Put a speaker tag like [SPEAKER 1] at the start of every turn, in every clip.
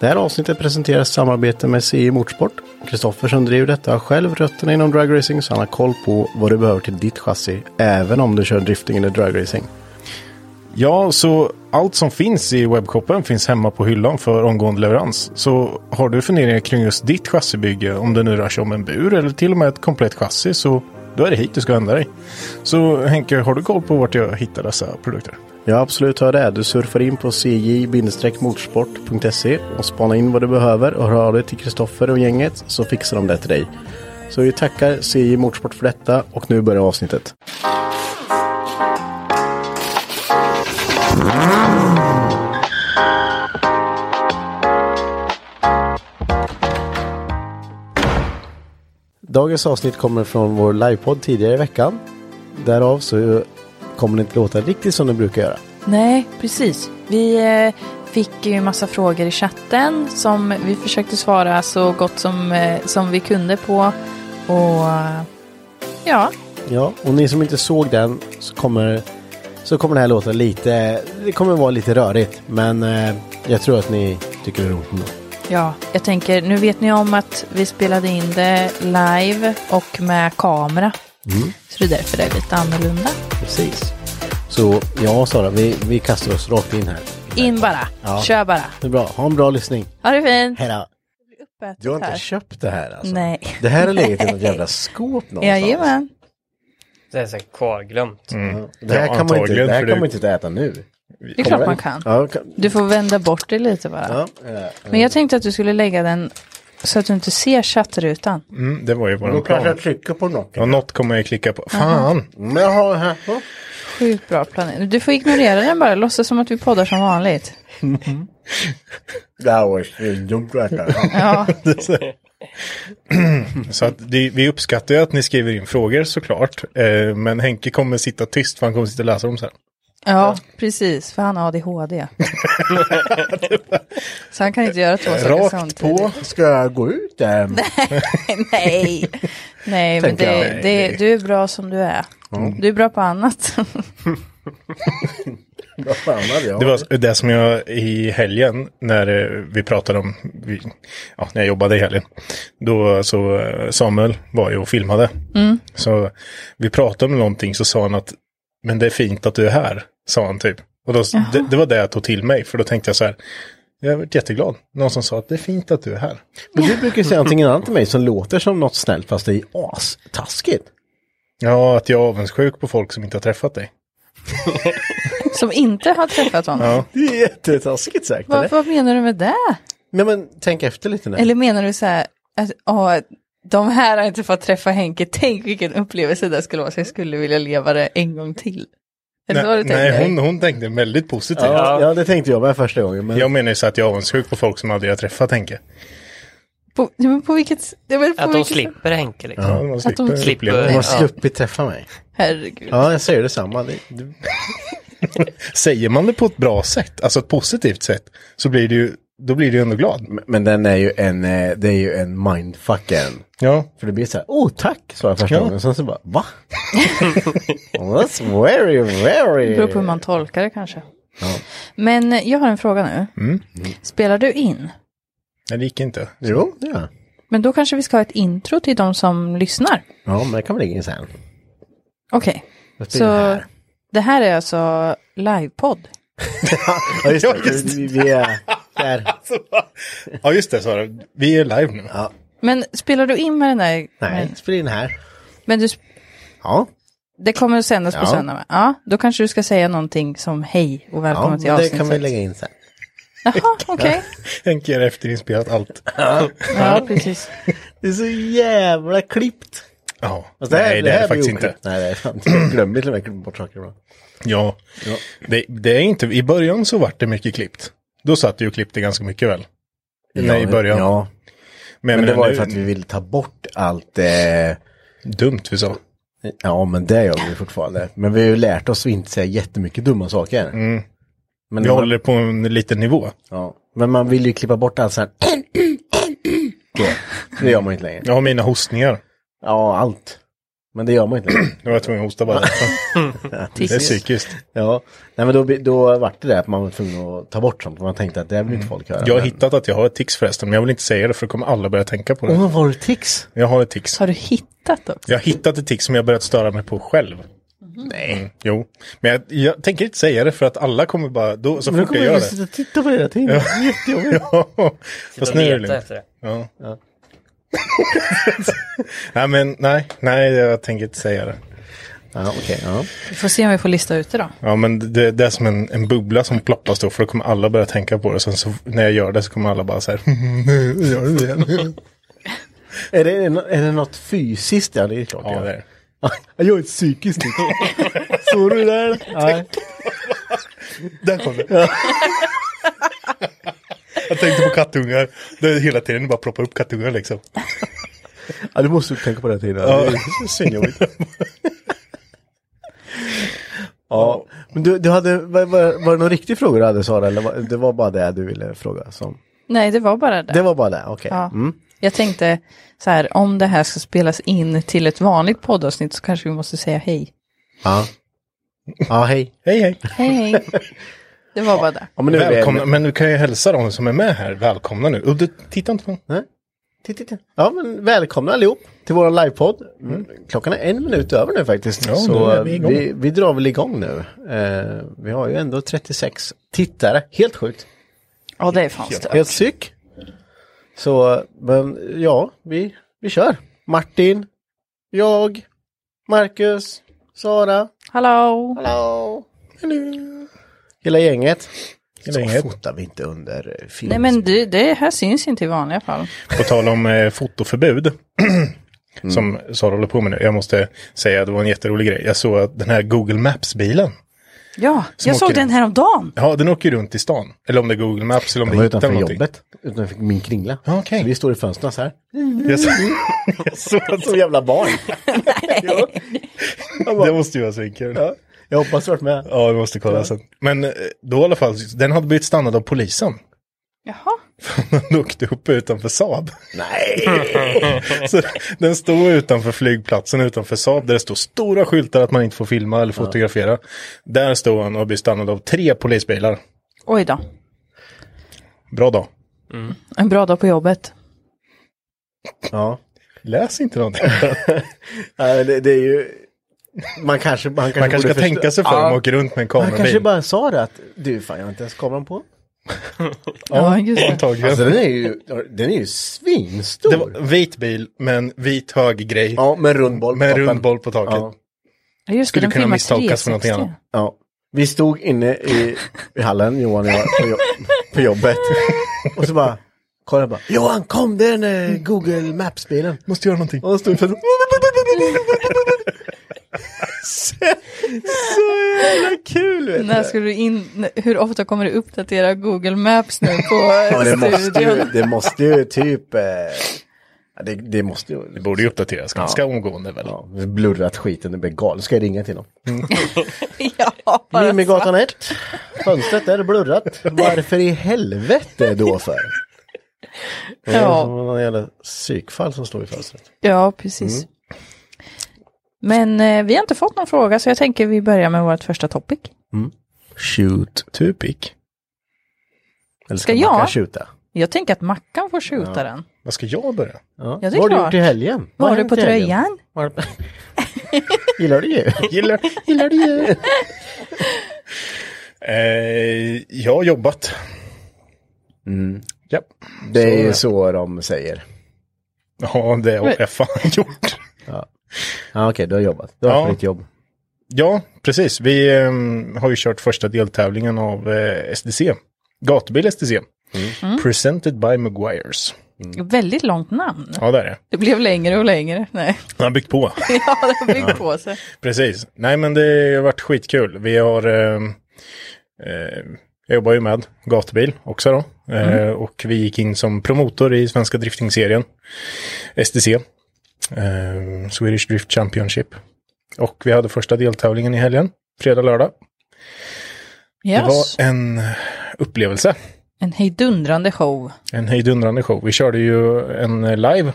[SPEAKER 1] Det här avsnittet presenteras i samarbete med CI Motorsport. Kristoffer som driver detta har själv rötterna inom dragracing så han har koll på vad du behöver till ditt chassi även om du kör drifting eller dragracing.
[SPEAKER 2] Ja, så allt som finns i webbshoppen finns hemma på hyllan för omgående leverans. Så har du funderingar kring just ditt chassibygge, om det nu rör sig om en bur eller till och med ett komplett chassi, så då är det hit du ska vända dig. Så Henke, har du koll på vart jag hittar dessa produkter?
[SPEAKER 1] Ja, absolut har det. Du surfar in på cj-motorsport.se och spanar in vad du behöver och hör av dig till Kristoffer och gänget så fixar de det till dig. Så vi tackar CJ Motorsport för detta och nu börjar avsnittet. Dagens avsnitt kommer från vår livepodd tidigare i veckan. Därav så kommer det inte låta riktigt som det brukar göra.
[SPEAKER 3] Nej, precis. Vi eh, fick ju massa frågor i chatten som vi försökte svara så gott som, eh, som vi kunde på. Och eh, ja,
[SPEAKER 1] Ja, och ni som inte såg den så kommer, så kommer det här låta lite, det kommer vara lite rörigt. Men eh, jag tror att ni tycker det är roligt ändå.
[SPEAKER 3] ja, jag tänker nu vet ni om att vi spelade in det live och med kamera.
[SPEAKER 1] Mm.
[SPEAKER 3] Så det är därför det är lite annorlunda.
[SPEAKER 1] Precis. Så ja, Sara, vi, vi kastar oss rakt in här.
[SPEAKER 3] In bara,
[SPEAKER 1] Ja.
[SPEAKER 3] kör bara.
[SPEAKER 1] Det är bra, ha en bra lyssning.
[SPEAKER 3] Ha det fint.
[SPEAKER 1] Hej då. Du har inte
[SPEAKER 3] Här.
[SPEAKER 1] köpt det här alltså?
[SPEAKER 3] Nej.
[SPEAKER 1] Det här har legat i något jävla skåp någonstans.
[SPEAKER 3] Jajamän.
[SPEAKER 4] Det är säkert kvarglömt.
[SPEAKER 1] Ja, Det här
[SPEAKER 2] Ja,
[SPEAKER 1] kan man inte,
[SPEAKER 2] antagligen,
[SPEAKER 1] det här
[SPEAKER 2] för
[SPEAKER 1] kan
[SPEAKER 2] det-
[SPEAKER 1] man inte äta nu.
[SPEAKER 3] Det är klart man kan.
[SPEAKER 1] Ja, kan,
[SPEAKER 3] Du får vända bort det lite bara.
[SPEAKER 1] ja, eh,
[SPEAKER 3] Men jag tänkte att du skulle lägga den så att du inte ser chattrutan.
[SPEAKER 2] Mm, det var ju våran
[SPEAKER 1] Då kanske
[SPEAKER 2] plan.
[SPEAKER 1] jag trycker på något.
[SPEAKER 2] Ja, något kommer jag klicka på. Fan!
[SPEAKER 1] Men jag har det här. Ja.
[SPEAKER 3] Sjukt bra planering. Du får ignorera den bara, låtsas som att vi poddar som vanligt.
[SPEAKER 1] Det här var ju svindumt att äta. Ja.
[SPEAKER 3] Ja,
[SPEAKER 2] Så att det, vi uppskattar ju att ni skriver in frågor såklart. Eh, men Henke kommer sitta tyst för han kommer sitta och läsa dem sen.
[SPEAKER 3] ja precis, för han har ADHD. så han kan inte göra två saker
[SPEAKER 2] Rakt
[SPEAKER 3] samtidigt.
[SPEAKER 2] på.
[SPEAKER 1] Ska jag gå ut där?
[SPEAKER 3] Nej, Nej men
[SPEAKER 1] Tänker
[SPEAKER 3] det,
[SPEAKER 1] jag.
[SPEAKER 3] det, du är bra som du är. Du är bra på annat.
[SPEAKER 1] Vad fan hade jag?
[SPEAKER 2] Det var det som jag i helgen när eh, vi pratade om, vi, ja, när jag jobbade i helgen, då så eh, Samuel var ju och filmade. Så vi pratade om någonting så sa han att, men det är fint att du är här, sa han typ. Och då, det, det var det jag tog till mig, för då tänkte jag så här, jag varit jätteglad. Någon som sa att det är fint att du är här.
[SPEAKER 1] Men du brukar säga någonting annat till mig som låter som något snällt fast det är astaskigt.
[SPEAKER 2] Ja, att jag är avundsjuk på folk som inte har träffat dig.
[SPEAKER 3] Som inte har träffat honom.
[SPEAKER 1] Det är jättetaskigt sagt.
[SPEAKER 3] Vad,
[SPEAKER 1] Eller?
[SPEAKER 3] vad menar du med det?
[SPEAKER 1] Nej men tänk efter lite nu.
[SPEAKER 3] Eller menar du så här, att åh, de här har inte fått träffa Henke, tänk vilken upplevelse det skulle vara, så jag skulle vilja leva det en gång till. Är det så
[SPEAKER 2] Nej,
[SPEAKER 3] du tänker?
[SPEAKER 2] nej hon, hon tänkte väldigt positivt.
[SPEAKER 1] Ja, ja det tänkte jag med första gången. Men...
[SPEAKER 2] Jag menar ju så att jag är avundsjuk på folk som aldrig har träffat Henke.
[SPEAKER 3] På, ja, men på vilket s- ja, men på
[SPEAKER 4] Att de
[SPEAKER 3] vilket sätt?
[SPEAKER 4] slipper Henke liksom.
[SPEAKER 2] Ja, man slipper
[SPEAKER 3] slipper-
[SPEAKER 2] uppleva
[SPEAKER 1] De
[SPEAKER 2] det.
[SPEAKER 1] har sluppit träffa mig.
[SPEAKER 3] Herregud.
[SPEAKER 1] Ja jag säger detsamma. Det, det...
[SPEAKER 2] Säger man det på ett bra sätt, alltså ett positivt sätt, så blir det ju, då blir du ju ändå glad.
[SPEAKER 1] Men den är ju en, eh, det är ju en mindfucken.
[SPEAKER 2] Ja,
[SPEAKER 1] För det blir så här, oh tack, sa jag första
[SPEAKER 2] Ja.
[SPEAKER 1] gången. Sen så bara, va? That's very,
[SPEAKER 3] Det
[SPEAKER 1] very...
[SPEAKER 3] beror på hur man tolkar det kanske. Men eh, jag har en fråga nu. Spelar du in?
[SPEAKER 2] nej, det gick inte.
[SPEAKER 1] Jo, ja.
[SPEAKER 3] Men då kanske vi ska ha ett intro till de som lyssnar.
[SPEAKER 1] Ja, men det kan väl ingen sen.
[SPEAKER 3] Okej,
[SPEAKER 1] Jag
[SPEAKER 3] så
[SPEAKER 1] spelar här.
[SPEAKER 3] det här är alltså livepodd.
[SPEAKER 1] Ja, just
[SPEAKER 2] Ja, just
[SPEAKER 1] det. Vi, vi är där.
[SPEAKER 2] Ja, just det Sara, vi är live nu.
[SPEAKER 3] Men spelar du in med den där?
[SPEAKER 1] Nej,
[SPEAKER 3] Men,
[SPEAKER 1] spela in här.
[SPEAKER 3] men du, sp-
[SPEAKER 1] Ja,
[SPEAKER 3] det kommer att sändas på
[SPEAKER 1] Ja.
[SPEAKER 3] söndag? va? Ja, då kanske du ska säga någonting som hej och välkommen
[SPEAKER 1] ja
[SPEAKER 3] till
[SPEAKER 1] det
[SPEAKER 3] avsnitt
[SPEAKER 1] kan vi
[SPEAKER 3] sex.
[SPEAKER 1] lägga in sen.
[SPEAKER 3] Jaha, okej.
[SPEAKER 2] Henke har efterinspelat allt.
[SPEAKER 3] Ja, precis.
[SPEAKER 1] Det är så jävla klippt.
[SPEAKER 2] Ja,
[SPEAKER 1] Fast
[SPEAKER 2] nej, det, är det
[SPEAKER 1] blir
[SPEAKER 2] faktiskt inte.
[SPEAKER 1] oklippt. Nej, det är fan inte. Jag glömmer till och med bort saker ibland.
[SPEAKER 2] Ja, Det, det är inte, i början så vart det mycket klippt. Då satt du och klippte ganska mycket väl? nej, i början.
[SPEAKER 1] Ja,
[SPEAKER 2] Men,
[SPEAKER 1] men det var ju
[SPEAKER 2] nu-
[SPEAKER 1] för att vi ville ta bort allt. Eh,
[SPEAKER 2] Dumt vi sa.
[SPEAKER 1] ja, men det gör vi fortfarande. Men vi har ju lärt oss att inte säga jättemycket dumma saker. Men,
[SPEAKER 2] Mm. Vi
[SPEAKER 1] man,
[SPEAKER 2] håller på en liten nivå.
[SPEAKER 1] ja, men man vill ju klippa bort allt så här. Det, det gör man inte längre.
[SPEAKER 2] Jag har mina hostningar.
[SPEAKER 1] Ja, allt. Men det gör man inte längre.
[SPEAKER 2] Nu var jag tvungen att hosta bara. det är psykiskt.
[SPEAKER 1] Ja, nej men då, då vart det där att man var tvungen att ta bort sånt. Man tänkte att det här vill inte folk höra.
[SPEAKER 2] Jag har
[SPEAKER 1] men...
[SPEAKER 2] hittat att jag har ett tics förresten, men jag vill inte säga det för då kommer alla börja tänka på det.
[SPEAKER 1] Åh, var det tics?
[SPEAKER 2] Jag har ett tics.
[SPEAKER 3] Har du hittat också?
[SPEAKER 2] Jag har hittat ett tics som jag börjat störa mig på själv. Nej. Mm, jo, men jag, jag tänker inte säga det för att alla kommer bara, då, så
[SPEAKER 1] Men nu
[SPEAKER 2] fort
[SPEAKER 1] kommer
[SPEAKER 2] jag
[SPEAKER 1] vi
[SPEAKER 2] gör
[SPEAKER 1] sitta och titta på det hela tiden. Det är Jättejobbigt.
[SPEAKER 2] det. Fast
[SPEAKER 4] och
[SPEAKER 2] nu är det
[SPEAKER 4] leta
[SPEAKER 2] lugnt.
[SPEAKER 4] efter det.
[SPEAKER 2] Ja. nej, men nej, nej, jag tänker inte säga det.
[SPEAKER 1] Ja, okej. ja.
[SPEAKER 3] Vi får se om vi får lista ut det då.
[SPEAKER 2] Ja, men det, det är som en, en bubbla som ploppas då, för då kommer alla börja tänka på det. Sen så, när jag gör det så kommer alla bara så här, gör du det?
[SPEAKER 1] Är, det, är det något fysiskt? Ja, det är klart.
[SPEAKER 2] Ja, det är det.
[SPEAKER 1] Jag är ett psykiskt tics. Såg du det där? Nej.
[SPEAKER 2] Där kom det. jag tänkte på kattungar. Det är hela tiden bara ploppa upp kattungar liksom.
[SPEAKER 1] Ja, du måste tänka på det hela tiden. Det är svinjobbigt. Ja, men du, du hade, var, var, var det någon riktig fråga du hade Sara? Eller var, det var bara det du ville fråga? Som,
[SPEAKER 3] Nej, det var bara det.
[SPEAKER 1] det var bara det, okej.
[SPEAKER 3] Ja. Jag tänkte så här, om det här ska spelas in till ett vanligt poddavsnitt så kanske vi måste säga hej.
[SPEAKER 1] Ja. Ja, hej.
[SPEAKER 2] Hej hej!
[SPEAKER 3] Hej, hej. Det var bara det.
[SPEAKER 1] Ja, men nu är vi-
[SPEAKER 2] Välkomna, men nu kan jag hälsa de som är med här välkomna nu. Oh, du, titta inte på mig.
[SPEAKER 1] Titt, titt, titt. Ja, men välkomna allihop till vår livepodd. Klockan är en minut över Mm. nu faktiskt.
[SPEAKER 2] Ja,
[SPEAKER 1] så
[SPEAKER 2] nu är vi
[SPEAKER 1] vi,
[SPEAKER 2] igång.
[SPEAKER 1] vi, drar väl igång nu. Eh, vi har ju ändå 36 tittare. Helt sjukt.
[SPEAKER 3] Ja, det är fan stört.
[SPEAKER 1] Helt psyk. Så, men ja, vi, vi kör. Martin, jag, Marcus, Sara,
[SPEAKER 3] Hallå!
[SPEAKER 1] hallå, hela gänget.
[SPEAKER 2] Hela
[SPEAKER 1] Så
[SPEAKER 2] gänget.
[SPEAKER 1] fotar vi inte under eh, film.
[SPEAKER 3] Nej, men det, det här syns inte i vanliga fall.
[SPEAKER 2] På tal om eh, fotoförbud.
[SPEAKER 1] Mm.
[SPEAKER 2] Som Sara håller på med nu. Jag måste säga att det var en jätterolig grej. Jag såg att den här Google Maps-bilen.
[SPEAKER 3] Ja,
[SPEAKER 2] Som
[SPEAKER 3] jag såg
[SPEAKER 2] åker
[SPEAKER 3] den
[SPEAKER 2] in.
[SPEAKER 3] häromdagen.
[SPEAKER 2] Ja, den åker ju runt i stan. Eller om det är Google Maps eller om
[SPEAKER 1] Jag
[SPEAKER 2] det
[SPEAKER 1] var
[SPEAKER 2] hittar
[SPEAKER 1] utanför
[SPEAKER 2] någonting.
[SPEAKER 1] jobbet, utanför min kringla.
[SPEAKER 2] Ja, okej.
[SPEAKER 1] Så vi står i fönstren så här.
[SPEAKER 2] Jag såg, jag såg att
[SPEAKER 1] Som jävla barn.
[SPEAKER 2] det måste ju vara svinkul. Ja.
[SPEAKER 1] Jag hoppas du har varit med.
[SPEAKER 2] ja, vi måste kolla sen. Men eh, då i alla fall, den hade blivit stannad av polisen.
[SPEAKER 3] Jaha.
[SPEAKER 2] Den åkte upp utanför Saab.
[SPEAKER 1] Nej!
[SPEAKER 2] Så den stod utanför flygplatsen utanför Saab där det står stora skyltar att man inte får filma eller fotografera. Där stod han och blev stannad av tre polisbilar.
[SPEAKER 3] Oj då.
[SPEAKER 2] Bra dag.
[SPEAKER 3] En bra dag på jobbet.
[SPEAKER 1] Ja.
[SPEAKER 2] Läs inte någonting.
[SPEAKER 1] Nej, men Det, det är ju... Man kanske, man kanske,
[SPEAKER 2] Man kanske
[SPEAKER 1] borde
[SPEAKER 2] ska
[SPEAKER 1] förstå-
[SPEAKER 2] tänka sig för om man åker runt med en
[SPEAKER 1] Han kanske
[SPEAKER 2] kamerabil.
[SPEAKER 1] bara sa det att du fan jag har inte ens kameran på.
[SPEAKER 3] Ja, just det.
[SPEAKER 2] Antagligen.
[SPEAKER 1] Alltså den är ju, den är ju svinstor.
[SPEAKER 2] det var vit bil men vit hög grej.
[SPEAKER 1] Ja med rund boll på
[SPEAKER 2] Med
[SPEAKER 1] toppen.
[SPEAKER 2] rund boll på taket.
[SPEAKER 1] Ja,
[SPEAKER 3] Ja, Just det,
[SPEAKER 2] Skulle
[SPEAKER 3] den
[SPEAKER 2] kunna
[SPEAKER 3] filmar
[SPEAKER 2] misstolkas för någonting
[SPEAKER 3] 360.
[SPEAKER 2] annat.
[SPEAKER 1] ja. Vi stod inne i, i hallen Johan och jag på, jobb, på jobbet. Och så bara kollade jag bara Johan kom det är den eh, Google Maps-bilen.
[SPEAKER 2] Måste göra någonting.
[SPEAKER 1] Och han stod för Så så jävla kul vet
[SPEAKER 3] När ska du in, när- hur ofta kommer du uppdatera Google Maps nu på
[SPEAKER 1] Ja, det måste ju,
[SPEAKER 3] studion?
[SPEAKER 1] det måste ju typ... Eh, ja, det, det måste ju...
[SPEAKER 2] Det borde ju uppdateras ganska omgående väl.
[SPEAKER 1] Ja, vi blurrat skiten, det blir galet. Ska jag ringa till dem?
[SPEAKER 3] Ja. jag bara
[SPEAKER 1] Limmegatan 1. Fönstret är blurrat. Varför i helvete då för?
[SPEAKER 3] sa- Ja,
[SPEAKER 1] Någon jävla psykfall som står i fönstret.
[SPEAKER 3] ja precis.
[SPEAKER 2] Mm.
[SPEAKER 3] Men eh, vi har inte fått någon fråga så jag tänker vi börjar med vårt första topic.
[SPEAKER 1] Shoot.
[SPEAKER 2] Tupik.
[SPEAKER 1] Eller
[SPEAKER 3] Ska jag?
[SPEAKER 1] Mackan skjuta?
[SPEAKER 3] Jag tänker att Mackan får skjuta den.
[SPEAKER 2] Vad ska jag börja?
[SPEAKER 1] Ja.
[SPEAKER 3] Ja, det är
[SPEAKER 1] Vad har du gjort
[SPEAKER 3] klart.
[SPEAKER 1] i helgen? Vad
[SPEAKER 3] Vad har du
[SPEAKER 1] hänt
[SPEAKER 3] på
[SPEAKER 1] i helgen?
[SPEAKER 3] tröjan?
[SPEAKER 1] Vad har- Gillar du ju?
[SPEAKER 2] Gillar,
[SPEAKER 1] Gillar du ju?
[SPEAKER 2] eh, jag har jobbat.
[SPEAKER 1] Mm.
[SPEAKER 2] Ja.
[SPEAKER 1] Det är ju så de säger.
[SPEAKER 2] ja, det har jag fan gjort.
[SPEAKER 1] Ja, okej, du har jobbat. Du har
[SPEAKER 2] Ja.
[SPEAKER 1] haft ditt jobb.
[SPEAKER 2] Ja, precis. Vi ehm, har ju kört första deltävlingen av eh, SDC. Gatubil SDC.
[SPEAKER 1] Mm.
[SPEAKER 2] Presented by Maguires.
[SPEAKER 3] Väldigt långt namn.
[SPEAKER 2] Ja, där är det.
[SPEAKER 3] Det blev längre och längre. Nej,
[SPEAKER 2] Han har byggt på.
[SPEAKER 3] ja, det har byggt på sig.
[SPEAKER 2] Precis. Nej, men det har varit skitkul. Vi har... ehm, eh, jag jobbar ju med gatubil också då. Eh,
[SPEAKER 3] Mm.
[SPEAKER 2] och vi gick in som promotor i svenska driftingserien. SDC. Eh, Swedish Drift Championship. Och vi hade första deltävlingen i helgen. Fredag, lördag.
[SPEAKER 3] Yes.
[SPEAKER 2] Det var en upplevelse.
[SPEAKER 3] En hejdundrande show.
[SPEAKER 2] En hejdundrande show. Vi körde ju en eh, live.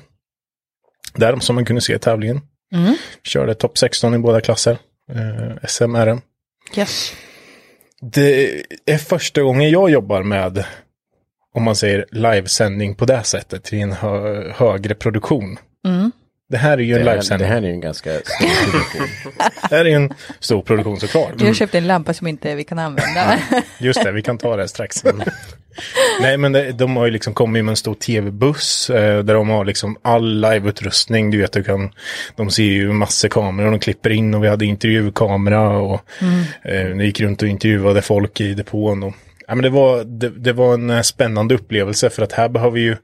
[SPEAKER 2] Där som man kunde se i tävlingen.
[SPEAKER 3] Mm.
[SPEAKER 2] Körde topp 16 i båda klasser. Eh, SM, RM.
[SPEAKER 3] Yes.
[SPEAKER 2] Det är första gången jag jobbar med, om man säger livesändning på det sättet, i en hö- högre produktion.
[SPEAKER 3] Mm.
[SPEAKER 2] Det här är ju en
[SPEAKER 1] Det här, det
[SPEAKER 2] livesändning.
[SPEAKER 1] här är ju en ganska stor produktion.
[SPEAKER 2] Det här är ju en stor produktion såklart.
[SPEAKER 3] Vi har köpt en lampa som inte vi kan använda.
[SPEAKER 2] Just det, vi kan ta det här strax. Nej, men det, de har ju liksom kommit med en stor tv-buss eh, där de har liksom all live-utrustning. Du vet, du kan, de ser ju massor kameror, de klipper in och vi hade intervjukamera och eh, vi gick runt och intervjuade folk i depån. Och, ja, men det, var, det, det var en eh, spännande upplevelse för att här behöver ju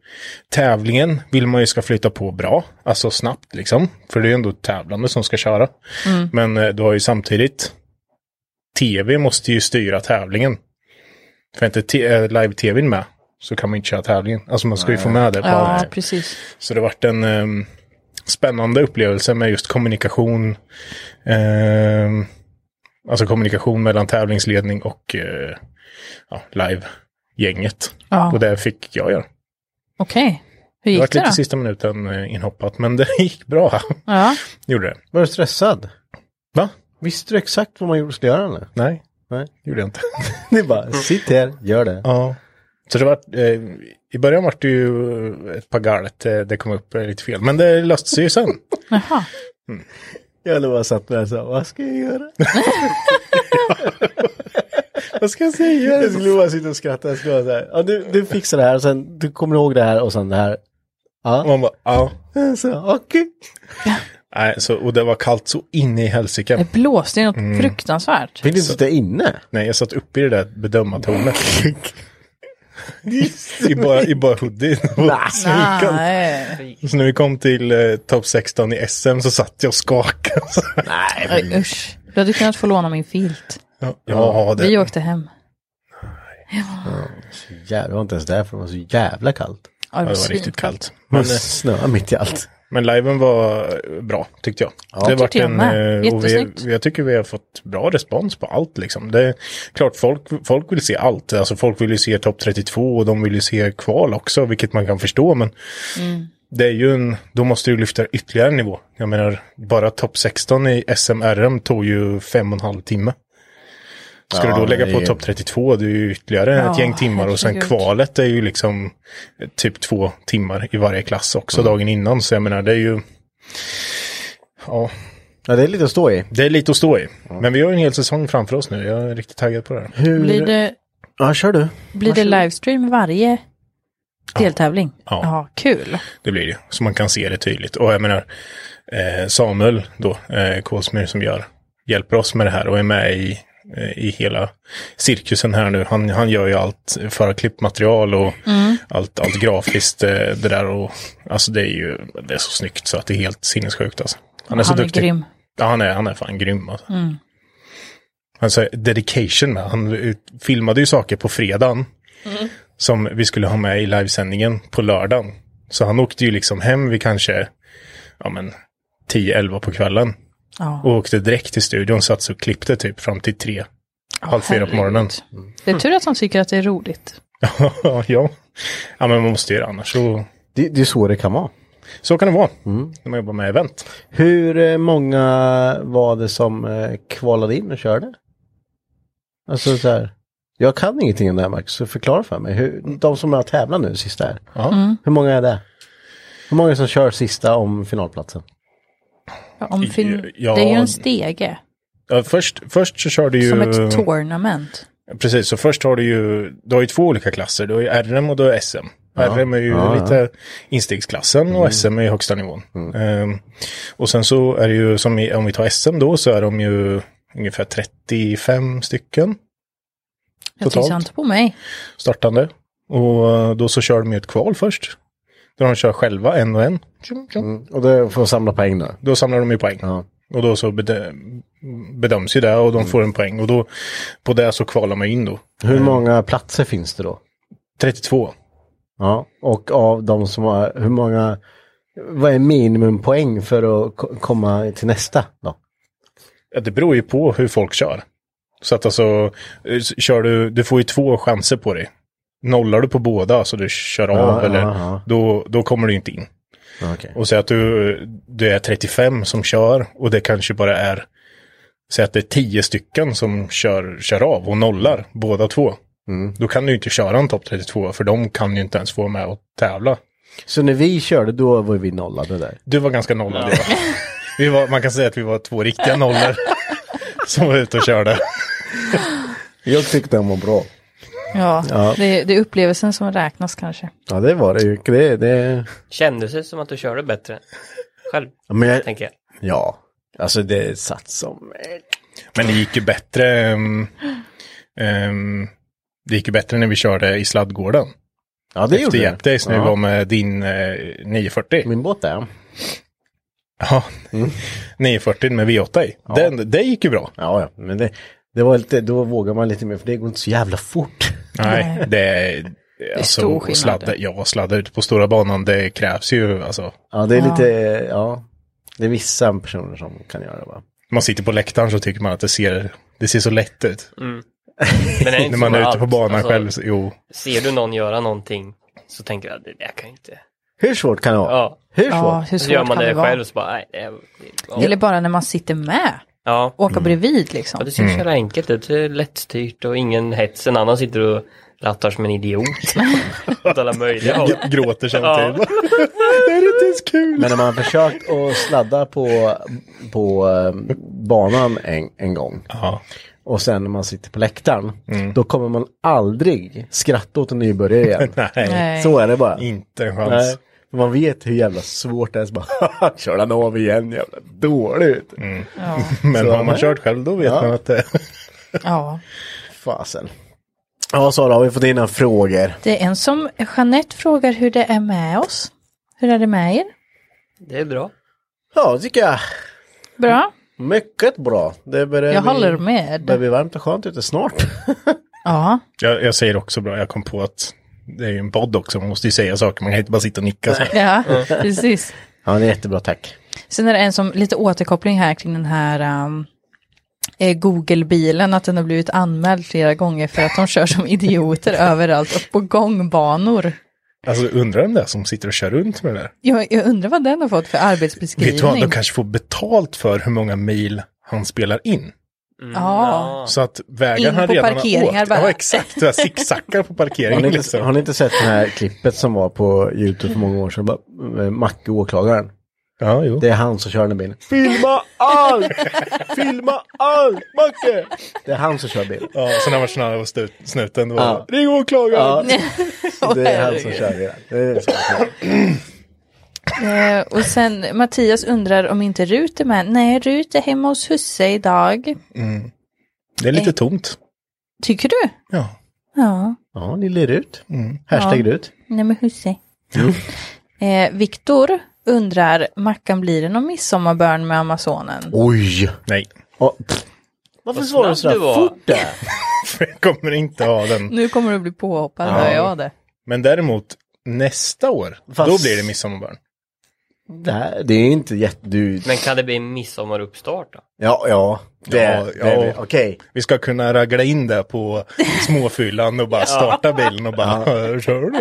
[SPEAKER 2] tävlingen vill man ju ska flytta på bra, alltså snabbt liksom. För det är ju ändå tävlande som ska köra. Men eh, du har ju samtidigt tv måste ju styra tävlingen. För inte t- eh, live-tvn med så kan man inte köra tävlingen. Alltså man ska ju få med det på allt.
[SPEAKER 3] ja, precis.
[SPEAKER 2] Så det vart en ehm, spännande upplevelse med just kommunikation. ehm, alltså kommunikation mellan tävlingsledning och eh, ja, live-gänget.
[SPEAKER 3] Ja.
[SPEAKER 2] Och det fick jag göra.
[SPEAKER 3] Okej. Hur
[SPEAKER 2] Det
[SPEAKER 3] gick
[SPEAKER 2] vart
[SPEAKER 3] det
[SPEAKER 2] lite
[SPEAKER 3] då?
[SPEAKER 2] sista minuten eh, inhoppat, men det gick bra.
[SPEAKER 3] Ja.
[SPEAKER 2] Gjorde det.
[SPEAKER 1] Var du stressad?
[SPEAKER 2] Va?
[SPEAKER 1] Visste du exakt vad man gjorde skulle göra eller?
[SPEAKER 2] Nej,
[SPEAKER 1] Nej.
[SPEAKER 2] gjorde jag inte.
[SPEAKER 1] Det är bara, sitt här, gör det.
[SPEAKER 2] Ja. Så det var, eh, i början var det ju ett par galet, eh, det kom upp eh, lite fel. Men det löste sig ju sen.
[SPEAKER 3] Jaha.
[SPEAKER 1] Jag bara satt där och sa, vad ska jag göra?
[SPEAKER 2] Vad ska jag säga?
[SPEAKER 1] Jag skulle bara sitta och skratta. Jag skulle bara så här, ja, du, du fixar det här och sen, du kommer ihåg det här och sen det här.
[SPEAKER 2] Och man bara, ja.
[SPEAKER 1] Så, okej.
[SPEAKER 2] Nej, så, och det var kallt så in i helsike.
[SPEAKER 3] Det blåste ju något
[SPEAKER 2] Mm.
[SPEAKER 3] fruktansvärt.
[SPEAKER 1] Vill du sitta inne?
[SPEAKER 2] Nej, jag satt uppe i det där bedömartornet. I bara, I bara hoodie. Det var
[SPEAKER 3] Ah,
[SPEAKER 2] svinkallt.
[SPEAKER 3] Nej,
[SPEAKER 2] Så när vi kom till eh, topp 16 i SM så satt jag och skakade. Så här.
[SPEAKER 3] Aj, usch. Du hade kunnat få låna min filt.
[SPEAKER 2] Ja, ja,
[SPEAKER 3] Vi
[SPEAKER 2] det,
[SPEAKER 3] åkte hem.
[SPEAKER 1] Jävlar, det var inte ens därför det var så jävla kallt.
[SPEAKER 3] Ja, det
[SPEAKER 2] det
[SPEAKER 3] var
[SPEAKER 2] var riktigt
[SPEAKER 3] svinkallt.
[SPEAKER 2] kallt. eh,
[SPEAKER 1] Men eh, snö mitt i allt.
[SPEAKER 2] Men liven var bra, tyckte jag. det
[SPEAKER 3] tyckte jag med.
[SPEAKER 2] eh, och vi,
[SPEAKER 3] Jättesnyggt.
[SPEAKER 2] jag tycker vi har fått bra respons på allt liksom. Det är klart, folk, folk vill se allt. Alltså folk vill ju se topp 32 och de vill ju se kval också, vilket man kan förstå. Men
[SPEAKER 3] Mm.
[SPEAKER 2] det är ju en, då måste du lyfta ytterligare en nivå. Jag menar, bara topp 16 i SMRM tog ju fem och en halv timme. Ska
[SPEAKER 1] Ja,
[SPEAKER 2] du då lägga
[SPEAKER 1] det
[SPEAKER 2] på
[SPEAKER 1] är-
[SPEAKER 2] topp 32, det är ju ytterligare ett
[SPEAKER 3] Ja,
[SPEAKER 2] gäng timmar och sen
[SPEAKER 3] herregud.
[SPEAKER 2] kvalet är ju liksom eh, typ två timmar i varje klass också dagen innan. Så jag menar, det är ju... Ja,
[SPEAKER 1] Ja, det är lite att stå i.
[SPEAKER 2] det är lite att stå i. Men vi har ju en hel säsong framför oss nu. Jag är riktigt taggad på det här.
[SPEAKER 1] Hur...
[SPEAKER 3] Blir det,
[SPEAKER 1] Ja, kör du.
[SPEAKER 3] blir det livestream varje deltävling?
[SPEAKER 2] Ja.
[SPEAKER 3] ja kul.
[SPEAKER 2] Det blir det. Så man kan se det tydligt. Och jag menar, eh, Samuel då, eh, Kolsmyr som gör, hjälper oss med det här och är med i, eh, i hela cirkusen här nu. Han, han gör ju allt för klippmaterial och
[SPEAKER 3] Mm.
[SPEAKER 2] allt, allt grafiskt eh, det där. Och, alltså det är ju det är så snyggt så att det är helt sinnessjukt alltså. Han är så
[SPEAKER 3] Han är
[SPEAKER 2] duktig.
[SPEAKER 3] grym.
[SPEAKER 2] Ja, han är, han är fan grym alltså.
[SPEAKER 3] Mm.
[SPEAKER 2] Alltså dedication med. Han ut- filmade ju saker på fredagen.
[SPEAKER 3] Mm.
[SPEAKER 2] Som vi skulle ha med i livesändningen på lördagen. Så han åkte ju liksom hem vid kanske, ja men, 10-11 på kvällen.
[SPEAKER 3] Ja.
[SPEAKER 2] Och åkte direkt till studion, satt sig och klippte typ fram till 3 halv fyra på morgonen.
[SPEAKER 3] Det är tur att de tycker att det är roligt.
[SPEAKER 2] ja. ja, men man måste ju det annars. Så,
[SPEAKER 1] Det, det är så det kan vara.
[SPEAKER 2] så kan det vara när man jobbar med event.
[SPEAKER 1] Hur eh, många var det som eh, kvalade in och körde? Alltså så här. Jag kan ingenting om det här Max, så förklara för mig. Hur, de som har tävlat nu sista här.
[SPEAKER 2] Ja.
[SPEAKER 1] Hur många är det? Hur många som kör sista om finalplatsen?
[SPEAKER 3] Ja, Om fin-
[SPEAKER 2] Ja.
[SPEAKER 3] Det är ju en stege.
[SPEAKER 2] Ja, först, först så kör du ju...
[SPEAKER 3] Som ett tournament.
[SPEAKER 2] Precis, så först har du ju, du har ju två olika klasser. Du har ju RM och du har SM. RM är ju lite instegsklassen och SM är ju högsta nivån. Ehm, och sen så är det ju, som i, om vi tar SM då, så är de ju ungefär 35 stycken
[SPEAKER 3] Jag
[SPEAKER 2] Totalt.
[SPEAKER 3] tittar inte på mig.
[SPEAKER 2] startande. Och eh, då så kör de ju ett kval först. Där de kör själva en och en. Tjum, tjum.
[SPEAKER 1] Mm, Och det får samla poäng då.
[SPEAKER 2] Då samlar de ju poäng.
[SPEAKER 1] Ja.
[SPEAKER 2] Och då så bedö- bedöms ju det och de får en poäng. Och då, på det så kvalar man in då.
[SPEAKER 1] Hur många platser finns det då?
[SPEAKER 2] 32.
[SPEAKER 1] Ja. Och av de som har, hur många, vad är minimumpoäng för att ko- komma till nästa då?
[SPEAKER 2] Ja, det beror ju på hur folk kör. Så att alltså, eh, s- kör du, du får ju två chanser på dig. Nollar du på båda så du kör av
[SPEAKER 1] ja,
[SPEAKER 2] eller
[SPEAKER 1] ja.
[SPEAKER 2] Då, då kommer du inte in.
[SPEAKER 1] Okej.
[SPEAKER 2] Och säg att du, du är 35 som kör och det kanske bara är, säg att det är 10 stycken som kör, kör av och nollar båda två.
[SPEAKER 1] Mm.
[SPEAKER 2] Då kan du ju inte köra en topp 32 för de kan ju inte ens få vara med och tävla.
[SPEAKER 1] Så när vi körde då var vi nollade där.
[SPEAKER 2] Du var ganska nollad. Ja. Vi var, man kan säga att vi var två riktiga nollor som var ute och körde.
[SPEAKER 1] Jag tyckte den var bra.
[SPEAKER 3] Ja, Det, det är upplevelsen som räknas kanske.
[SPEAKER 1] Ja det var det ju. Det, det...
[SPEAKER 4] Kändes det som att du körde bättre? Själv,
[SPEAKER 1] Men jag,
[SPEAKER 4] tänker jag.
[SPEAKER 1] Ja, alltså det satt som...
[SPEAKER 2] Men det gick ju bättre. ehm, ehm, det gick ju bättre när vi körde i sladdgården.
[SPEAKER 1] Ja, det
[SPEAKER 2] Efter Jap Days när vi
[SPEAKER 1] Ja.
[SPEAKER 2] var med din eh, 940.
[SPEAKER 1] Min Mm. båt där.
[SPEAKER 2] Ja, 940 med V8 i. Den, det gick ju bra.
[SPEAKER 1] Ja, ja, men det, det var lite, då vågar man lite mer för det går inte så jävla fort.
[SPEAKER 2] Nej, det är...
[SPEAKER 3] stor
[SPEAKER 2] Alltså,
[SPEAKER 3] skillnad.
[SPEAKER 2] sladda, ja, sladda ute på stora banan, det krävs ju alltså.
[SPEAKER 1] Ja, det är lite, ja. Det är vissa personer som kan göra det va?
[SPEAKER 2] Man sitter på läktaren så tycker man att det ser, det ser så lätt ut.
[SPEAKER 4] Men är det inte
[SPEAKER 2] När man
[SPEAKER 4] så med
[SPEAKER 2] är ute på
[SPEAKER 4] allt?
[SPEAKER 2] banan
[SPEAKER 4] Alltså,
[SPEAKER 2] själv, så, jo.
[SPEAKER 4] Ser du någon göra någonting så tänker jag, det där kan jag inte.
[SPEAKER 1] Hur svårt kan det vara?
[SPEAKER 4] Ja.
[SPEAKER 1] Hur svårt?
[SPEAKER 3] Ja, hur
[SPEAKER 4] Så gör
[SPEAKER 3] svårt
[SPEAKER 4] man
[SPEAKER 3] kan
[SPEAKER 4] det
[SPEAKER 3] det vara?
[SPEAKER 4] själv så bara, nej, det är... det är-
[SPEAKER 3] Eller bara när man sitter med.
[SPEAKER 4] Ja.
[SPEAKER 3] Åka
[SPEAKER 2] Mm.
[SPEAKER 3] bredvid liksom.
[SPEAKER 4] Ja, det ska köra enkelt ut, det är lättstyrt och ingen hets. En annan sitter och rattar som en idiot. Åt alla möjliga håll.
[SPEAKER 2] Gr- Gråter
[SPEAKER 4] Ja.
[SPEAKER 2] samtidigt. det är inte ens kul.
[SPEAKER 1] Men när man har försökt att sladda på, på eh, banan en, en gång
[SPEAKER 2] Ja.
[SPEAKER 1] och sen när man sitter på läktaren, då kommer man aldrig skratta åt en nybörjare igen.
[SPEAKER 2] Nej,
[SPEAKER 3] Nej.
[SPEAKER 1] Så är det bara.
[SPEAKER 2] inte en chans.
[SPEAKER 1] Nej, för man vet hur jävla svårt det är. Så bara, kör den av igen, jävla dåligt.
[SPEAKER 2] Men
[SPEAKER 1] Så,
[SPEAKER 2] har man
[SPEAKER 1] nej.
[SPEAKER 2] kört själv då vet
[SPEAKER 1] Ja.
[SPEAKER 2] man att det...
[SPEAKER 3] Ja.
[SPEAKER 1] Fasen. Ja, Sara, har vi fått in några frågor?
[SPEAKER 3] Det är en som, Jeanette frågar hur det är med oss. Hur är det med er?
[SPEAKER 4] Det är bra.
[SPEAKER 1] Ja, det tycker jag.
[SPEAKER 2] Mm.
[SPEAKER 3] Bra.
[SPEAKER 1] Mycket bra. Det börjar
[SPEAKER 3] Jag
[SPEAKER 1] bli-
[SPEAKER 3] håller med.
[SPEAKER 1] börjar bli varmt och skönt ute snart.
[SPEAKER 3] Ja,
[SPEAKER 2] Jag, jag säger också bra, jag kom på att det är ju en podd också, man måste ju säga saker, man kan inte bara sitta och nicka. Så.
[SPEAKER 3] ja
[SPEAKER 2] Mm.
[SPEAKER 3] precis.
[SPEAKER 1] ja, det är jättebra, tack.
[SPEAKER 3] Sen är det en som, lite återkoppling här kring den här ehm, eh, Google-bilen, att den har blivit anmäld flera gånger för att de kör som idioter överallt och på gångbanor.
[SPEAKER 2] Alltså undrar vem det är som sitter och kör runt med det där.
[SPEAKER 3] Jag, jag undrar vad den har fått för
[SPEAKER 2] Vet du vad,
[SPEAKER 3] arbetsbeskrivning.
[SPEAKER 2] de kanske får betalt för hur många mil han spelar in.
[SPEAKER 3] Ja,
[SPEAKER 2] Så att vägen
[SPEAKER 3] In
[SPEAKER 2] han
[SPEAKER 3] på
[SPEAKER 2] redan
[SPEAKER 3] parkeringar
[SPEAKER 2] har åkt.
[SPEAKER 3] bara.
[SPEAKER 2] Ja exakt, så här zigzaggar på
[SPEAKER 1] Har ni,
[SPEAKER 2] parkeringen
[SPEAKER 1] inte, har
[SPEAKER 2] liksom.
[SPEAKER 1] ni inte sett det här klippet som var på YouTube för många år sedan? Bara, eh, Macke åklagaren.
[SPEAKER 2] Ja, jo.
[SPEAKER 1] Det är han som kör den bilen. Filma allt! Filma allt, Macke! Det är han som kör bilen.
[SPEAKER 2] Ja, så när man snarare var snut, snuten då.
[SPEAKER 1] Ja.
[SPEAKER 2] Ring åklagaren!
[SPEAKER 1] Det är han som kör bilen. Det är så kul.
[SPEAKER 3] Eh, och sen Mattias undrar om inte Rut är med. Nej, Rut är hemma hos husse idag.
[SPEAKER 2] Det är lite tomt.
[SPEAKER 3] Tycker du?
[SPEAKER 2] Ja.
[SPEAKER 3] Ja.
[SPEAKER 1] Ja, ni ler ut.
[SPEAKER 2] Mm.
[SPEAKER 1] Hashtag ut.
[SPEAKER 3] Nej men husse. eh, Viktor undrar, Mackan blir det någon midsommarbön med Amazonen?
[SPEAKER 1] Oj!
[SPEAKER 2] Nej,
[SPEAKER 1] Ja, pff. Varför
[SPEAKER 4] Vad
[SPEAKER 1] svarar du
[SPEAKER 4] snabb
[SPEAKER 1] sådär
[SPEAKER 4] du var.
[SPEAKER 1] fort där?
[SPEAKER 2] för jag kommer inte ha den.
[SPEAKER 3] Nu kommer du bli påhoppad, hör jag det.
[SPEAKER 2] Men däremot nästa år,
[SPEAKER 1] Fast-
[SPEAKER 2] då blir det midsommarbön.
[SPEAKER 1] Det, här, det är inte jätte... Du...
[SPEAKER 4] Men kan det bli en midsommaruppstart då?
[SPEAKER 1] Ja, ja. Det,
[SPEAKER 2] Ja,
[SPEAKER 1] det,
[SPEAKER 2] ja.
[SPEAKER 1] det- Okej.
[SPEAKER 2] Vi ska kunna ragla in det på småfyllan och bara starta bilen och bara... Kör du?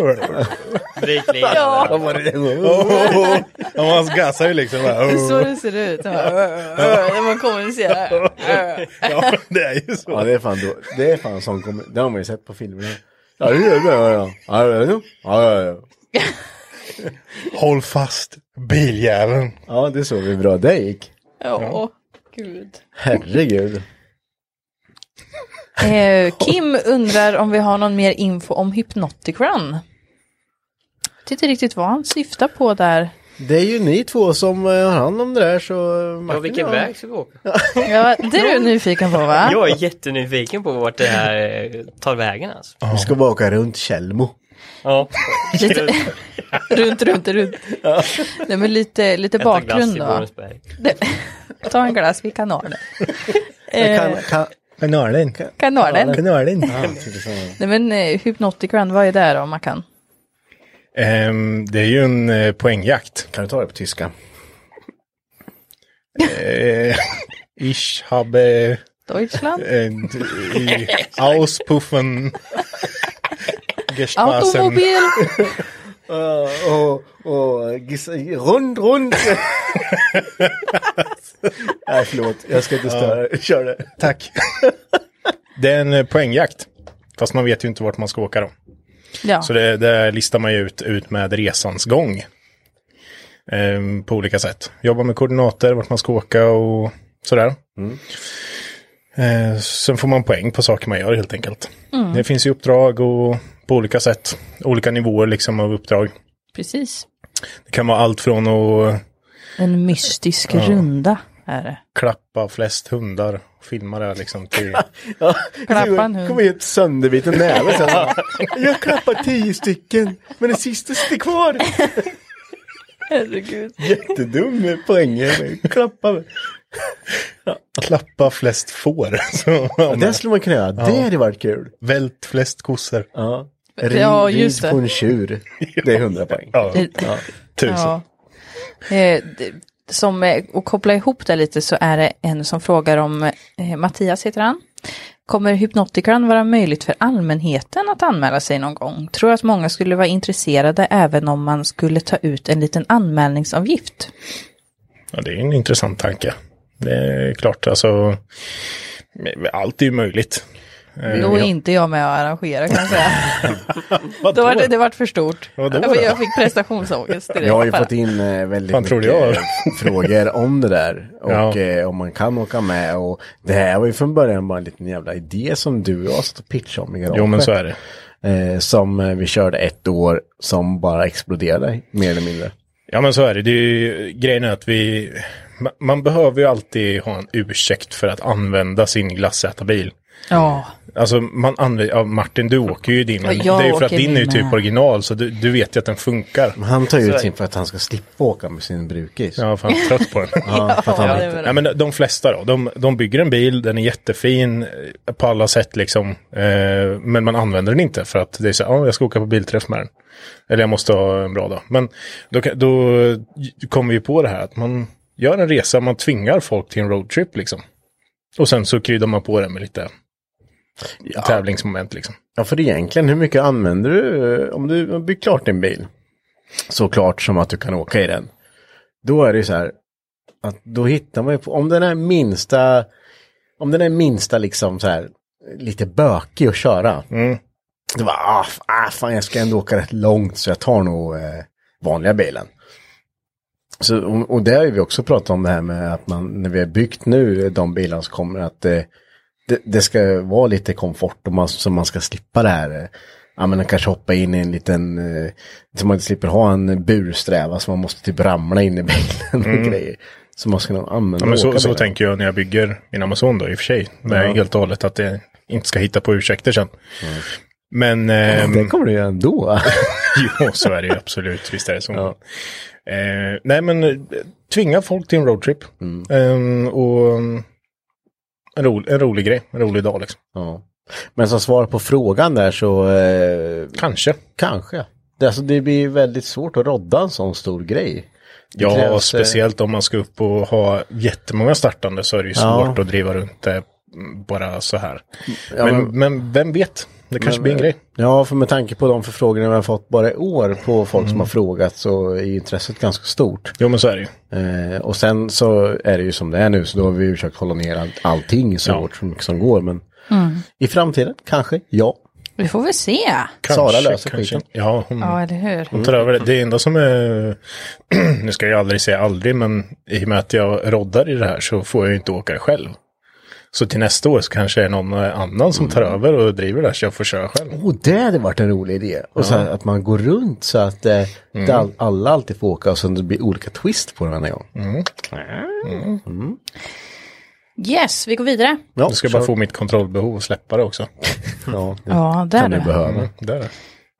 [SPEAKER 4] Brytling.
[SPEAKER 3] Ja.
[SPEAKER 1] Vad var det?
[SPEAKER 2] Ja, man gasar ju liksom. Bara,
[SPEAKER 3] Det är så det ser ut. När man kommunicerar.
[SPEAKER 2] ja, det är ju
[SPEAKER 1] Ja,
[SPEAKER 2] så.
[SPEAKER 1] det är fan, då, det är fan sån kom- Det har man ju sett på filmerna. Ja, det gör det. Ja, ja. Ja, ja, ja. ja, ja,
[SPEAKER 2] Håll fast biljäveln.
[SPEAKER 1] ja. ja det såg vi bra det gick.
[SPEAKER 3] Ja, gud.
[SPEAKER 1] Herregud.
[SPEAKER 3] Eh, Kim undrar om vi har någon mer info om Hypnotic Run. Jag vet inte riktigt vad han syftar på där.
[SPEAKER 1] Det är ju ni två som eh, har hand om det där så...
[SPEAKER 4] Ja,
[SPEAKER 1] Martin,
[SPEAKER 4] vilken väg ska vi åka?
[SPEAKER 3] Ja, det är du nyfiken på va?
[SPEAKER 4] Jag är jättenyfiken på vart det här eh, tar vägen alltså.
[SPEAKER 1] Vi ska bara åka runt Tjällmo.
[SPEAKER 4] Ja.
[SPEAKER 3] Lite, runt, runt, runt. Nej men lite, lite bakgrund då. Nej, Ta en glass vid kanalen. Eh,
[SPEAKER 2] Kanalen.
[SPEAKER 3] kanalen.
[SPEAKER 2] Kanalen.
[SPEAKER 1] typ
[SPEAKER 3] Nej men eh, Hypnotic Run, vad är det då man kan?
[SPEAKER 2] Ehm, det är ju en eh, poängjakt.
[SPEAKER 1] Kan du ta det på tyska?
[SPEAKER 2] Eh, ich habe
[SPEAKER 3] Deutschland?
[SPEAKER 2] eh, i Auspuffen gespassen.
[SPEAKER 3] Automobil?
[SPEAKER 1] Och, och, rund, rund. Nej, förlåt. Jag ska inte störa. Kör det.
[SPEAKER 2] Tack. eh, Det är en eh, poängjakt. Fast man vet ju inte vart man ska åka då.
[SPEAKER 3] Ja.
[SPEAKER 2] Så det, det listar man ju ut, ut med resans gång. Ehm, på olika sätt. Jobba med koordinater, vart man ska åka och sådär. Eh, sen får man poäng på saker man gör helt enkelt. Det finns ju uppdrag och på olika sätt. Olika nivåer liksom av uppdrag.
[SPEAKER 3] Precis.
[SPEAKER 2] Det kan vara allt från att
[SPEAKER 3] En mystisk runda är det.
[SPEAKER 2] klappa flest hundar och filma det här liksom till...
[SPEAKER 3] Klappa en hund.
[SPEAKER 1] Kom hit sönderbiten näve sen. Jag klappar tio stycken. Men den sista sitter kvar.
[SPEAKER 3] Herregud.
[SPEAKER 1] Jättedum poängen. Klappa.
[SPEAKER 2] klappa flest får. Så, ja,
[SPEAKER 1] Det skulle man kunna göra. Det hade varit kul.
[SPEAKER 2] Vält flest kossor.
[SPEAKER 1] Ja.
[SPEAKER 3] Ja,
[SPEAKER 1] Rid-
[SPEAKER 3] just
[SPEAKER 1] Rid
[SPEAKER 3] det.
[SPEAKER 1] på en tjur. Det är hundra poäng.
[SPEAKER 2] Ja,
[SPEAKER 3] Eh,
[SPEAKER 2] tusen.
[SPEAKER 3] Ja. Eh, d- Som, eh, och koppla ihop det lite så är det en som frågar om, eh, Mattias heter han, kommer Hypnotican vara möjligt för allmänheten att anmäla sig någon gång? Tror att många skulle vara intresserade även om man skulle ta ut en liten anmälningsavgift.
[SPEAKER 2] Ja, det är en intressant tanke. Det är klart, alltså. Allt är ju möjligt. Eh,
[SPEAKER 3] Då är inte jag med och arrangerar kan jag säga.
[SPEAKER 2] Vad
[SPEAKER 3] Då var det, det var för stort.
[SPEAKER 2] Vadå
[SPEAKER 3] jag, fick-
[SPEAKER 2] då?
[SPEAKER 3] jag fick prestationsångest direkt.
[SPEAKER 1] Jag har ju
[SPEAKER 3] bara.
[SPEAKER 1] fått in eh, väldigt
[SPEAKER 2] Fan, tror
[SPEAKER 1] mycket
[SPEAKER 2] du jag?
[SPEAKER 1] eh, frågor om det där. Och
[SPEAKER 2] Ja.
[SPEAKER 1] eh, om man kan åka med. Och det här var ju från början bara en liten jävla idé som du och jag satt och pitchade om i garaget.
[SPEAKER 2] Jo, men så är det.
[SPEAKER 1] eh, Som eh, vi körde ett år som bara exploderade mer eller mindre.
[SPEAKER 2] Ja, men så är det. det är ju, grejen är att vi... ma- Man behöver ju alltid ha en ursäkt för att använda sin glassätarbil.
[SPEAKER 3] Ja,
[SPEAKER 2] Alltså, man använder... Ja, Martin, du åker ju i din.
[SPEAKER 3] Ja,
[SPEAKER 2] men Det
[SPEAKER 3] jag
[SPEAKER 2] är ju för att
[SPEAKER 3] åker
[SPEAKER 2] din
[SPEAKER 3] min
[SPEAKER 2] är ju typ
[SPEAKER 3] med.
[SPEAKER 2] original, så du, du vet ju att den funkar.
[SPEAKER 1] Men han tar ju
[SPEAKER 4] Så är
[SPEAKER 1] ut sin för att han ska slippa åka med sin brukis.
[SPEAKER 2] Ja, fan, trött på den.
[SPEAKER 1] Ja, för att han
[SPEAKER 3] Ja,
[SPEAKER 1] inte-
[SPEAKER 3] det var det.
[SPEAKER 2] Nej, men de flesta då, de, de bygger en bil, den är jättefin eh, på alla sätt liksom. Eh, men man använder den inte för att det är så här, ja, jag ska åka på bilträff med den. Eller jag måste ha en bra dag. Men då, kan- då kommer vi på det här att man gör en resa, man tvingar folk till en roadtrip liksom. Och sen så kryddar man på det med lite tävlingsmoment liksom.
[SPEAKER 1] Ja, för egentligen, hur mycket använder du eh, om du har byggt klart din bil? Såklart som att du kan åka i den. Då är det ju så här, att då hittar man ju på, om den är minsta, om den är minsta liksom så här, lite bökig att köra.
[SPEAKER 2] Mm.
[SPEAKER 1] Då bara, ah, f- ah, fan jag ska ändå åka rätt långt så jag tar nog eh, vanliga bilen. Så, och, och där har vi också pratat om det här med att man, när vi har byggt nu eh, de bilarna som kommer att eh, det, det ska vara lite komfort och man, så man ska slippa det här. eh, Ja men kanske hoppa in i en liten, eh, så man inte slipper ha en bursträva så man måste typ ramla in i bilen och grejer. Så man ska nog använda
[SPEAKER 2] Mm. Ja, men
[SPEAKER 1] och
[SPEAKER 2] så,
[SPEAKER 1] åka
[SPEAKER 2] så
[SPEAKER 1] bilen.
[SPEAKER 2] tänker jag när jag bygger min Amazon då i och för sig. Men
[SPEAKER 1] Ja.
[SPEAKER 2] Helt och hållet att jag inte ska hitta på ursäkter sen. Men... ehm,
[SPEAKER 1] Det kommer du göra ändå.
[SPEAKER 2] Jo, så är det ju absolut. Visst är det så.
[SPEAKER 1] Ja.
[SPEAKER 2] Eh, nej, men eh, tvinga folk till en roadtrip.
[SPEAKER 1] Mm.
[SPEAKER 2] Eh, och mm, en, ro, en rolig grej, en rolig dag liksom.
[SPEAKER 1] ja. Men som svar på frågan där så eh,
[SPEAKER 2] Kanske.
[SPEAKER 1] Kanske. Det, alltså, det blir väldigt svårt att rodda en sån stor grej.
[SPEAKER 2] Ja,
[SPEAKER 5] krävs, eh,
[SPEAKER 2] speciellt om man ska upp och ha jättemånga startande så är det ju
[SPEAKER 5] Ja.
[SPEAKER 2] svårt att driva runt det mm, bara så här.
[SPEAKER 1] Ja,
[SPEAKER 2] men,
[SPEAKER 1] men-
[SPEAKER 2] men, vem vet? Det kanske
[SPEAKER 1] Men, eh,
[SPEAKER 2] blir en grej.
[SPEAKER 1] Ja, för med tanke på de förfrågningar vi har fått bara i år på folk som har frågat så är ju intresset ganska stort.
[SPEAKER 2] Jo, men så är det ju.
[SPEAKER 1] Eh, och sen så är det ju som det är nu så då har vi ju försökt hålla ner all, allting så
[SPEAKER 2] Ja.
[SPEAKER 1] hårt som, som går. Men i framtiden kanske, ja.
[SPEAKER 3] Vi får väl se.
[SPEAKER 1] Sara löser skiten.
[SPEAKER 2] Ja, hon,
[SPEAKER 1] Mm.
[SPEAKER 3] Ja, eller hur?
[SPEAKER 2] hon tar över det. Det enda som är... nu ska jag aldrig säga aldrig, men i och med att jag roddar i det här så får jag ju inte åka själv. Så till nästa år så kanske det är någon annan som tar över och driver det här så jag får köra själv.
[SPEAKER 1] Och det hade varit en rolig idé. Och så här, att man går runt så att eh, det all, alla alltid får åka och sen det blir olika twist på det varje gång.
[SPEAKER 3] Yes, vi går vidare.
[SPEAKER 1] Ja,
[SPEAKER 2] Jag ska bara
[SPEAKER 1] så-
[SPEAKER 2] få mitt kontrollbehov och släppa det också.
[SPEAKER 1] Ja, det
[SPEAKER 3] Ja, där
[SPEAKER 1] kan du
[SPEAKER 3] du.
[SPEAKER 1] behöva.
[SPEAKER 2] Mm, där. är det.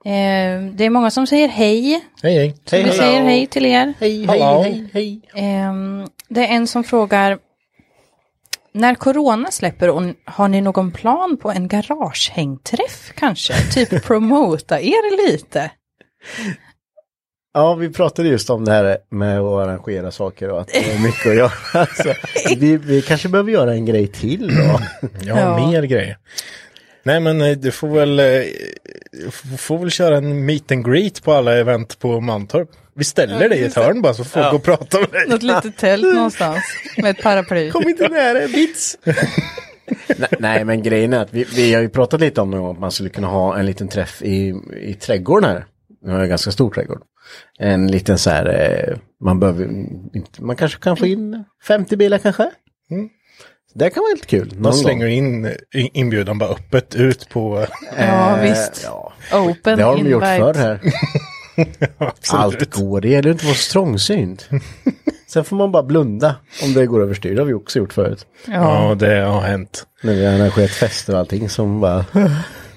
[SPEAKER 3] Eh, det är många som säger hej.
[SPEAKER 2] Hej, hej.
[SPEAKER 3] vi säger hej till er.
[SPEAKER 1] Hej,
[SPEAKER 2] Hallå.
[SPEAKER 1] hej.
[SPEAKER 3] Ehm, det är en som frågar. När corona släpper, och har ni någon plan på en garagehängträff kanske? Typ promota er lite.
[SPEAKER 1] Ja, vi pratade just om det här med att arrangera saker och att det är mycket att göra. Så vi, vi kanske behöver göra en grej till då.
[SPEAKER 2] Ja,
[SPEAKER 3] Ja.
[SPEAKER 2] mer grejer. Nej, men eh, du får väl, eh, f- får väl köra en meet and greet på alla event på Mantorp. Vi ställer dig i ett hörn bara så får folk gå och prata med dig.
[SPEAKER 3] Något litet tält någonstans med ett paraply.
[SPEAKER 1] Kom inte nära, bits! nej, nej, men grejen är att vi, vi har ju pratat lite om någon gång att man skulle kunna ha en liten träff i, i trädgården här. Vi har en ganska stor trädgård. En liten så här, eh, man behöver inte, man kanske kan få in 50 bilar kanske? Det kan vara helt kul. Någon
[SPEAKER 2] De
[SPEAKER 1] gång.
[SPEAKER 2] Mm. slänger in eh, i- inbjudan bara öppet ut på...
[SPEAKER 3] Ja,
[SPEAKER 1] Eh,
[SPEAKER 3] visst.
[SPEAKER 1] Ja.
[SPEAKER 3] Open
[SPEAKER 1] Det har de
[SPEAKER 3] invite.
[SPEAKER 1] gjort förr här.
[SPEAKER 2] Absolut.
[SPEAKER 1] Allt går, det gäller inte att vara så trångsynt. Sen får man bara blunda om det går överstyr, det har vi också gjort förut.
[SPEAKER 3] Ja.
[SPEAKER 2] Ja, det har hänt.
[SPEAKER 1] När vi har arrangerat fester och allting som bara,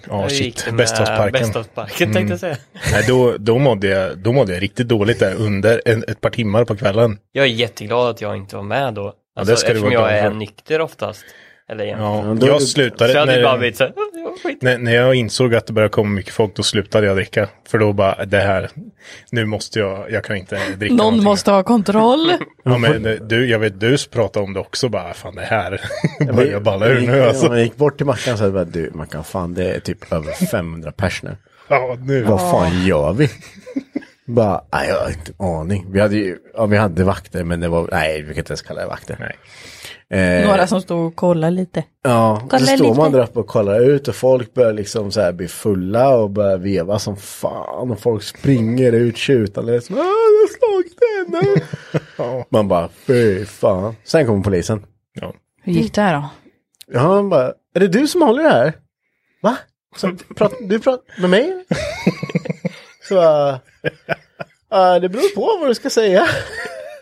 [SPEAKER 2] Ja,
[SPEAKER 4] Hur gick
[SPEAKER 2] shit. Mm.
[SPEAKER 4] det med
[SPEAKER 2] Bästhavsparken.
[SPEAKER 4] Bästhavsparken tänkte jag säga.
[SPEAKER 2] Nej, då, då, mådde jag, då mådde jag riktigt dåligt där under en, ett par timmar på kvällen.
[SPEAKER 4] Jag är jätteglad att jag inte var med då. Alltså,
[SPEAKER 2] det ska du
[SPEAKER 4] eftersom
[SPEAKER 2] vara
[SPEAKER 4] jag
[SPEAKER 2] glad
[SPEAKER 4] är
[SPEAKER 2] för.
[SPEAKER 4] nykter oftast. Eller ja.
[SPEAKER 1] då-
[SPEAKER 2] Ja, jag
[SPEAKER 4] Så jag
[SPEAKER 2] slutade...
[SPEAKER 4] hade ju bara
[SPEAKER 2] När,
[SPEAKER 4] blivit så här, "Åh, det var skit.
[SPEAKER 2] när, när jag insåg att det började komma mycket folk, då slutade jag dricka. För då bara, det här, nu måste jag, jag kan inte dricka
[SPEAKER 3] Någon
[SPEAKER 2] någonting.
[SPEAKER 3] måste ha kontroll.
[SPEAKER 1] Eh.
[SPEAKER 2] Ja, men det- du, jag vet, du pratade om det också bara, fan det här börjar balla
[SPEAKER 1] Vi
[SPEAKER 2] ur
[SPEAKER 1] gick-
[SPEAKER 2] nu
[SPEAKER 1] ja,
[SPEAKER 2] alltså.
[SPEAKER 1] vi gick bort till Mackan och sa bara, du Mackan, fan det är typ över 500 pers nu.
[SPEAKER 2] Ja, nu.
[SPEAKER 1] Vad fan gör vi? Bara, nej jag har inte en aning. Vi hade ju, ja vi hade vakter men det var, nej vi kan inte ens kalla det vakter.
[SPEAKER 2] Nej.
[SPEAKER 1] Eh,
[SPEAKER 3] Några som står och kollar lite.
[SPEAKER 1] Ja, och så
[SPEAKER 3] Kolla
[SPEAKER 1] står
[SPEAKER 3] lite.
[SPEAKER 1] man där uppe och kollar ut och folk börjar liksom så här bli fulla och börjar veva som fan och folk springer ut tjutande. Liksom, "Ah, det har slagit henne. man bara, fy fan. Sen kommer polisen.
[SPEAKER 2] Ja.
[SPEAKER 3] Hur gick det här då?
[SPEAKER 1] Ja, han bara, är det du som håller det här? Va? Så, prat, du pratar med mig? Så bara, "Ja, det beror på vad du ska säga.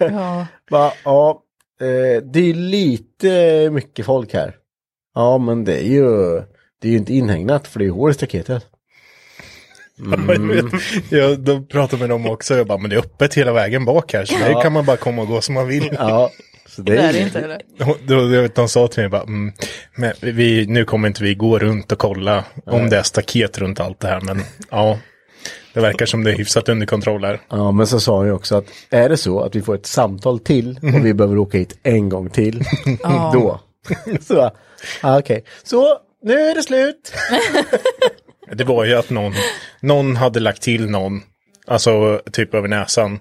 [SPEAKER 1] Eh.
[SPEAKER 3] Ja.
[SPEAKER 1] Bara, ja, eh, det är lite mycket folk här. Ja, men det är ju, det är ju inte inhägnat för det är ju hål i staketet.
[SPEAKER 2] Jag, då pratade med dem också, jag bara, men det är öppet hela vägen bak här, så där kan man bara komma och gå som man vill.
[SPEAKER 1] Ja, så det
[SPEAKER 3] Det
[SPEAKER 1] är
[SPEAKER 3] är det
[SPEAKER 1] ju,
[SPEAKER 3] inte eller?
[SPEAKER 2] Och Då, jag vet, de sa till mig bara, mm, men vi, nu kommer inte vi gå runt och kolla om det är staket runt allt det här, men ja. Det verkar som det är hyfsat under kontroll här.
[SPEAKER 1] ja, men så sa han ju också att är det så att vi får ett samtal till och vi behöver åka hit en gång till, då. så bara, ja, okej, så nu är det slut.
[SPEAKER 2] Det var ju att någon, någon hade lagt till någon, alltså typ över näsan.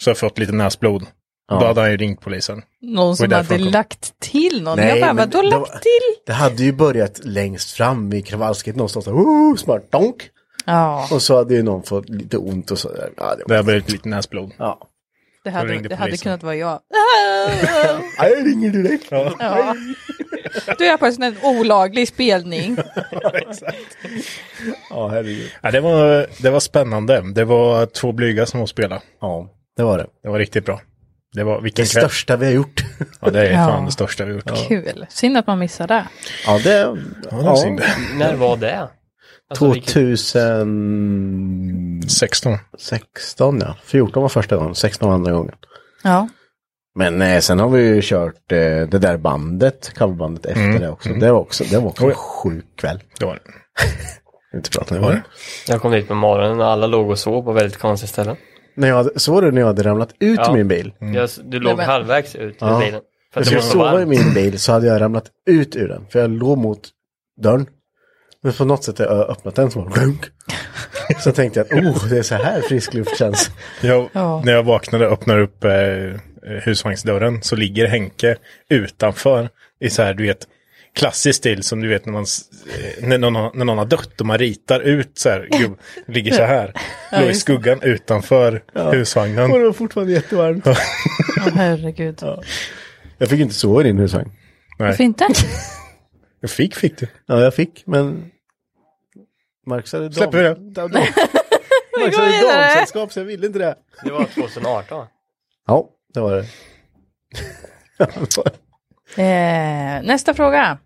[SPEAKER 2] Så jag fått lite näsblod. Då hade han ju ringt polisen.
[SPEAKER 3] Någon som
[SPEAKER 2] därför
[SPEAKER 3] hade
[SPEAKER 2] han kom.
[SPEAKER 3] lagt till någon.
[SPEAKER 1] Nej,
[SPEAKER 3] jag bara,
[SPEAKER 1] men
[SPEAKER 3] vadå
[SPEAKER 1] det
[SPEAKER 3] lagt
[SPEAKER 1] var-
[SPEAKER 3] till?
[SPEAKER 1] Det hade ju börjat längst fram i kravallskriket någonstans, så här, "Woo", smart, donk.
[SPEAKER 3] Ja,
[SPEAKER 1] Och så hade ju någon fått lite ont och så, där. ja, det
[SPEAKER 2] Det
[SPEAKER 1] var,
[SPEAKER 2] har blivit lite näsblod.
[SPEAKER 1] ja.
[SPEAKER 3] det
[SPEAKER 2] då
[SPEAKER 3] hade,
[SPEAKER 2] ringde
[SPEAKER 3] det hade
[SPEAKER 2] polisen.
[SPEAKER 3] kunnat vara jag.
[SPEAKER 1] Ja, Jag ringer direkt.
[SPEAKER 3] Ja. Du är på en sån här olaglig spelning.
[SPEAKER 1] Ja, herregud.
[SPEAKER 2] Ja, det, var, det var spännande. Det var två blyga som var spela.
[SPEAKER 1] Ja, det var det.
[SPEAKER 2] Det var riktigt bra. Det var vilken
[SPEAKER 1] Det
[SPEAKER 2] kväll.
[SPEAKER 1] största vi har gjort.
[SPEAKER 2] Ja, det är fan
[SPEAKER 3] Ja.
[SPEAKER 2] det största vi gjort. Ja.
[SPEAKER 3] Kul. Synd att man missar det.
[SPEAKER 1] Ja, det...
[SPEAKER 2] det var synd.
[SPEAKER 4] När var det? Alltså, vilket-
[SPEAKER 1] 2016,
[SPEAKER 2] 16.
[SPEAKER 1] ja. 14 var första gången, 16 var andra gången.
[SPEAKER 3] Ja.
[SPEAKER 1] Men eh, sen har vi ju kört eh, det där bandet, coverbandet efter det också. Det var också, det var också en sjuk kväll.
[SPEAKER 2] Det var det.
[SPEAKER 1] Inte pratat
[SPEAKER 2] Var
[SPEAKER 1] om
[SPEAKER 2] det?
[SPEAKER 1] det.
[SPEAKER 4] Jag kom dit på morgonen och alla låg och sov på väldigt konstiga ställen.
[SPEAKER 1] När jag, hade- så var det när jag hade ramlat ut
[SPEAKER 4] Ja.
[SPEAKER 1] ur min bil.
[SPEAKER 2] Mm.
[SPEAKER 4] Jag, du låg
[SPEAKER 3] men-
[SPEAKER 4] halvvägs ut ur
[SPEAKER 1] Ja.
[SPEAKER 4] bilen. För
[SPEAKER 1] Jag
[SPEAKER 4] att
[SPEAKER 1] skulle
[SPEAKER 4] det var så
[SPEAKER 1] sova i
[SPEAKER 4] varmt.
[SPEAKER 1] min bil så hade jag ramlat ut ur den. För jag låg mot dörren. Men på något sätt har jag öppnat den som var runk. Så tänkte jag att oh, det är så här frisk luft känns.
[SPEAKER 2] Jag,
[SPEAKER 3] Ja.
[SPEAKER 2] När jag vaknade och öppnade upp eh, husvagnsdörren så ligger Henke utanför i så här, du vet, klassisk stil som du vet när, man, s- eh, när, någon, har- när någon har dött och man ritar ut så här, gub, ligger så här, låg i skuggan utanför husvagnen.
[SPEAKER 1] Och det var fortfarande jättevarmt.
[SPEAKER 3] Åh, herregud.
[SPEAKER 1] Jag fick inte sova i din husvagn.
[SPEAKER 3] Varför inte?
[SPEAKER 2] Jag fick, fick du.
[SPEAKER 1] Ja, jag fick, men... Marcus hade dam...
[SPEAKER 2] Släpper vi det?
[SPEAKER 1] dam- dam- Marcus hade
[SPEAKER 3] vidare.
[SPEAKER 1] damsällskap, så jag ville inte det.
[SPEAKER 4] Det var 2018 va?
[SPEAKER 1] Ja, det var det.
[SPEAKER 3] Eh, nästa fråga.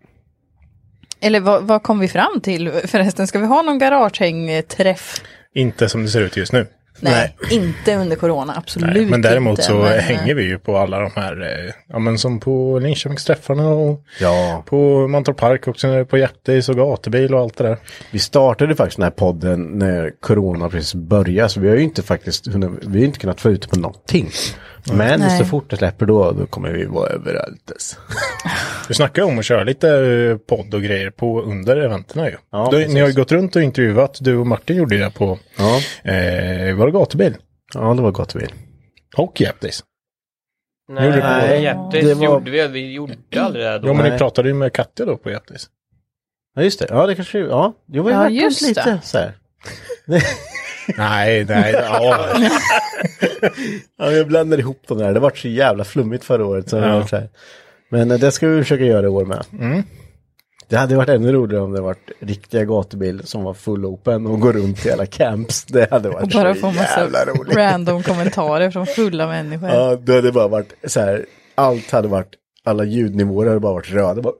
[SPEAKER 3] Eller vad, vad kom vi fram till förresten? Ska vi ha någon garagehängträff?
[SPEAKER 2] Inte som det ser ut just nu.
[SPEAKER 3] Nej, inte under corona, absolut
[SPEAKER 2] Nej, men däremot
[SPEAKER 3] inte,
[SPEAKER 2] så
[SPEAKER 3] men, eh,
[SPEAKER 2] hänger vi ju på alla de här, eh, ja men som på Linköpingsträffarna och
[SPEAKER 1] ja,
[SPEAKER 2] på Mantorp Park också, när det är på Hjärtis och gatubil och allt det där.
[SPEAKER 1] vi startade faktiskt den här podden när corona precis började. Så vi har ju inte faktiskt hunnit, vi har inte kunnat få ut på någonting. Men
[SPEAKER 3] Nej.
[SPEAKER 1] så fort det släpper då, då kommer vi vara överallt. alltså.
[SPEAKER 2] Du snackar om att köra lite eh, podd och grejer på under eventen ju.
[SPEAKER 1] Ja,
[SPEAKER 2] du,
[SPEAKER 1] precis.
[SPEAKER 2] ni har ju gått runt och intervjuat, du och Martin gjorde det på,
[SPEAKER 1] Ja,
[SPEAKER 2] eh, var det gatubil?
[SPEAKER 1] ja det var gott vi.
[SPEAKER 2] Och Hjärtis.
[SPEAKER 4] Nej,
[SPEAKER 2] Gjorde
[SPEAKER 1] det.
[SPEAKER 4] nej Hjärtis
[SPEAKER 1] Det var-
[SPEAKER 4] gjorde vi, vi gjorde aldrig det här då.
[SPEAKER 2] Ja, men ni
[SPEAKER 1] Nej.
[SPEAKER 2] pratade ju med Katja då på Hjärtis.
[SPEAKER 1] Ja, just det. Ja, det kanske, ja. Jo, vi
[SPEAKER 3] Ja,
[SPEAKER 1] har varit
[SPEAKER 3] just
[SPEAKER 1] just lite
[SPEAKER 3] det.
[SPEAKER 1] så här.
[SPEAKER 2] nej, nej, ja.
[SPEAKER 1] Ja, jag blandar ihop dem där. Det var så jävla flummigt förra året. Så det
[SPEAKER 2] Ja.
[SPEAKER 1] har varit så här. Men eh, det ska vi försöka göra i år med.
[SPEAKER 3] Mm.
[SPEAKER 1] Det hade varit ännu roligare om det varit riktiga gatubil som var full open och går runt i alla camps. Det hade
[SPEAKER 3] Och
[SPEAKER 1] varit
[SPEAKER 3] bara
[SPEAKER 1] så
[SPEAKER 3] få massa
[SPEAKER 1] jävla roligt.
[SPEAKER 3] random kommentarer från fulla människor.
[SPEAKER 1] Ja, det hade bara varit så här. Allt hade varit, alla ljudnivåer hade bara varit röda. Bara,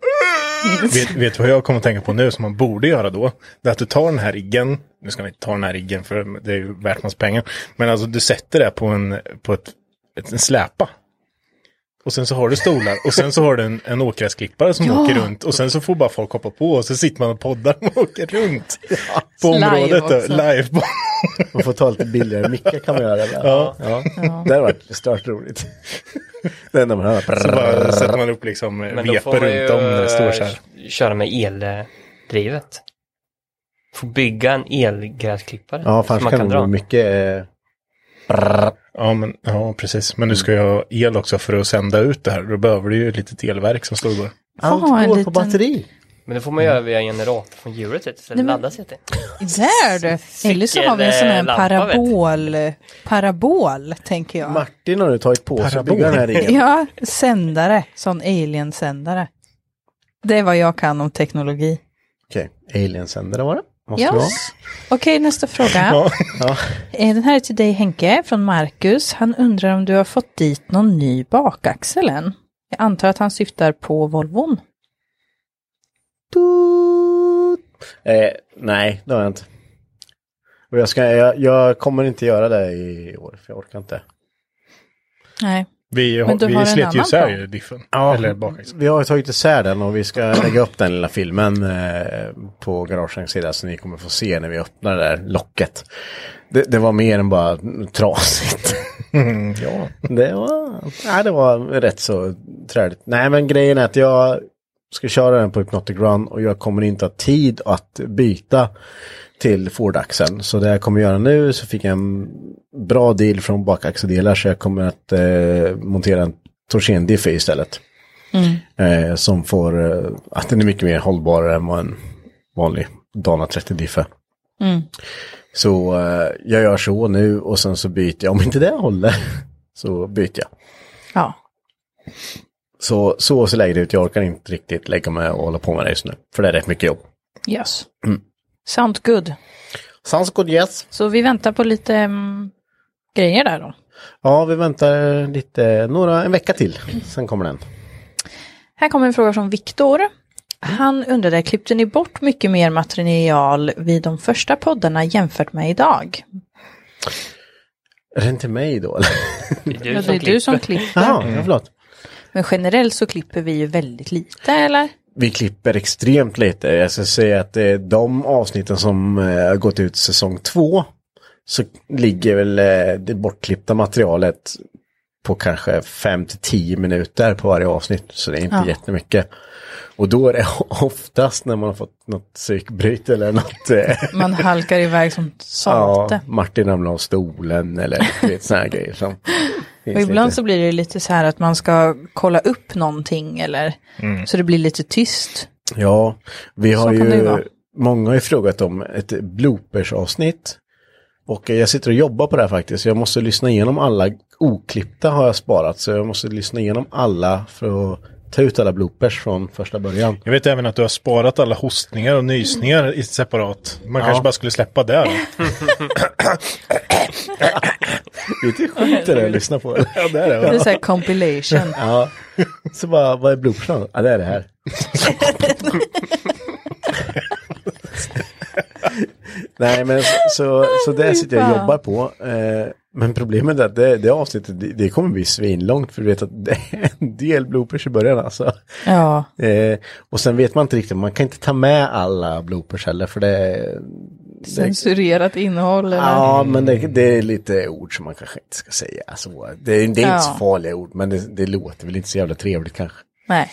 [SPEAKER 2] vet, vet du vad jag kommer att tänka på nu som man borde göra då? Det är att du tar den här riggen, nu ska man inte ta den här riggen för det är ju värt massa pengar, men alltså du sätter det på en, på ett, ett, en släpa. Och sen så har du stolar och sen så har du en, en åkgräsklippare som åker runt och sen så får bara folk hoppa på och så sitter man och poddar och åker runt. På
[SPEAKER 3] Live
[SPEAKER 2] området
[SPEAKER 3] också.
[SPEAKER 2] då, live.
[SPEAKER 1] man får ta lite billigare mickar kan man göra. Där.
[SPEAKER 2] Ja.
[SPEAKER 1] Det hade varit stört roligt. Det enda man hör
[SPEAKER 2] Så
[SPEAKER 1] bara,
[SPEAKER 2] bara sätter man upp liksom
[SPEAKER 4] Men då
[SPEAKER 2] veper
[SPEAKER 4] får man ju
[SPEAKER 2] runt om när det står så här.
[SPEAKER 4] eh, köra med eldrivet. Får bygga en elgräsklippare.
[SPEAKER 1] Ja,
[SPEAKER 4] som
[SPEAKER 1] för annars
[SPEAKER 4] man
[SPEAKER 1] kan
[SPEAKER 4] kan
[SPEAKER 1] det bli
[SPEAKER 4] dra.
[SPEAKER 1] mycket... Eh,
[SPEAKER 2] Ja, men, ja, precis. Men nu ska jag ha el också för att sända ut det här. Då behöver du ju ett litet elverk som står och går.
[SPEAKER 1] allt
[SPEAKER 3] Fan, en
[SPEAKER 1] går på
[SPEAKER 3] liten-
[SPEAKER 1] batteri.
[SPEAKER 4] Men det får man göra via en generator från djuret vet du, så det
[SPEAKER 3] Nej, men-
[SPEAKER 4] laddas vet du.
[SPEAKER 3] Där du! Eller så har vi en sån här
[SPEAKER 4] Cykellampa,
[SPEAKER 3] parabol, parabol tänker jag.
[SPEAKER 1] Martin har nu tagit på sig att
[SPEAKER 2] Parabol.
[SPEAKER 1] bygga den här ringen.
[SPEAKER 3] Ja, sändare, sån alien-sändare. Det är vad jag kan om teknologi.
[SPEAKER 1] Okej, aliensändare var det. Måste
[SPEAKER 3] Ja.
[SPEAKER 1] det vara.
[SPEAKER 3] Okej, nästa fråga.
[SPEAKER 1] Ja.
[SPEAKER 3] Eh, Den här är till dig Henke från Marcus. Han undrar om du har fått dit någon ny bakaxel än? Jag antar att han syftar på Volvon.
[SPEAKER 1] Toot. Eh, nej, det har jag inte. Och jag, ska, jag, jag kommer inte göra det i år, för jag orkar inte.
[SPEAKER 3] Nej.
[SPEAKER 2] Vi,
[SPEAKER 3] Men du har
[SPEAKER 2] vi
[SPEAKER 3] en
[SPEAKER 2] slet ju
[SPEAKER 3] annan
[SPEAKER 2] isär
[SPEAKER 3] plan.
[SPEAKER 2] ju diffen.
[SPEAKER 1] Ja.
[SPEAKER 2] Eller bakaxeln.
[SPEAKER 1] Vi har ju tagit isär den och vi ska lägga upp den lilla filmen eh, på garagens sida så ni kommer få se när vi öppnar det där locket. Det, det var mer än bara trasigt.
[SPEAKER 2] ja.
[SPEAKER 1] Det var, nej, det var rätt så träligt. Nej, men grejen är att jag ska köra den på Hypnotic Run och jag kommer inte ha tid att byta till Ford-axeln. Så det jag kommer göra nu så fick jag en bra deal från bakaxeldelar så jag kommer att eh, montera en Torsen-diffy istället. Eh, som får, eh, att den är mycket mer hållbarare än vad en vanlig Dana 30-diffy. Så eh, jag gör så nu och sen så byter jag, om inte det håller så byter jag.
[SPEAKER 3] Ja.
[SPEAKER 1] Så, så ser läget ut, jag orkar inte riktigt lägga mig och hålla på med det just nu. För det är rätt mycket jobb.
[SPEAKER 3] Yes. Sound good.
[SPEAKER 1] Sounds good yes.
[SPEAKER 3] Så vi väntar på lite mm, grejer där då.
[SPEAKER 1] Ja, vi väntar lite, några, en vecka till. Sen kommer den.
[SPEAKER 3] Här kommer en fråga från Viktor.
[SPEAKER 1] Mm.
[SPEAKER 3] Han undrade, klippte ni bort mycket mer material vid de första poddarna jämfört med idag?
[SPEAKER 1] Är det inte mig då eller?
[SPEAKER 4] Det är du
[SPEAKER 3] Ja, det
[SPEAKER 4] som
[SPEAKER 3] är du
[SPEAKER 4] klipper.
[SPEAKER 3] som klipper.
[SPEAKER 1] Jaha, ja, förlåt.
[SPEAKER 3] Men generellt så klipper vi ju väldigt lite, eller?
[SPEAKER 1] Vi klipper extremt eh, lite. Jag ska säga att det är de avsnitten som eh, har gått ut säsong två så ligger väl eh, det bortklippta materialet på kanske 5 till 10 minuter på varje avsnitt. Så det är inte
[SPEAKER 3] Ja.
[SPEAKER 1] jättemycket. Och då är det oftast när man har fått något psykbryt eller något. eh,
[SPEAKER 3] Man halkar iväg som
[SPEAKER 1] ja,
[SPEAKER 3] sate.
[SPEAKER 1] Martin ramlar av stolen eller du vet, såna här grejer. Som
[SPEAKER 3] och
[SPEAKER 1] finns
[SPEAKER 3] ibland
[SPEAKER 1] lite.
[SPEAKER 3] så blir det lite så här att man ska kolla upp någonting eller
[SPEAKER 1] Mm.
[SPEAKER 3] så det blir lite tyst.
[SPEAKER 1] Ja, vi har
[SPEAKER 3] kan det ju
[SPEAKER 1] ju,
[SPEAKER 3] vara.
[SPEAKER 1] många har ju frågat om ett bloopers-avsnitt. Och eh, jag sitter och jobbar på det här faktiskt. Jag måste lyssna igenom alla, oklippta har jag sparat. Så jag måste lyssna igenom alla för att ta ut alla bloopers från första början.
[SPEAKER 2] Jag vet även att du har sparat alla hostningar och nysningar i separat. Man kanske bara skulle släppa där.
[SPEAKER 1] Det är lite sjukt det där att lyssna på. Ja, det är
[SPEAKER 3] Det är
[SPEAKER 1] det.
[SPEAKER 3] så här compilation.
[SPEAKER 1] Ja. Så bara, vad är bloopersen? Ja, det är det här. Nej, men så, så, så det sitter jag och jobbar på. Eh, men problemet är att det, det avsnittet, det, det kommer bli svinlångt för du vet att det är en del bloopers i början alltså.
[SPEAKER 3] Ja,
[SPEAKER 1] Eh, och sen vet man inte riktigt, man kan inte ta med alla bloopers heller för det,
[SPEAKER 3] censurerat innehåll eller?
[SPEAKER 1] Ja, men det, det är lite ord som man kanske inte ska säga. Så det, är- det är inte så
[SPEAKER 3] Ja.
[SPEAKER 1] farliga ord, men det, det låter väl inte så jävla trevligt kanske.
[SPEAKER 3] Nej.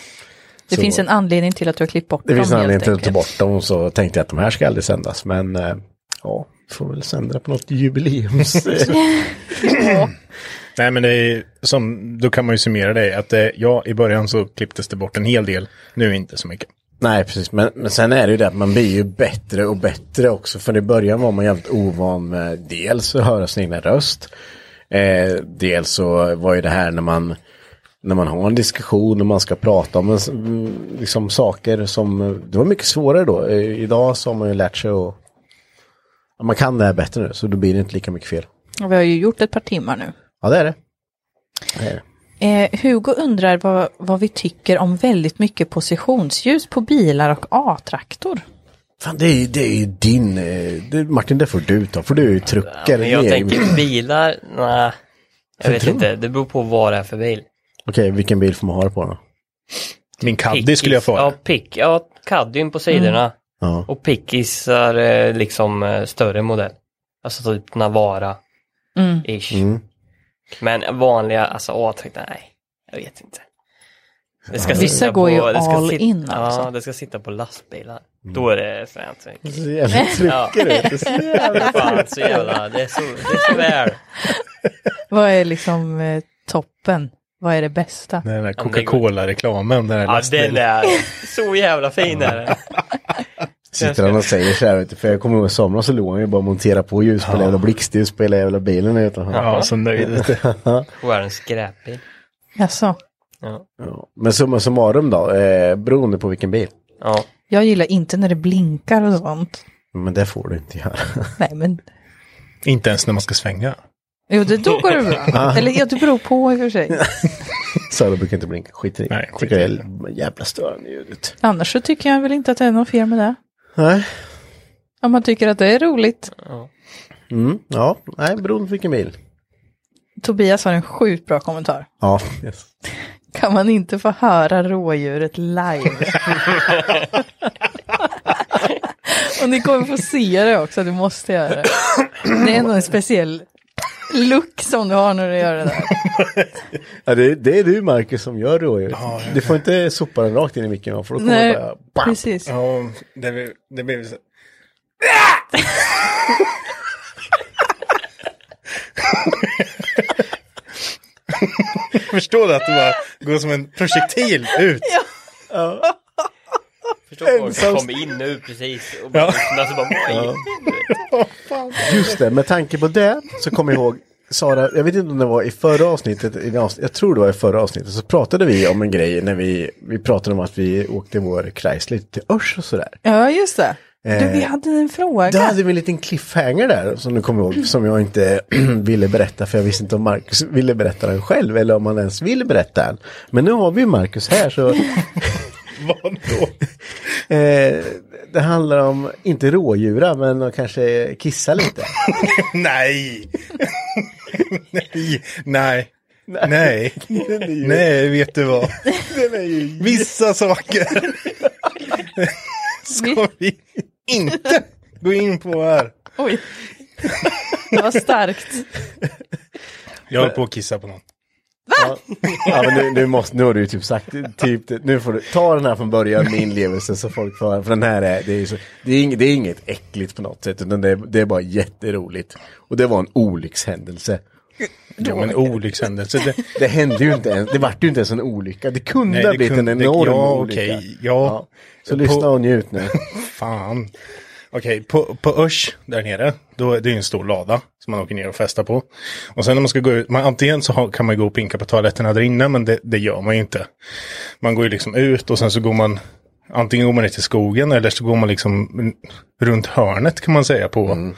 [SPEAKER 3] Det
[SPEAKER 1] Så-
[SPEAKER 3] finns en anledning till att du har klippt bort
[SPEAKER 1] Det
[SPEAKER 3] dem
[SPEAKER 1] finns en
[SPEAKER 3] helt
[SPEAKER 1] anledning till att ta bort
[SPEAKER 3] enkelt.
[SPEAKER 1] dem och så tänkte jag att de här ska aldrig sändas, men eh, ja, vi får väl sända det på något jubileums...
[SPEAKER 2] Nej men det är som, då kan man ju summera det att eh, ja, i början så klipptes det bort en hel del, nu inte så mycket.
[SPEAKER 1] Nej, precis, men, men sen är det ju det att man blir ju bättre och bättre också, för i början var man jävligt ovan med dels att höra sin egna röst, eh, dels så var ju det här när man när man har en diskussion och man ska prata om en, s- mm, liksom, saker som, det var mycket svårare då. Eh, Idag så har man ju lärt sig att, ja, man kan det här bättre nu, så då blir det inte lika mycket fel.
[SPEAKER 3] Och Vi har ju gjort ett par timmar nu.
[SPEAKER 1] Ja, det är det. det, är det.
[SPEAKER 3] Eh, Hugo undrar vad, vad vi tycker om väldigt mycket positionsljus på bilar och A-traktor.
[SPEAKER 1] Fan, det är ju det är ju din, eh, det, Martin, det får du ta, för du är ju trucker.
[SPEAKER 4] Men jag
[SPEAKER 1] Ni är ju-
[SPEAKER 4] tänker bilar, nej. Jag vet
[SPEAKER 1] tror
[SPEAKER 4] inte, det beror på vad det är för bil.
[SPEAKER 1] Okej, vilken bil får man ha det på då?
[SPEAKER 2] Min Caddy
[SPEAKER 4] Pickis-
[SPEAKER 2] skulle jag få
[SPEAKER 4] Ja,
[SPEAKER 2] ha.
[SPEAKER 4] pick, ja caddyn på sidorna.
[SPEAKER 3] Mm.
[SPEAKER 1] Ja.
[SPEAKER 4] Och pickisar eh, liksom eh, större modell. Alltså typ Navara-ish.
[SPEAKER 1] Mm.
[SPEAKER 4] Men vanliga, alltså A-traktor, nej. Jag vet inte. Det ska
[SPEAKER 3] Vissa
[SPEAKER 4] sitta
[SPEAKER 3] går ju
[SPEAKER 4] på, det ska
[SPEAKER 3] all
[SPEAKER 4] sit-
[SPEAKER 3] in
[SPEAKER 4] Ja,
[SPEAKER 3] alltså.
[SPEAKER 4] det ska sitta på lastbilar. Då är det fränt.
[SPEAKER 1] Det är Så jävla trycker ut.
[SPEAKER 4] Fan, så jävla, det är så, det är så väl.
[SPEAKER 3] Vad är liksom eh, toppen? Vad är det bästa?
[SPEAKER 2] Den där Coca-Cola-reklamen, den där
[SPEAKER 4] Ja,
[SPEAKER 2] lastbilen.
[SPEAKER 4] den är så jävla fin är den.
[SPEAKER 1] Sitter han och säger så här, vet du, för jag kommer ihåg i somras så låg han ju bara och montera på ljus på jävla blixtljus på hela jävla bilen utan
[SPEAKER 2] Ja, så nöjd. vet du.
[SPEAKER 4] Och är en skräpbil.
[SPEAKER 3] Alltså,
[SPEAKER 4] Ja.
[SPEAKER 1] Ja. Men summa summarum då, eh, beroende på vilken bil.
[SPEAKER 4] ja.
[SPEAKER 3] jag gillar inte när det blinkar och sånt.
[SPEAKER 1] Men det får du inte göra.
[SPEAKER 3] Nej men,
[SPEAKER 2] Inte ens när man ska svänga.
[SPEAKER 3] jo det, då går det bra. Eller ja, det beror på i och för sig.
[SPEAKER 1] Så det brukar inte blinka, skit i det.
[SPEAKER 2] Nej, skit
[SPEAKER 1] Tycker
[SPEAKER 2] i
[SPEAKER 1] det är jävla störande ljudet.
[SPEAKER 3] Annars så tycker jag väl inte att det är något fel med det.
[SPEAKER 1] Nej,
[SPEAKER 3] Om man tycker att det är roligt.
[SPEAKER 1] mm, ja, nej, beroende på vilken bil.
[SPEAKER 3] Tobias har en sjukt bra kommentar.
[SPEAKER 1] Ja,
[SPEAKER 3] Kan man inte få höra rådjuret live? Och ni kommer få se det också, du måste göra det. Det är nog en speciell look som du har när du gör det där.
[SPEAKER 1] ja det, det är du Marcus som gör rådjuret. du får inte sopa den rakt in i micken för då kommer
[SPEAKER 3] Nej,
[SPEAKER 1] det bara bam.
[SPEAKER 3] precis.
[SPEAKER 2] Ja, det blev, det blev så. Ah! Förstår du att det bara går som en projektil ut?
[SPEAKER 4] Förstår folk som kommer in nu precis och bara lyssnar så bara vad i helvete?
[SPEAKER 1] Just det, med tanke på det så kommer jag ihåg Sara, jag vet inte om det var i förra avsnittet, i det avsnitt, jag tror det var i förra avsnittet, så pratade vi om en grej när vi, vi pratade om att vi åkte vår Chrysler till Örs och sådär.
[SPEAKER 3] Ja, just det. Du,
[SPEAKER 1] Eh,
[SPEAKER 3] vi hade en fråga.
[SPEAKER 1] Då hade vi en liten cliffhanger där som du kommer ihåg, som jag inte ville berätta för jag visste inte om Marcus ville berätta den själv eller om han ens ville berätta den. Men nu har vi ju Marcus här så
[SPEAKER 2] Vadå?
[SPEAKER 1] eh, det handlar om, inte rådjura, men att kanske kissa lite.
[SPEAKER 2] Nej. Nej. Nej. Nej. Nej, vet du vad? Vissa saker ska vi inte gå in på här.
[SPEAKER 3] Oj. Det var starkt.
[SPEAKER 2] Jag höll på att kissa på någon.
[SPEAKER 1] Ja, men nu, nu, måste, nu har du ju typ sagt, typ, det. nu får du ta den här från början med inlevelse så folk får höra. För den här är, det är, ju så, det är, inget, det är inget äckligt på något sätt, utan det är, det är bara jätteroligt. Och det var en olyckshändelse.
[SPEAKER 2] Ja, men olyckshändelse. Det,
[SPEAKER 1] Det hände ju inte ens, det vart ju inte ens en olycka. Det kunde
[SPEAKER 2] Nej,
[SPEAKER 1] ha
[SPEAKER 2] det
[SPEAKER 1] blivit
[SPEAKER 2] kunde-
[SPEAKER 1] en
[SPEAKER 2] det-
[SPEAKER 1] enorm
[SPEAKER 2] ja,
[SPEAKER 1] olycka.
[SPEAKER 2] okej, ja.
[SPEAKER 1] Så lyssna och njut nu.
[SPEAKER 2] Fan. Okej, på, på Örs där nere, då är det ju en stor lada som man åker ner och festar på. Och sen när man ska gå ut, man, antingen så har, kan man ju gå och pinka på toaletterna där inne, men det, det gör man ju inte. Man går ju liksom ut och sen så går man, antingen går man ner till skogen eller så går man liksom mm, runt hörnet kan man säga på,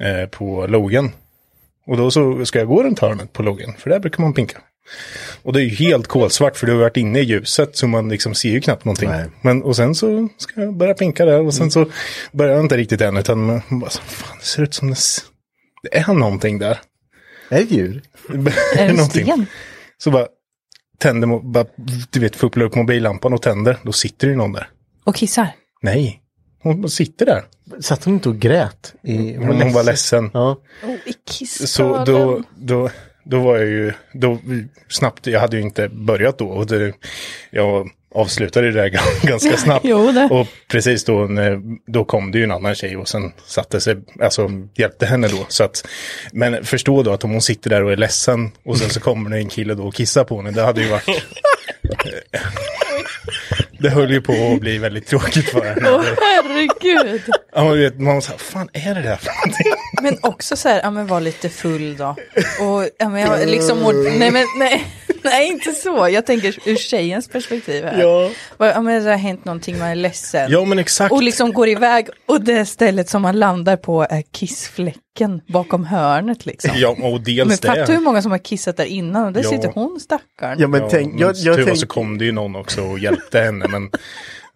[SPEAKER 2] eh, på logen. Och då så ska jag gå runt hörnet på logen, för där brukar man pinka. Och det är ju helt kolsvart för du har varit inne i ljuset så man liksom ser ju knappt någonting.
[SPEAKER 1] Nej.
[SPEAKER 2] Men och sen så ska jag börja pinka där och sen så börjar jag inte riktigt än utan man bara så, fan det ser ut som det, s- det är någonting där.
[SPEAKER 1] Är det ett djur?
[SPEAKER 3] Är det en
[SPEAKER 2] Någonting.
[SPEAKER 3] sten?
[SPEAKER 2] Så bara tänder, mo- bara, du vet, fupplar upp mobillampan och tänder, då sitter det ju någon där.
[SPEAKER 3] Och kissar.
[SPEAKER 2] Nej, hon bara sitter där.
[SPEAKER 1] Satt hon inte och grät? I,
[SPEAKER 2] Hon, hon var ledsen.
[SPEAKER 1] Ja.
[SPEAKER 3] Oh, i
[SPEAKER 2] Så
[SPEAKER 3] kissstaden.
[SPEAKER 2] då, då, då var jag ju, då snabbt, jag hade ju inte börjat då och det, jag avslutade det där g- ganska snabbt.
[SPEAKER 3] Jo, det.
[SPEAKER 2] Och precis då, när- då kom det ju en annan tjej och sen satte sig, alltså hjälpte henne då. Så att, men förstå då att om hon sitter där och är ledsen och sen så kommer det en kille då och kissar på henne, det hade ju varit... Det höll ju på att bli väldigt tråkigt för
[SPEAKER 3] Åh,
[SPEAKER 2] henne.
[SPEAKER 3] herregud.
[SPEAKER 2] Ja, man vet, man var så här, fan är det där för någonting?
[SPEAKER 3] Men också så här, ja men var lite full då. Och ja, men jag liksom, mår- nej men nej, nej inte så. Jag tänker ur tjejens perspektiv här.
[SPEAKER 2] Ja.
[SPEAKER 3] Bara, Ja men det har hänt någonting, man är ledsen.
[SPEAKER 2] Ja, men exakt.
[SPEAKER 3] Och liksom går iväg och det stället som man landar på är kissfläcken bakom hörnet liksom.
[SPEAKER 2] Ja, och dels
[SPEAKER 3] Men
[SPEAKER 2] det.
[SPEAKER 3] fattar du hur många som har kissat där innan och där
[SPEAKER 2] Ja.
[SPEAKER 3] sitter hon stackarn.
[SPEAKER 1] Ja men
[SPEAKER 2] Ja,
[SPEAKER 1] tänk,
[SPEAKER 2] men
[SPEAKER 1] jag, jag
[SPEAKER 2] tur var
[SPEAKER 1] tänk,
[SPEAKER 2] så kom det ju någon också och hjälpte henne. Men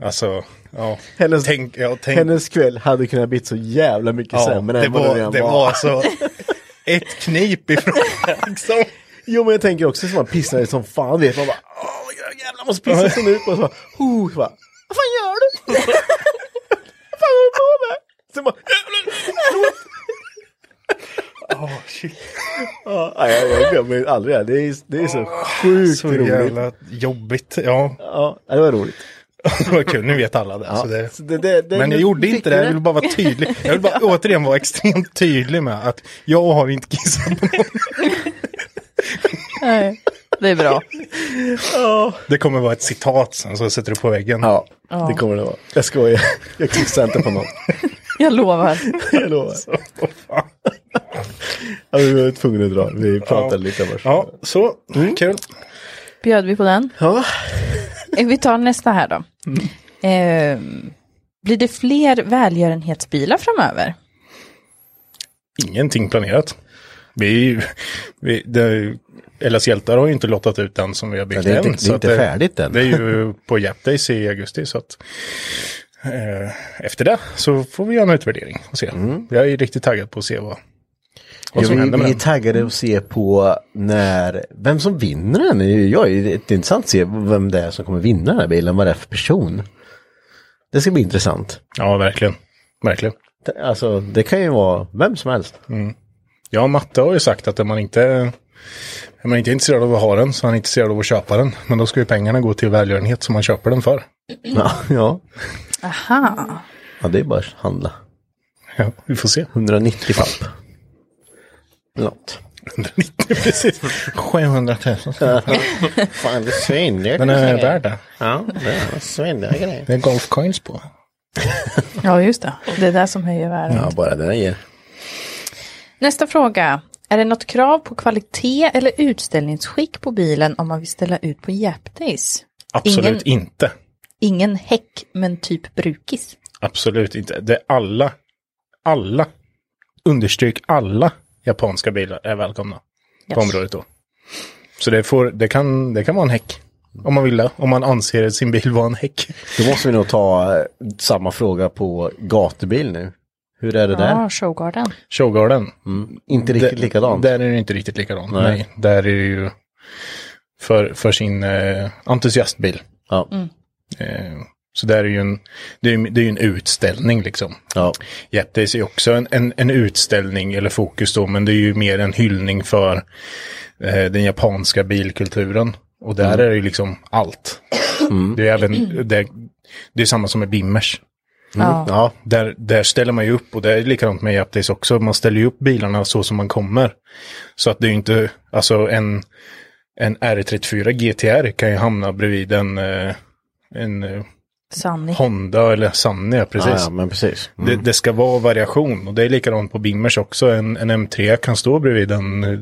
[SPEAKER 2] alltså, ja.
[SPEAKER 1] Hennes-
[SPEAKER 2] tänk, ja, tänk,
[SPEAKER 1] hennes kväll hade kunnat bli så jävla mycket
[SPEAKER 2] ja,
[SPEAKER 1] sämre
[SPEAKER 2] det
[SPEAKER 1] än vad det
[SPEAKER 2] var,
[SPEAKER 1] redan
[SPEAKER 2] det var så ett knip ifrån liksom.
[SPEAKER 1] Jo men jag tänker också som man pissar som fan vet man bara "Alltså, Åh jag jävlar måste pissa så nu och så bara, oh, så bara Vad fan gör du? Vad fan håller du på med? Så bara Åh shit. Ja, jag, jag glömmer aldrig det här. Det är, det är så sjukt
[SPEAKER 2] Så
[SPEAKER 1] roligt.
[SPEAKER 2] jävla jobbigt. Ja,
[SPEAKER 1] Ja, det var roligt.
[SPEAKER 2] det var kul. Nu vet alla det. Så det
[SPEAKER 1] Så det- det- det-
[SPEAKER 2] men jag
[SPEAKER 1] nu
[SPEAKER 2] gjorde
[SPEAKER 1] fick
[SPEAKER 2] inte
[SPEAKER 1] vi
[SPEAKER 2] det, jag vill bara vara tydlig. Jag vill bara återigen vara extremt tydlig med att jag har inte kissat på någon.
[SPEAKER 3] Nej, det är bra.
[SPEAKER 2] Det kommer vara ett citat sen, så sätter du på väggen.
[SPEAKER 1] Ja,
[SPEAKER 3] Ja.
[SPEAKER 1] det kommer det vara. Jag skojar. Jag kissar inte på någon.
[SPEAKER 3] Jag lovar.
[SPEAKER 1] Jag lovar.
[SPEAKER 2] Så, vad fan.
[SPEAKER 1] Ja, vi var tvungna att dra. Vi pratade lite först.
[SPEAKER 2] Ja, så,
[SPEAKER 1] Mm.
[SPEAKER 2] kul.
[SPEAKER 3] Bjöd vi på den?
[SPEAKER 1] Ja.
[SPEAKER 3] Eh, Vi tar nästa här då.
[SPEAKER 2] Mm.
[SPEAKER 3] Eh, blir det fler välgörenhetsbilar framöver?
[SPEAKER 2] Ingenting planerat. Vi, vi det, Ellas hjältar har ju inte lottat ut den som vi har byggt
[SPEAKER 1] Ja, det är
[SPEAKER 2] än.
[SPEAKER 1] inte- det är
[SPEAKER 2] så att
[SPEAKER 1] inte färdigt än.
[SPEAKER 2] Det är ju på Gap Days i augusti. Så att, eh, efter det så får vi göra en utvärdering och se. Jag är riktigt taggad på att se vad, vad
[SPEAKER 1] Ja,
[SPEAKER 2] som
[SPEAKER 1] Mm. vi,
[SPEAKER 2] händer med
[SPEAKER 1] vi är
[SPEAKER 2] den.
[SPEAKER 1] taggade att se på när, vem som vinner den. Det är ju- Jag är det är intressant att se vem det är som kommer vinna den här bilen, vad det är för person. Det ska bli intressant.
[SPEAKER 2] Ja, verkligen. Verkligen.
[SPEAKER 1] Det- Alltså det kan ju vara vem som helst.
[SPEAKER 2] Ja, Matte har ju sagt att är man inte är man inte intresserad av att ha den så är han intresserad av att köpa den. Men då ska ju pengarna gå till välgörenhet som man köper den för.
[SPEAKER 1] Ja, ja.
[SPEAKER 3] Aha.
[SPEAKER 1] ja det är bara att handla.
[SPEAKER 2] Ja, vi får se.
[SPEAKER 1] 190 papp. Eller Något.
[SPEAKER 2] 190 precis. 700 000.
[SPEAKER 1] Fan det är svindyrt.
[SPEAKER 2] Den är eh, värd det.
[SPEAKER 1] Ja, det är svindyra grejer.
[SPEAKER 2] Det är golfcoins på.
[SPEAKER 3] Ja, just det. Det är det som höjer värdet.
[SPEAKER 1] Ja, bara det där ger.
[SPEAKER 3] Nästa fråga. Är det något krav på kvalitet eller utställningsskick på bilen om man vill ställa ut på Japdays?
[SPEAKER 2] Absolut inte.
[SPEAKER 3] Ingen häck, men typ brukis.
[SPEAKER 2] Absolut inte. Det är alla, alla, understryk alla japanska bilar är välkomna
[SPEAKER 3] Yes.
[SPEAKER 2] på området då. Så det, får, det, kan, det kan vara en häck. Om man vill det. Om man anser sin bil vara en häck.
[SPEAKER 1] Då måste vi nog ta eh, samma fråga på gatubil nu. Hur är det där?
[SPEAKER 3] Ja, Ah, Showgarden.
[SPEAKER 2] Showgarden.
[SPEAKER 1] Inte riktigt likadant.
[SPEAKER 2] Där är det inte riktigt likadant. Nej.
[SPEAKER 1] Nej.
[SPEAKER 2] Där är det ju för, för sin eh, entusiastbil.
[SPEAKER 1] Ja.
[SPEAKER 2] Eh, Så där är ju en, det är, ju- det är ju en utställning liksom.
[SPEAKER 1] Ja.
[SPEAKER 2] Jet Days är ju också en, en, en utställning eller fokus då, men det är ju mer en hyllning för eh, den japanska bilkulturen. Och där är det ju liksom allt. Det är även, det, det är samma som med Bimmers.
[SPEAKER 3] Ja.
[SPEAKER 2] Ja, där, där ställer man ju upp och det är likadant med Japtis också. Man ställer ju upp bilarna så som man kommer. Så att det är ju inte, alltså en, en R34 GTR kan ju hamna bredvid en, eh, en eh,
[SPEAKER 3] Sanning.
[SPEAKER 2] Honda eller Sunny, ja, precis.
[SPEAKER 1] Ja, ja, men precis. Mm.
[SPEAKER 2] Det, det ska vara variation och det är likadant på Bimmers också. En, en M3 kan stå bredvid en eh,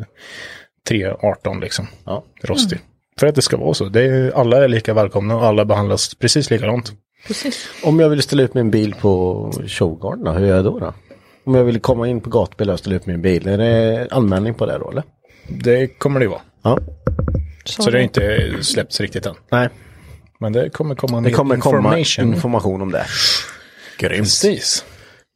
[SPEAKER 2] 318 liksom.
[SPEAKER 1] Ja.
[SPEAKER 2] Rostig. För att det ska vara så. Det är, alla är lika välkomna och alla behandlas precis likadant.
[SPEAKER 1] Om jag vill ställa ut min bil på Showgarden, då, hur gör jag då? då? Om jag vill komma in på gatbil och ställa ut min bil, är det anmälning på det då eller?
[SPEAKER 2] Det kommer det ju vara.
[SPEAKER 1] Ja.
[SPEAKER 2] Så det har inte släppts riktigt än.
[SPEAKER 1] Nej,
[SPEAKER 2] Men det kommer komma en
[SPEAKER 1] det kommer komma
[SPEAKER 2] information.
[SPEAKER 1] information om det. Grymt.
[SPEAKER 2] Precis.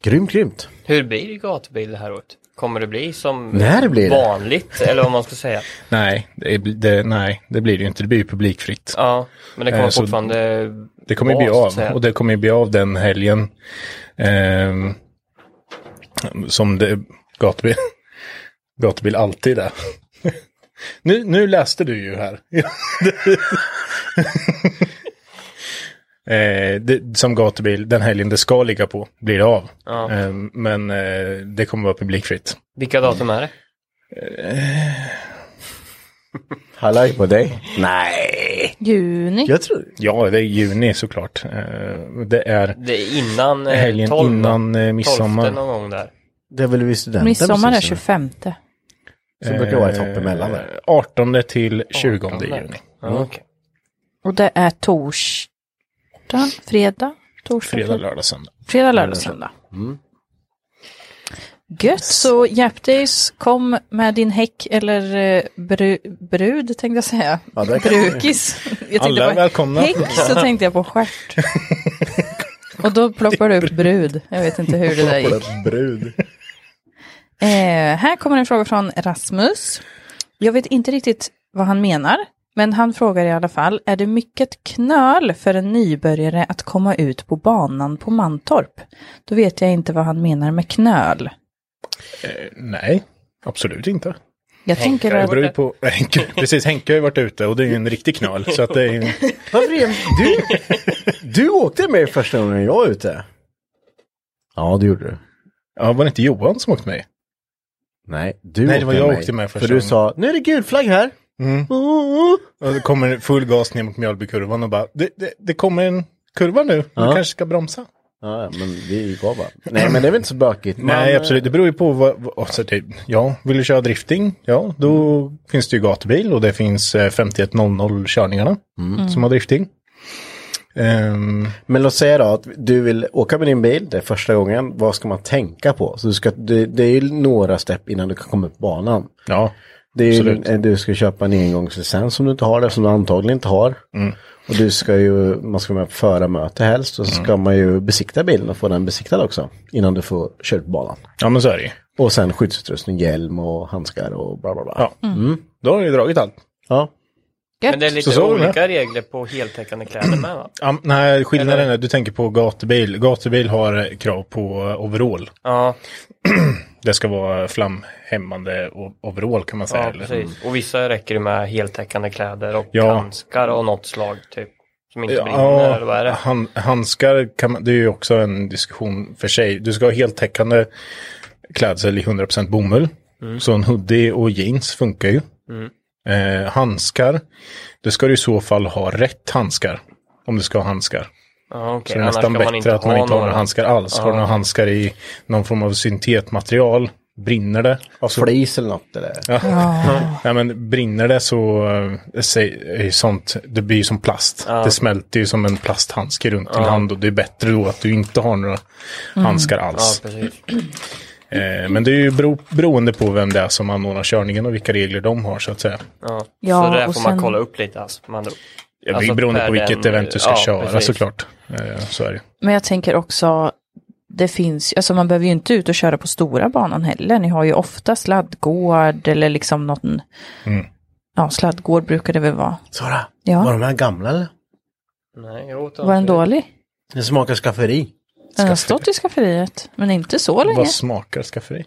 [SPEAKER 1] Grymt, grymt.
[SPEAKER 4] Hur blir gatbil det här året? Kommer det bli som
[SPEAKER 1] När blir det?
[SPEAKER 4] vanligt? Eller vad man ska säga.
[SPEAKER 2] Nej det, är, det, nej, det blir det ju inte. Det blir ju publikfritt.
[SPEAKER 4] Ja, men det kommer
[SPEAKER 2] Eh, så
[SPEAKER 4] fortfarande
[SPEAKER 2] Det kommer ju
[SPEAKER 4] vara,
[SPEAKER 2] bli
[SPEAKER 4] så att säga.
[SPEAKER 2] av och det kommer ju bli av den helgen. Ehm, som det gatubil, gatubil alltid är. nu, nu läste du ju här. Eh, det, som gatubil, den helgen det ska ligga på, blir det av.
[SPEAKER 4] Ja.
[SPEAKER 2] Ehm, men eh, det kommer vara publikfritt.
[SPEAKER 4] Vilka datum är det?
[SPEAKER 1] Hallå på dig. Nej.
[SPEAKER 3] Juni.
[SPEAKER 1] Jag tror...
[SPEAKER 2] Ja, det är juni såklart. Eh, det är
[SPEAKER 4] Det är innan eh,
[SPEAKER 2] helgen
[SPEAKER 4] 12,
[SPEAKER 2] innan eh,
[SPEAKER 4] 12
[SPEAKER 2] midsommar.
[SPEAKER 4] någon gång där.
[SPEAKER 1] Det är väl vid studenten
[SPEAKER 3] Midsommar är
[SPEAKER 1] precis, eller?
[SPEAKER 3] 25.
[SPEAKER 1] Så det brukar det vara ett hopp emellan där.
[SPEAKER 2] Eh, 18 till 20 juni.
[SPEAKER 4] Ja, okej.
[SPEAKER 3] Och det är torsdag, fredag, torsdag,
[SPEAKER 2] Fredag,
[SPEAKER 3] fredag,
[SPEAKER 2] lördag, söndag.
[SPEAKER 3] fredag lördag, söndag.
[SPEAKER 1] mm.
[SPEAKER 3] Gött, så Japtis, kom med din häck eller eh, bru, brud tänkte jag säga.
[SPEAKER 1] Ja, det kan-
[SPEAKER 3] Brukis. Jag tänkte
[SPEAKER 2] Alla är
[SPEAKER 3] på
[SPEAKER 2] välkomna.
[SPEAKER 3] Häck så tänkte jag på stjärt. Och då ploppar du upp brud. Jag vet inte hur det där gick.
[SPEAKER 1] Brud.
[SPEAKER 3] Eh, här kommer en fråga från Rasmus. Jag vet inte riktigt vad han menar, men han frågar i alla fall, är det mycket knöl för en nybörjare att komma ut på banan på Mantorp? Då vet jag inte vad han menar med knöl.
[SPEAKER 2] Nej, absolut inte.
[SPEAKER 3] Jag tänker
[SPEAKER 2] Det
[SPEAKER 3] att...
[SPEAKER 2] beror ju på... Henke, precis, Henke har ju varit ute och det är ju en riktig knöl. Så att det är ju...
[SPEAKER 1] Varför är du, du åkte med första gången jag var ute. Ja, det gjorde du.
[SPEAKER 2] Ja, var det inte Johan som åkte med?
[SPEAKER 1] Nej, du
[SPEAKER 2] Nej, det var
[SPEAKER 1] åkte
[SPEAKER 2] jag
[SPEAKER 1] med.
[SPEAKER 2] åkte med första
[SPEAKER 1] För du
[SPEAKER 2] gången. Mm.
[SPEAKER 1] sa, nu är det gul flagg här. Oh,
[SPEAKER 2] Och det kommer full gas ner mot Mjölbykurvan och bara, det, det, det kommer en kurva nu, du
[SPEAKER 1] Ja.
[SPEAKER 2] kanske ska bromsa.
[SPEAKER 1] Ja, men vi gav bara. Nej, men det är väl inte så bökigt. eh, Man,
[SPEAKER 2] Nej, absolut, det beror ju på vad, vad alltså, typ, ja, vill du köra drifting, ja, då finns det ju gatubil och det finns eh, 5100 körningarna
[SPEAKER 1] Mm.
[SPEAKER 2] som har drifting. Ehm,
[SPEAKER 1] Men låt säga då att du vill åka med din bil, det är första gången, vad ska man tänka på? Så du ska, det, det är ju några stepp innan du kan komma upp på banan.
[SPEAKER 2] ja,
[SPEAKER 1] Det är ju,
[SPEAKER 2] Absolut.
[SPEAKER 1] eh, du ska köpa en engångslicens som du inte har det, som du antagligen inte har.
[SPEAKER 2] Mm.
[SPEAKER 1] Och du ska ju, man ska med på förarmöte helst och så
[SPEAKER 2] Mm.
[SPEAKER 1] ska man ju besikta bilen och få den besiktad också. Innan du får köra ut banan.
[SPEAKER 2] ja, men så är det ju.
[SPEAKER 1] Och sen skyddsutrustning, hjälm och handskar och bla bla bla.
[SPEAKER 2] Ja. Då har du ju dragit allt.
[SPEAKER 1] Ja.
[SPEAKER 4] Men det är lite
[SPEAKER 2] Så så var det.
[SPEAKER 4] olika regler på heltäckande kläder med va?
[SPEAKER 2] Ja, nej, skillnaden är, du tänker på gatubil. Gatubil har eh, krav på eh, overall.
[SPEAKER 4] Ja,
[SPEAKER 2] Det ska vara flamhämmande o- overall kan man säga.
[SPEAKER 4] ja
[SPEAKER 2] eller?
[SPEAKER 4] precis. Och vissa räcker det med heltäckande kläder och
[SPEAKER 2] Ja.
[SPEAKER 4] handskar av något slag typ. Som inte brinner eller vad är
[SPEAKER 2] Ja,
[SPEAKER 4] det?
[SPEAKER 2] han, handskar kan man, det är ju också en diskussion för sig. Du ska ha heltäckande klädsel i 100% bomull.
[SPEAKER 4] Mm.
[SPEAKER 2] Så en hoodie och jeans funkar ju. Eh, handskar, det ska du i så fall ha rätt handskar. Om du ska ha handskar.
[SPEAKER 4] Ja, okej.
[SPEAKER 2] Så det är
[SPEAKER 4] Annars
[SPEAKER 2] nästan
[SPEAKER 4] kan
[SPEAKER 2] bättre att man
[SPEAKER 4] ha
[SPEAKER 2] inte har
[SPEAKER 4] några.
[SPEAKER 2] några handskar alls. Har du några handskar i någon form av syntetmaterial, brinner det.
[SPEAKER 1] Av flis eller något eller? Ja.
[SPEAKER 2] Nej men brinner det så eh, säg- är ju sånt, det blir ju som plast. Det smälter ju som en plasthandske runt din hand och det är bättre då att du inte har några
[SPEAKER 3] Mm.
[SPEAKER 2] handskar
[SPEAKER 4] Ja,
[SPEAKER 2] alls.
[SPEAKER 4] precis.
[SPEAKER 2] Eh, men det är ju bero, beroende på vem det är som anordnar körningen och vilka regler de har så att säga.
[SPEAKER 4] Ja.
[SPEAKER 3] Ja,
[SPEAKER 4] så det där
[SPEAKER 3] och
[SPEAKER 4] får man
[SPEAKER 3] sen-
[SPEAKER 4] kolla upp lite alltså. Man,
[SPEAKER 2] Ja,
[SPEAKER 4] Alltså,
[SPEAKER 2] beroende
[SPEAKER 4] per
[SPEAKER 2] på vilket
[SPEAKER 4] den-
[SPEAKER 2] event du ska
[SPEAKER 4] ja,
[SPEAKER 2] köra
[SPEAKER 4] precis.
[SPEAKER 2] såklart. Eh, så är det.
[SPEAKER 3] Men jag tänker också, det finns, alltså man behöver ju inte ut och köra på stora banan heller. Ni har ju ofta sladdgård eller liksom någon, ja sladdgård brukar det väl vara.
[SPEAKER 1] Sara,
[SPEAKER 3] Ja.
[SPEAKER 1] var de här gamla eller?
[SPEAKER 4] nej, jag åt
[SPEAKER 3] Var den
[SPEAKER 4] inte.
[SPEAKER 3] dålig?
[SPEAKER 1] Det smakar skafferi.
[SPEAKER 3] Den har stått i skafferiet, men inte så länge.
[SPEAKER 2] Vad smakar skafferi?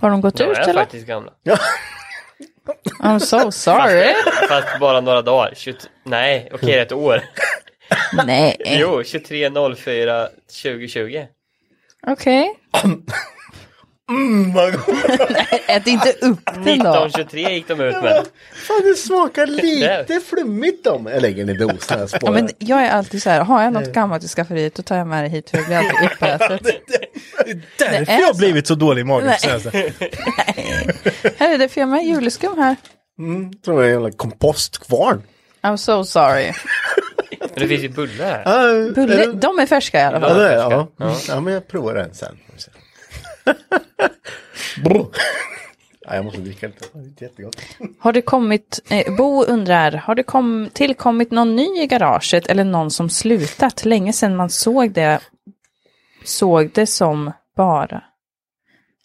[SPEAKER 3] Har de gått
[SPEAKER 4] De
[SPEAKER 3] ut
[SPEAKER 4] är
[SPEAKER 3] eller?
[SPEAKER 4] faktiskt gamla.
[SPEAKER 3] I'm so sorry.
[SPEAKER 4] Fast bara några dagar. 20... Nej, okej ett år.
[SPEAKER 3] Nej.
[SPEAKER 4] Jo, 23.04 2020.
[SPEAKER 3] Okej. Ät inte upp den då.
[SPEAKER 4] 1923 gick de ut med.
[SPEAKER 1] Fan, det smakar lite flummigt om. Jag lägger den i dosen. Jag
[SPEAKER 3] Ja,
[SPEAKER 1] spårar.
[SPEAKER 3] men jag är alltid så här, har jag något gammalt i skafferiet då tar jag med det hit för det blir alltid uppätet.
[SPEAKER 2] Därför
[SPEAKER 3] är
[SPEAKER 2] jag har
[SPEAKER 3] så.
[SPEAKER 2] blivit så dålig i magen på
[SPEAKER 3] Nej.
[SPEAKER 2] senaste.
[SPEAKER 3] Här är det, för jag har med juleskum här.
[SPEAKER 1] tror jag är en jävla kompostkvarn.
[SPEAKER 3] I'm so sorry.
[SPEAKER 4] Men det finns ju bullar här.
[SPEAKER 3] Bulle, de är färska i alla
[SPEAKER 1] Ja,
[SPEAKER 3] fall.
[SPEAKER 1] det är, ja. ja, men jag provar den sen. Får vi se. Brr. ja, jag måste dricka lite. Det är jättegott.
[SPEAKER 3] Har det kommit, eh, Bo undrar, har det kom, tillkommit någon ny i garaget eller någon som slutat länge sedan man såg det, såg det som bara?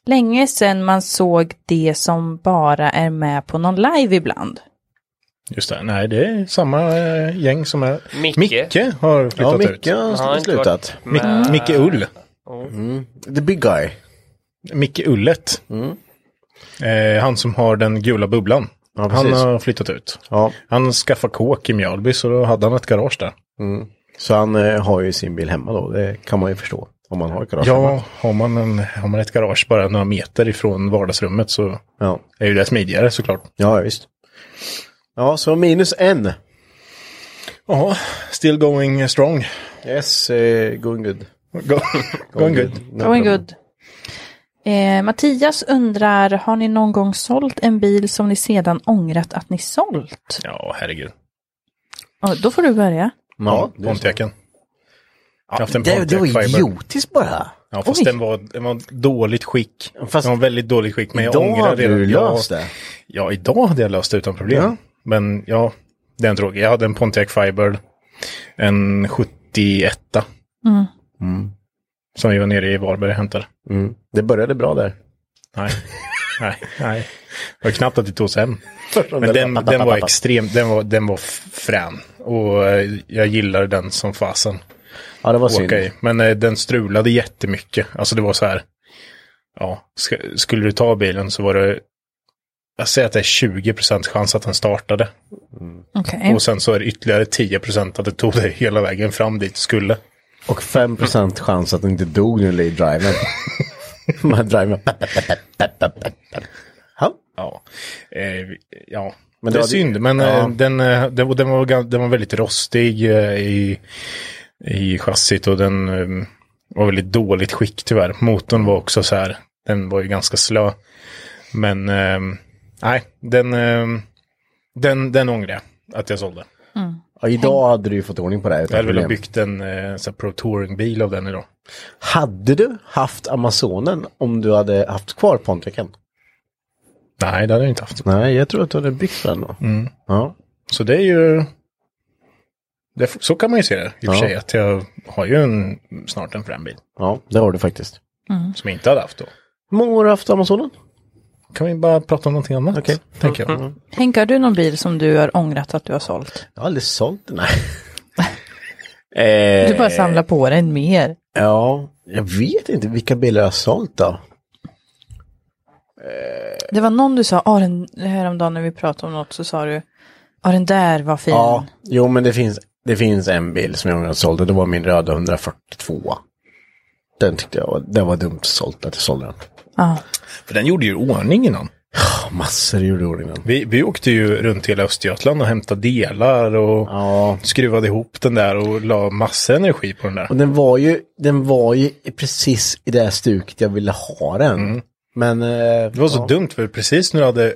[SPEAKER 3] Länge sedan man såg det som bara är med på någon live ibland.
[SPEAKER 2] Just det, nej det är samma eh, gäng som är...
[SPEAKER 4] Micke.
[SPEAKER 2] Micke har flyttat
[SPEAKER 1] Ja,
[SPEAKER 2] ut.
[SPEAKER 1] Micke
[SPEAKER 4] har
[SPEAKER 1] har
[SPEAKER 4] inte
[SPEAKER 1] slutat.
[SPEAKER 2] Mic Micke Ull.
[SPEAKER 1] The big guy.
[SPEAKER 2] Micke Ullet.
[SPEAKER 1] Mm.
[SPEAKER 2] Eh, han som har den gula bubblan.
[SPEAKER 1] Ja,
[SPEAKER 2] han
[SPEAKER 1] precis.
[SPEAKER 2] har flyttat ut.
[SPEAKER 1] Ja,
[SPEAKER 2] Han skaffade kåk i Mjölby så då hade han ett garage där.
[SPEAKER 1] så han eh, har ju sin bil hemma då. Det kan man ju förstå. Om man har ett garage hemma.
[SPEAKER 2] Ja, har man, en, har man ett garage bara några meter ifrån vardagsrummet så
[SPEAKER 1] Ja.
[SPEAKER 2] är ju det smidigare såklart.
[SPEAKER 1] Ja, ja, visst. Ja, så minus en.
[SPEAKER 2] Ja, still going strong.
[SPEAKER 1] Yes, eh, going good.
[SPEAKER 2] Go, going good.
[SPEAKER 1] No problem.
[SPEAKER 3] Going good. Eh, Mattias undrar, har ni någon gång sålt en bil som ni sedan ångrat att ni sålt?
[SPEAKER 2] Ja, herregud.
[SPEAKER 3] Och då får du börja.
[SPEAKER 1] Ja, det är så.
[SPEAKER 2] Pontiacen. Jag har haft en
[SPEAKER 1] det, det
[SPEAKER 2] Pontiac
[SPEAKER 1] var
[SPEAKER 2] Fiber.
[SPEAKER 1] idiotiskt bara.
[SPEAKER 2] Ja, fast
[SPEAKER 3] Oj.
[SPEAKER 2] den var, den var dåligt skick.
[SPEAKER 1] Fast
[SPEAKER 2] den var väldigt dåligt skick, men jag
[SPEAKER 1] Idag
[SPEAKER 2] ångrar
[SPEAKER 1] har du
[SPEAKER 2] Jag-
[SPEAKER 1] löst det.
[SPEAKER 2] Ja, idag hade jag löst det utan problem.
[SPEAKER 1] Ja.
[SPEAKER 2] Men ja, det är en tråkig. Jag hade en Pontiac Firebird, en 71 Som vi var nere i Varberg och hämtade.
[SPEAKER 1] Mm. Det började bra där.
[SPEAKER 2] Nej, nej, nej. Det var knappt att det togs hem. Men den, den var extremt, den var, den var f- frän. Och eh, jag gillar den som fasen.
[SPEAKER 1] Ja, det var synd.
[SPEAKER 2] Åka i. Men eh, den strulade jättemycket. Alltså det var så här. Ja, ska, skulle du ta bilen så var det. Jag säger att det är 20 chans att den startade.
[SPEAKER 3] Okej.
[SPEAKER 2] Och sen så är det ytterligare 10 att det tog dig hela vägen fram dit du skulle.
[SPEAKER 1] Och 5% chans att den inte dog när du i driven. Man driver. Ja.
[SPEAKER 2] Ja, eh, ja.
[SPEAKER 1] Men då
[SPEAKER 2] det är
[SPEAKER 1] hade-
[SPEAKER 2] synd. Men
[SPEAKER 1] ja.
[SPEAKER 2] eh, den, eh, den, var- den, var, gan- den var väldigt rostig eh, i, i chassit och den eh, var väldigt dåligt skick tyvärr. Motorn var också så här, den var ju ganska slö. Men eh, nej, den, eh, den, den ångrar jag att jag sålde.
[SPEAKER 1] Ja, idag hade du ju fått ordning på det här
[SPEAKER 2] Jag
[SPEAKER 1] utan
[SPEAKER 2] hade velat
[SPEAKER 1] problem.
[SPEAKER 2] byggt en eh, sån här Pro Touring-bil av den idag.
[SPEAKER 1] Hade du haft Amazonen om du hade haft kvar Pontiacen?
[SPEAKER 2] Nej, det hade jag inte haft.
[SPEAKER 1] Nej, jag tror att du hade byggt den då.
[SPEAKER 2] Mm.
[SPEAKER 1] Ja.
[SPEAKER 2] Så det är ju... Det, så kan man ju se det i och för
[SPEAKER 1] Ja.
[SPEAKER 2] sig. Att jag har ju en, snart en frambil.
[SPEAKER 1] ja, det har du faktiskt.
[SPEAKER 2] Som jag inte hade haft då.
[SPEAKER 1] Hur många år har du haft Amazonen?
[SPEAKER 2] Kan vi bara prata om någonting annat?
[SPEAKER 1] Okej. Mm.
[SPEAKER 2] Tänker jag.
[SPEAKER 3] Henke, har du någon bil som du har ångrat att du har sålt?
[SPEAKER 1] Jag har aldrig sålt den. Nej. Eh,
[SPEAKER 3] Du bara samlar på dig mer.
[SPEAKER 1] Ja, jag vet inte vilka bilar jag har sålt då.
[SPEAKER 3] Det var någon du sa, ah, den, häromdagen när vi pratade om något så sa du, ja den där var fin.
[SPEAKER 1] Ja, jo men det finns, det finns en bil som jag har sålt och det var min röda 142. Den tyckte jag var, det var dumt sålt att jag sålde den.
[SPEAKER 3] Ja.
[SPEAKER 2] För den gjorde ju ordning innan.
[SPEAKER 1] Ja, Massor gjorde ord innan.
[SPEAKER 2] Vi, vi åkte ju runt hela Östergötland och hämtade delar och
[SPEAKER 1] Ja.
[SPEAKER 2] skruvade ihop den där och la massa energi på den där.
[SPEAKER 1] Och den var ju, den var ju precis i det här stuket jag ville ha den. Men... Eh,
[SPEAKER 2] Mm. Det var så dumt för precis när du hade,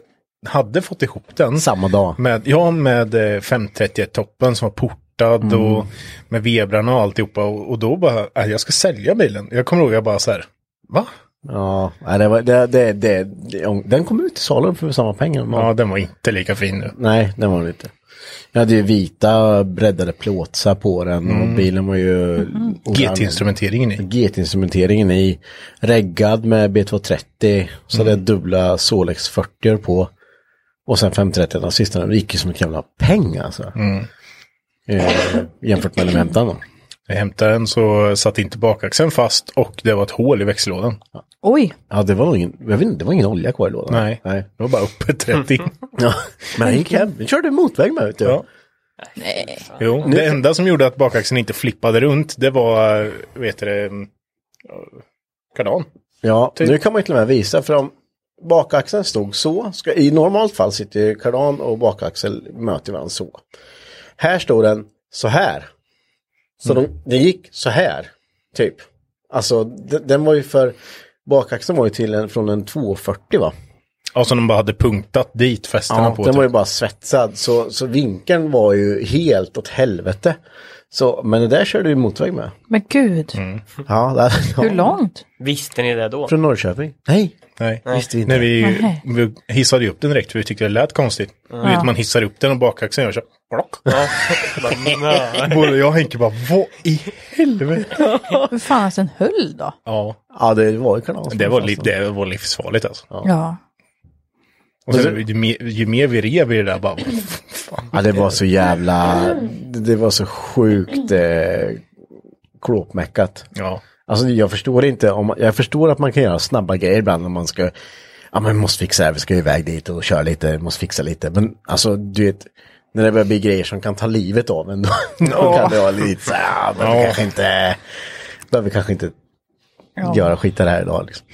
[SPEAKER 2] hade fått ihop den.
[SPEAKER 1] Samma dag.
[SPEAKER 2] Med, ja, med 531-toppen som var portad
[SPEAKER 1] Mm.
[SPEAKER 2] och med vebrarna och alltihopa. Och, och då bara, äh, jag ska sälja bilen. Jag kommer ihåg, jag bara så här, va?
[SPEAKER 1] Ja, nej, det var, det, det, det, det, den kom ut i salen för samma pengar. Man,
[SPEAKER 2] Ja, den var inte lika fin nu.
[SPEAKER 1] Nej, den var det inte. Jag hade ju vita breddade plåtsar på den och bilen var ju... orange.
[SPEAKER 2] GT-instrumenteringen i.
[SPEAKER 1] GT-instrumenteringen i. Reggad med B230. Så hade jag dubbla Solex 40 på. Och sen 530 den Mm. sista. Den gick ju som ett jävla peng alltså. Eh, jämfört med elementan då.
[SPEAKER 2] När jag hämtade den så satt inte bakaxeln fast och det var ett hål i växellådan.
[SPEAKER 3] Oj,
[SPEAKER 1] Ja, det var nog ingen, jag vet inte, det var ingen olja kvar i lådan.
[SPEAKER 2] Nej.
[SPEAKER 1] Nej.
[SPEAKER 2] Det var bara uppe 30.
[SPEAKER 1] Ja. Men han gick hem, han körde motväg med vet du.
[SPEAKER 2] Ja. Jo, det enda som gjorde att bakaxeln inte flippade runt, det var, äh, vet du det, mm, kardan.
[SPEAKER 1] Ja,
[SPEAKER 2] Typ.
[SPEAKER 1] nu kan man ju till och med visa för om bakaxeln stod så, ska, i normalt fall sitter ju kardan och bakaxel möter varandra så. Här stod den så här. Så
[SPEAKER 2] Mm.
[SPEAKER 1] de, den gick så här, typ. Alltså den, den var ju för, bakaxeln var ju till en, från en 240 va?
[SPEAKER 2] Ja, som de bara hade punktat dit fästena
[SPEAKER 1] Ja,
[SPEAKER 2] på.
[SPEAKER 1] den
[SPEAKER 2] typ.
[SPEAKER 1] var ju bara svetsad så, så vinkeln var ju helt åt helvete. Så, men det där körde ju motväg med.
[SPEAKER 3] men gud.
[SPEAKER 1] Mm.
[SPEAKER 2] Mm.
[SPEAKER 1] Ja, där, ja.
[SPEAKER 3] Hur långt?
[SPEAKER 4] Visste ni det då?
[SPEAKER 1] Från Norrköping? Nej,
[SPEAKER 2] Nej.
[SPEAKER 1] visste vi inte.
[SPEAKER 2] När vi,
[SPEAKER 3] Nej.
[SPEAKER 2] vi hissade ju upp den direkt för vi tyckte det lät konstigt. Du vet, man hissar upp den och bakaxeln gör så här, plock.
[SPEAKER 4] Ja. Bara, nö.
[SPEAKER 2] Både jag och Henke bara, vad i helvete?
[SPEAKER 3] Hur fan att den höll då?
[SPEAKER 2] Ja,
[SPEAKER 1] Ja, det var ju kanal.
[SPEAKER 2] det var, li- det var livsfarligt alltså.
[SPEAKER 3] Ja.
[SPEAKER 2] Och sen, ju, mer, ju mer vi rev i det där bara,
[SPEAKER 1] Ja, det var så jävla, det det var så sjukt eh, klåpmäckat.
[SPEAKER 2] ja.
[SPEAKER 1] Alltså jag förstår inte, om, jag förstår att man kan göra snabba grejer ibland när man ska, ja men vi måste fixa det här, vi ska iväg dit och köra lite, vi måste fixa lite. Men alltså du vet, när det börjar bli grejer som kan ta livet av en, då, då kan det vara lite så här, ja, men vi
[SPEAKER 2] Ja.
[SPEAKER 1] kanske inte, behöver kanske inte göra skit av det här idag liksom.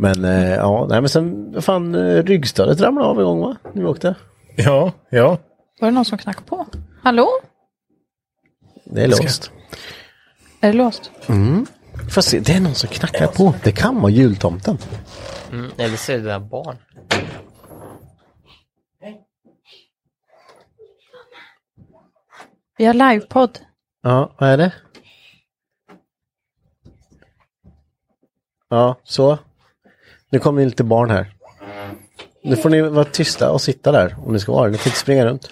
[SPEAKER 1] Men eh, ja, nej men sen, vad fan, eh, ryggstödet ramlade av en gång va? När vi åkte.
[SPEAKER 2] Ja, ja.
[SPEAKER 3] Var det någon som knackade på? Hallå?
[SPEAKER 1] Det är låst.
[SPEAKER 3] Är det låst?
[SPEAKER 1] Får se, det är någon som knackar på. Det kan vara jultomten.
[SPEAKER 4] Mm, Eller så är det där barn.
[SPEAKER 3] Vi har livepodd.
[SPEAKER 1] Ja, vad är det? Ja, så. Nu kommer in lite barn här. Nu får ni vara tysta och sitta där om ni ska vara det. Ni får inte springa runt.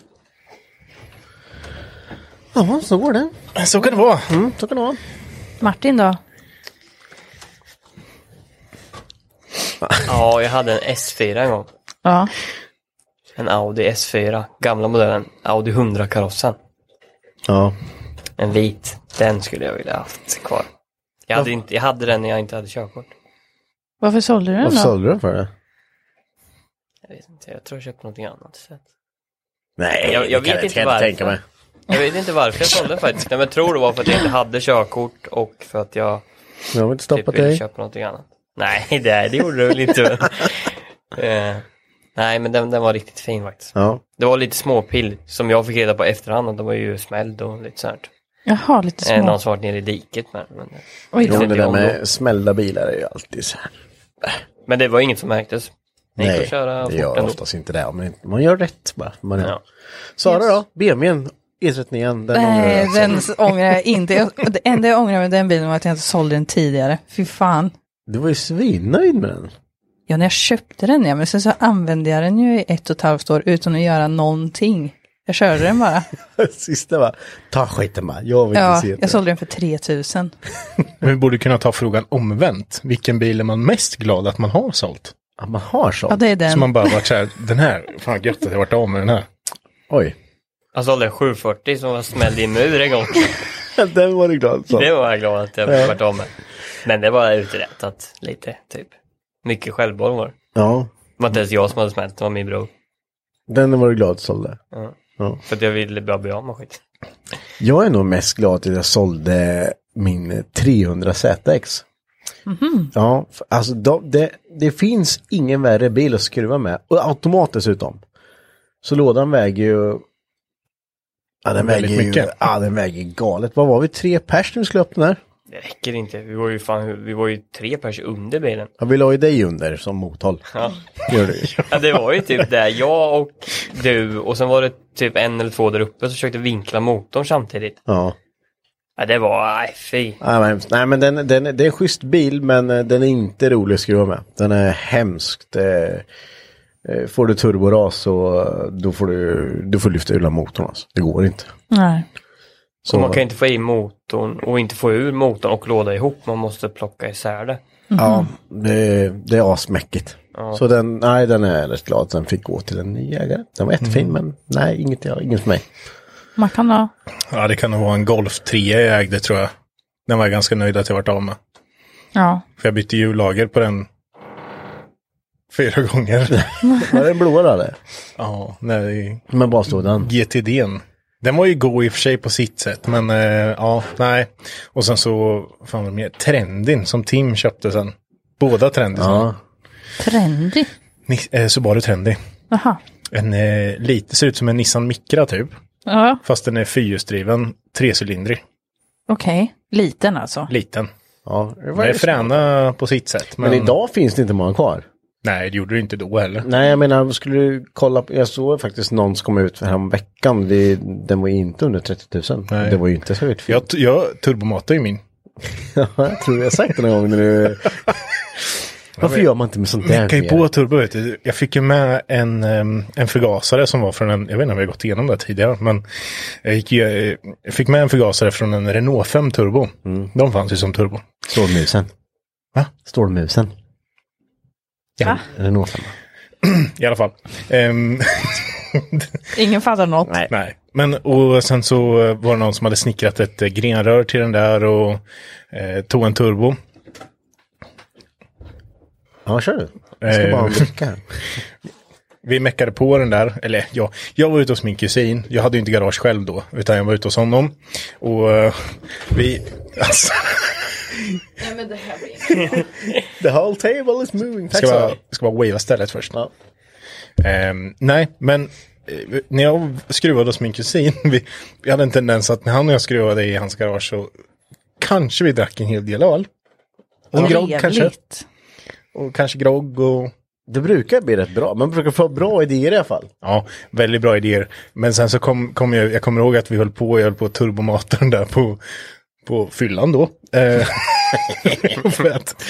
[SPEAKER 1] Ja, så går det.
[SPEAKER 2] Så kan det vara.
[SPEAKER 1] Mm, så kan det vara.
[SPEAKER 3] Martin då?
[SPEAKER 4] Ja, jag hade en S4 en gång.
[SPEAKER 3] Ja.
[SPEAKER 4] En Audi S4. Gamla modellen. Audi 100-karossen.
[SPEAKER 1] Ja,
[SPEAKER 4] En vit. Den skulle jag vilja haft kvar. Jag hade, inte, jag hade den när jag inte hade körkort.
[SPEAKER 3] Varför sålde du den
[SPEAKER 1] varför
[SPEAKER 3] då?
[SPEAKER 1] sålde du den för det?
[SPEAKER 4] Jag vet inte, jag tror jag köpte någonting annat sen.
[SPEAKER 1] Nej,
[SPEAKER 4] Jag- jag vet inte varför. Jag vet inte varför jag sålde den faktiskt. Nej, men jag tror det var för att jag inte hade körkort och för att jag
[SPEAKER 1] Jag har inte
[SPEAKER 4] typ
[SPEAKER 1] stoppat
[SPEAKER 4] ville
[SPEAKER 1] dig.
[SPEAKER 4] köpa någonting annat. Nej, det, det gjorde du väl inte. Eh, nej, men den, den var riktigt fin faktiskt.
[SPEAKER 1] Ja,
[SPEAKER 4] Det var lite småpill som jag fick reda på efterhand att de var ju smälld och lite sånt.
[SPEAKER 3] Jaha, lite
[SPEAKER 4] Eh,
[SPEAKER 3] små.
[SPEAKER 4] någon som varit nere i diket med den, men,
[SPEAKER 3] Oj,
[SPEAKER 1] jo, men det
[SPEAKER 4] tycker
[SPEAKER 1] där
[SPEAKER 4] om
[SPEAKER 1] med smällda bilar är ju alltid så här.
[SPEAKER 4] men det var inget som märktes. Det gick att köra
[SPEAKER 1] det
[SPEAKER 4] fort
[SPEAKER 1] gör
[SPEAKER 4] ändå.
[SPEAKER 1] oftast inte det. Men man gör rätt bara. Man
[SPEAKER 4] Ja.
[SPEAKER 1] Sara då? BMWn E39, E den ångrar du
[SPEAKER 3] Nej,
[SPEAKER 1] alltså.
[SPEAKER 3] den ångrar jag inte. Jag- Det enda jag ångrar med den bilen var att jag inte sålde den tidigare. Fy fan.
[SPEAKER 1] Du var ju svinnöjd med den.
[SPEAKER 3] Ja, när jag köpte den ja, men sen så använde jag den ju i ett och ett halvt år utan att göra någonting. Jag körde den bara.
[SPEAKER 1] Sista var, ta skiten bara, jag vill
[SPEAKER 3] Ja,
[SPEAKER 1] inte se det.
[SPEAKER 3] jag sålde den för 3000.
[SPEAKER 2] Men vi borde kunna ta frågan omvänt. Vilken bil är man mest glad att man har sålt?
[SPEAKER 1] Ja, man har sånt.
[SPEAKER 3] Ja, det är
[SPEAKER 2] Så
[SPEAKER 3] den.
[SPEAKER 2] man bara varit så här, den här, fan gött att jag varit av med den här.
[SPEAKER 1] Oj,
[SPEAKER 4] Jag sålde en 740 som var smälld i en mur en gång.
[SPEAKER 1] den var du glad för.
[SPEAKER 4] Det var jag glad att jag fick varit av med. Men det var uträttat lite, typ. Mycket självmål var det.
[SPEAKER 1] Ja,
[SPEAKER 4] Det var inte ens jag som hade smält, det var min bror.
[SPEAKER 1] den var du glad sålde.
[SPEAKER 4] För att jag ville bara bli av med skit.
[SPEAKER 1] Jag är nog mest glad att jag sålde min 300 ZX.
[SPEAKER 2] Mhm.
[SPEAKER 1] Ja, f- alltså de, det, det finns ingen värre bil att skruva med. Och automat dessutom. Så lådan väger ju... Ja, den
[SPEAKER 2] Väldigt
[SPEAKER 1] väger ju,
[SPEAKER 2] mycket.
[SPEAKER 1] ja, den väger galet. Vad var vi, tre pers när vi skulle öppna där?
[SPEAKER 4] Det räcker inte. Vi var ju fan, vi var ju tre personer under bilen.
[SPEAKER 1] Ja, vi la ju dig under som mothåll.
[SPEAKER 4] Ja.
[SPEAKER 1] Gör du.
[SPEAKER 4] ja, det var ju typ det. Jag och du och sen var det typ en eller två där uppe som försökte vinkla motorn samtidigt.
[SPEAKER 1] Ja.
[SPEAKER 4] Ja, det var, nej fy.
[SPEAKER 1] Nej, men, hemskt. nej, men den, den, det är en schysst bil men eh, den är inte rolig att skruva med. Den är hemskt. Eh, eh, får du turboras så eh, då får du, du får lyfta ur den motorn alltså. Det går inte.
[SPEAKER 3] Nej.
[SPEAKER 1] Så,
[SPEAKER 4] Och man kan ju inte få i motorn och inte få ur motorn och låda ihop. Man måste plocka isär det.
[SPEAKER 1] Ja, det, det är asmäckigt. Så den, Mm. nej den är jag rätt glad att den fick gå till en ny ägare. Den var jättefin men nej, inget, jag- inget för mig.
[SPEAKER 3] Man kan ha.
[SPEAKER 2] Ja, det kan nog vara en Golf 3 jag ägde tror jag. Den var jag ganska nöjd att jag varit av med.
[SPEAKER 3] Ja.
[SPEAKER 2] För jag bytte hjullager på den fyra gånger.
[SPEAKER 1] Var den blå då eller?
[SPEAKER 2] ja, nej,
[SPEAKER 1] Men bara stod den.
[SPEAKER 2] GTDn. Den var ju god i och för sig på sitt sätt, men eh, ja, nej. Och sen så, fan vad mer, Trendin som Tim köpte sen. Båda Trendisarna.
[SPEAKER 1] Ja.
[SPEAKER 3] Trendig.
[SPEAKER 2] Ni- eh, Subaru Trendy.
[SPEAKER 3] Jaha.
[SPEAKER 2] En eh, lite, ser ut som en Nissan Micra typ.
[SPEAKER 3] Ja,
[SPEAKER 2] Fast den är fyrhjulsdriven, trecylindrig,
[SPEAKER 3] okej. Liten alltså.
[SPEAKER 2] liten.
[SPEAKER 1] ja. det
[SPEAKER 2] Den
[SPEAKER 1] var
[SPEAKER 2] är
[SPEAKER 1] ju-
[SPEAKER 2] fräna på sitt sätt. Men,
[SPEAKER 1] Men idag finns det inte många kvar.
[SPEAKER 2] Nej, det gjorde du inte då heller.
[SPEAKER 1] Nej, jag menar, skulle du kolla på, jag såg faktiskt någon som kom ut för här om veckan. Det, den var ju inte under 30 000.
[SPEAKER 2] Nej.
[SPEAKER 1] Det var ju inte så högt.
[SPEAKER 2] Jag, jag turbomatar ju min.
[SPEAKER 1] Ja, jag tror jag har sagt det någon gång när du... Varför gör man inte med sånt där
[SPEAKER 2] Kan ju
[SPEAKER 1] mer?
[SPEAKER 2] på turbo, vet du. Jag fick ju med en, ehm, en förgasare som var från en, jag vet inte om vi har gått igenom det tidigare, men jag, gick, ju, eh, jag fick med en förgasare från en Renault 5 turbo.
[SPEAKER 1] Mm.
[SPEAKER 2] De fanns ju som turbo.
[SPEAKER 1] Stålmusen.
[SPEAKER 2] Va?
[SPEAKER 1] Stålmusen. Ja. Renault 5.
[SPEAKER 2] I alla fall. Ehm,
[SPEAKER 3] Ingen fattar något.
[SPEAKER 1] Nej.
[SPEAKER 2] Nej, men och sen så var det någon som hade snickrat ett eh, grenrör till den där och eh, tog en turbo.
[SPEAKER 1] Ja, kör du. Jag ska
[SPEAKER 2] Eh.
[SPEAKER 1] bara ha en bricka här.
[SPEAKER 2] Vi meckade på den där, eller ja, jag var ute hos min kusin. Jag hade ju inte garage själv då, utan jag var ute hos honom. Och eh, vi, alltså,
[SPEAKER 1] The whole table is moving. Tack
[SPEAKER 2] ska
[SPEAKER 1] så
[SPEAKER 2] bara,
[SPEAKER 1] mycket.
[SPEAKER 2] ska bara wava stället först.
[SPEAKER 1] Ja.
[SPEAKER 2] Ehm, nej, men eh, när jag skruvade hos min kusin, vi, vi hade en tendens att när han och jag skruvade i hans garage så kanske vi drack en hel del öl. Och en grogg kanske,
[SPEAKER 3] Trevligt.
[SPEAKER 2] och kanske grogg och
[SPEAKER 1] Det brukar bli rätt bra. Man brukar få bra idéer i alla fall.
[SPEAKER 2] Ja, väldigt bra idéer. Men sen så kom, kom jag, jag kommer ihåg att vi höll på, jag höll på att turbomata den där på, på fyllan då. Eh, för att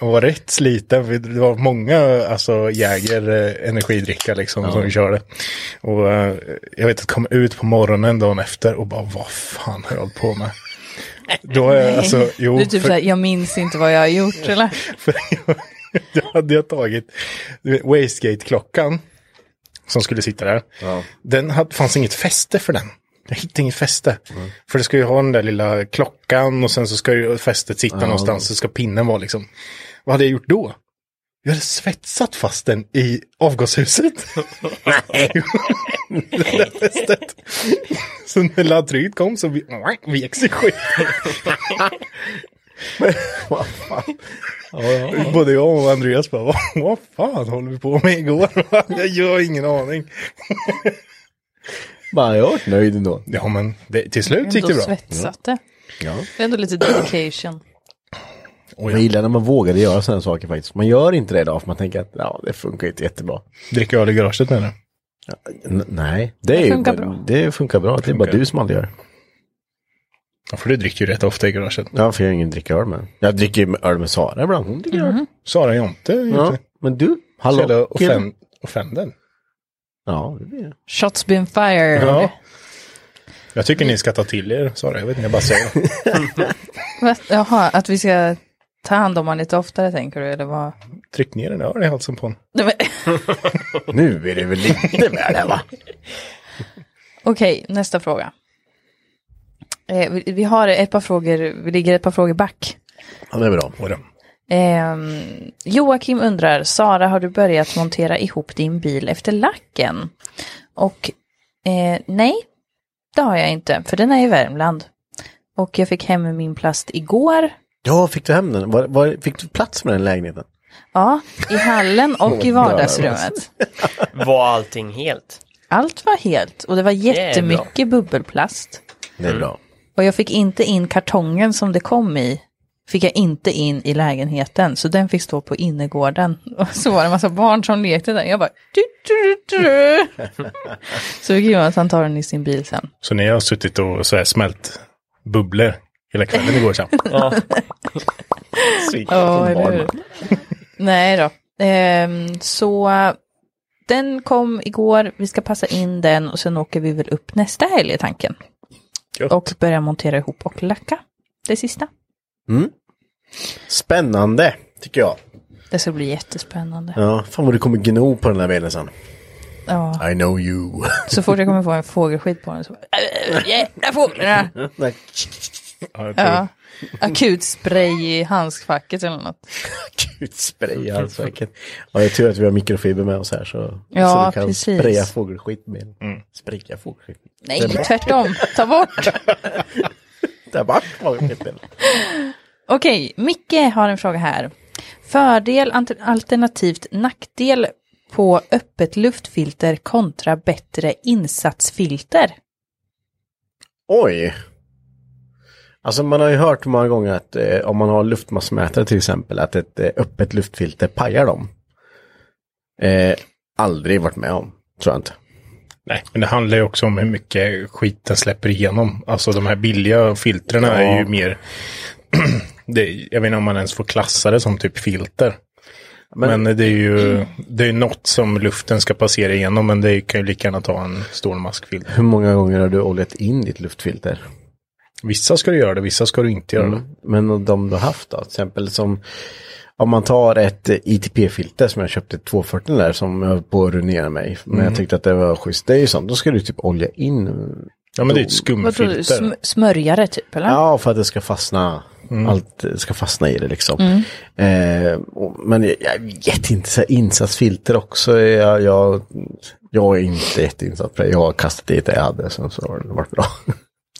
[SPEAKER 2] jag var rätt sliten, för det var många alltså, jäger eh, energidricka liksom som körde. Och eh, jag vet att jag kom ut på morgonen dagen efter och bara vad fan har jag hållit på med? Då har jag alltså, jo,
[SPEAKER 3] Du är typ
[SPEAKER 2] för-
[SPEAKER 3] såhär, jag minns inte vad jag har gjort eller?
[SPEAKER 2] för jag, jag hade jag tagit du vet, Wastegate-klockan som skulle sitta där. Den hade, fanns inget fäste för den. Jag hittade inget fäste. För du ska ju ha den där lilla klockan och sen så ska ju fästet sitta någonstans. Så ska pinnen vara liksom. Vad hade jag gjort då? Jag hade svetsat fast den i avgashuset. Nej. det där fästet. Så när laddtrycket kom så vi- vek sig skiten.
[SPEAKER 1] Vad fan.
[SPEAKER 2] Både jag och Andreas bara, vad, vad fan håller vi på med igår? jag gör ingen aning.
[SPEAKER 1] Bara jag har varit nöjd ändå.
[SPEAKER 2] Ja, men det, till slut gick
[SPEAKER 3] Ändå
[SPEAKER 2] det bra.
[SPEAKER 3] svetsat det. Det är ändå lite dedication.
[SPEAKER 2] Och
[SPEAKER 1] Jag
[SPEAKER 2] jag
[SPEAKER 1] gillar när man vågade göra sådana saker faktiskt. Man gör inte det idag för man tänker att ja, det funkar inte jättebra.
[SPEAKER 2] dricker öl i garaget menar du?
[SPEAKER 1] N- nej, det, är
[SPEAKER 3] funkar
[SPEAKER 1] ju,
[SPEAKER 3] bra.
[SPEAKER 1] Det funkar bra. Det är bara
[SPEAKER 2] Funkar.
[SPEAKER 1] du som aldrig gör.
[SPEAKER 2] Ja, för du dricker ju rätt ofta i garaget.
[SPEAKER 1] Ja, för jag har ingen dricka öl med. Jag dricker ju öl med Sara ibland. Hon dricker
[SPEAKER 3] Mm-hmm.
[SPEAKER 1] öl.
[SPEAKER 2] Sara Jonte är ju
[SPEAKER 1] Ja,
[SPEAKER 2] inte
[SPEAKER 1] men du,
[SPEAKER 2] så jävla
[SPEAKER 1] hallå. kille.
[SPEAKER 2] offen- offended.
[SPEAKER 1] Ja, det blir det.
[SPEAKER 3] Shots been fired.
[SPEAKER 2] Ja. Jag tycker ni ska ta till er, Sara. Jag vet inte, jag bara säger det.
[SPEAKER 3] Va? Jaha, att vi ska ta hand om honom lite oftare tänker du? Eller vad?
[SPEAKER 2] Tryck ner en öl i halsen på honom.
[SPEAKER 3] Nej, men-
[SPEAKER 1] Nu är det väl lite väl här va?
[SPEAKER 3] Okej, nästa fråga. Eh, vi, vi har ett par frågor, vi ligger ett par frågor back.
[SPEAKER 1] Ja, det är bra.
[SPEAKER 2] Och då.
[SPEAKER 3] Ehm, Joakim undrar, Sara har du börjat montera ihop din bil efter lacken? Och eh, nej, det har jag inte, för den är i Värmland. Och jag fick hem min plast igår,
[SPEAKER 1] Ja, fick du hem den? Var, var, fick du plats med den lägenheten?
[SPEAKER 3] ja, i hallen och i
[SPEAKER 1] Bra,
[SPEAKER 3] vardagsrummet.
[SPEAKER 4] Var allting helt?
[SPEAKER 3] Allt var helt och det var jättemycket bubbelplast.
[SPEAKER 1] Det är bra.
[SPEAKER 3] Och jag fick inte in kartongen som det kom i. Fick jag inte in i lägenheten. Så den fick stå på innergården. Och så var det en massa barn som lekte där. Jag bara... Du, du, du, du. så fick Jonathan ta den i sin bil sen.
[SPEAKER 2] Så ni har suttit och så här smält bubblor hela kvällen igår sen.
[SPEAKER 4] Ja.
[SPEAKER 3] Ja,
[SPEAKER 1] Vilken
[SPEAKER 3] eller
[SPEAKER 1] barn.
[SPEAKER 3] hur? Nej då. Ehm, så den kom igår. Vi ska passa in den och sen åker vi väl upp nästa helg i tanken.
[SPEAKER 2] Gött.
[SPEAKER 3] Och börja montera ihop och lacka. Det sista.
[SPEAKER 1] Spännande, tycker jag.
[SPEAKER 3] Det ska bli jättespännande.
[SPEAKER 1] Ja, fan vad du kommer gno på den där bilen sen.
[SPEAKER 3] Ja.
[SPEAKER 1] I know you.
[SPEAKER 3] Så fort jag kommer få en fågelskit på den så bara, "Äh, jävla fåglarna!
[SPEAKER 2] Ja, jag tror-
[SPEAKER 3] Ja. Akut spray i handskfacket eller något.
[SPEAKER 1] Gud, spraya alltså. vilken- Ja, det är tur att vi har mikrofiber med oss här så,
[SPEAKER 3] Ja,
[SPEAKER 1] så du kan
[SPEAKER 3] precis.
[SPEAKER 1] spraya fågelskit med. Spraya fågelskit.
[SPEAKER 3] Nej, tvärtom. Ta bort.
[SPEAKER 1] Där vart fågelskiten.
[SPEAKER 3] Okej, Micke har en fråga här. Fördel ant- alternativt nackdel på öppet luftfilter kontra bättre insatsfilter.
[SPEAKER 1] Oj! Alltså man har ju hört många gånger att eh, om man har luftmassmätare till exempel att ett eh, öppet luftfilter pajar dem. Eh, aldrig varit med om, tror jag inte.
[SPEAKER 2] Nej, men det handlar ju också om hur mycket skit den släpper igenom. Alltså de här billiga filtren
[SPEAKER 1] Ja.
[SPEAKER 2] är ju mer... det, jag vet inte om man ens får klassa det som typ filter. Men, det är ju det är något som luften ska passera igenom, men det kan ju lika gärna ta en stor maskfilter.
[SPEAKER 1] Hur många gånger har du oljat in ditt luftfilter?
[SPEAKER 2] Vissa ska du göra det, vissa ska du inte
[SPEAKER 1] Mm.
[SPEAKER 2] göra det.
[SPEAKER 1] Men de du har haft då, till exempel som om man tar ett eh, ITP-filter som jag köpte 240 där som jag höll på att ruinera mig. Men jag tyckte att det var schysst. Det är ju sånt, då ska du typ olja in.
[SPEAKER 2] Ja, men det är ett
[SPEAKER 3] Vadå,
[SPEAKER 2] skumfilter.
[SPEAKER 3] sm- smörjare typ eller?
[SPEAKER 1] Ja, för att det ska fastna.
[SPEAKER 2] Mm.
[SPEAKER 1] Allt eh, ska fastna i det liksom. Eh, och, men jag, jag vet inte, så här insatsfilter också. är Jag, jag, jag är inte jätteinsatt på det. Jag har kastat dit det jag hade, sen så har det varit bra.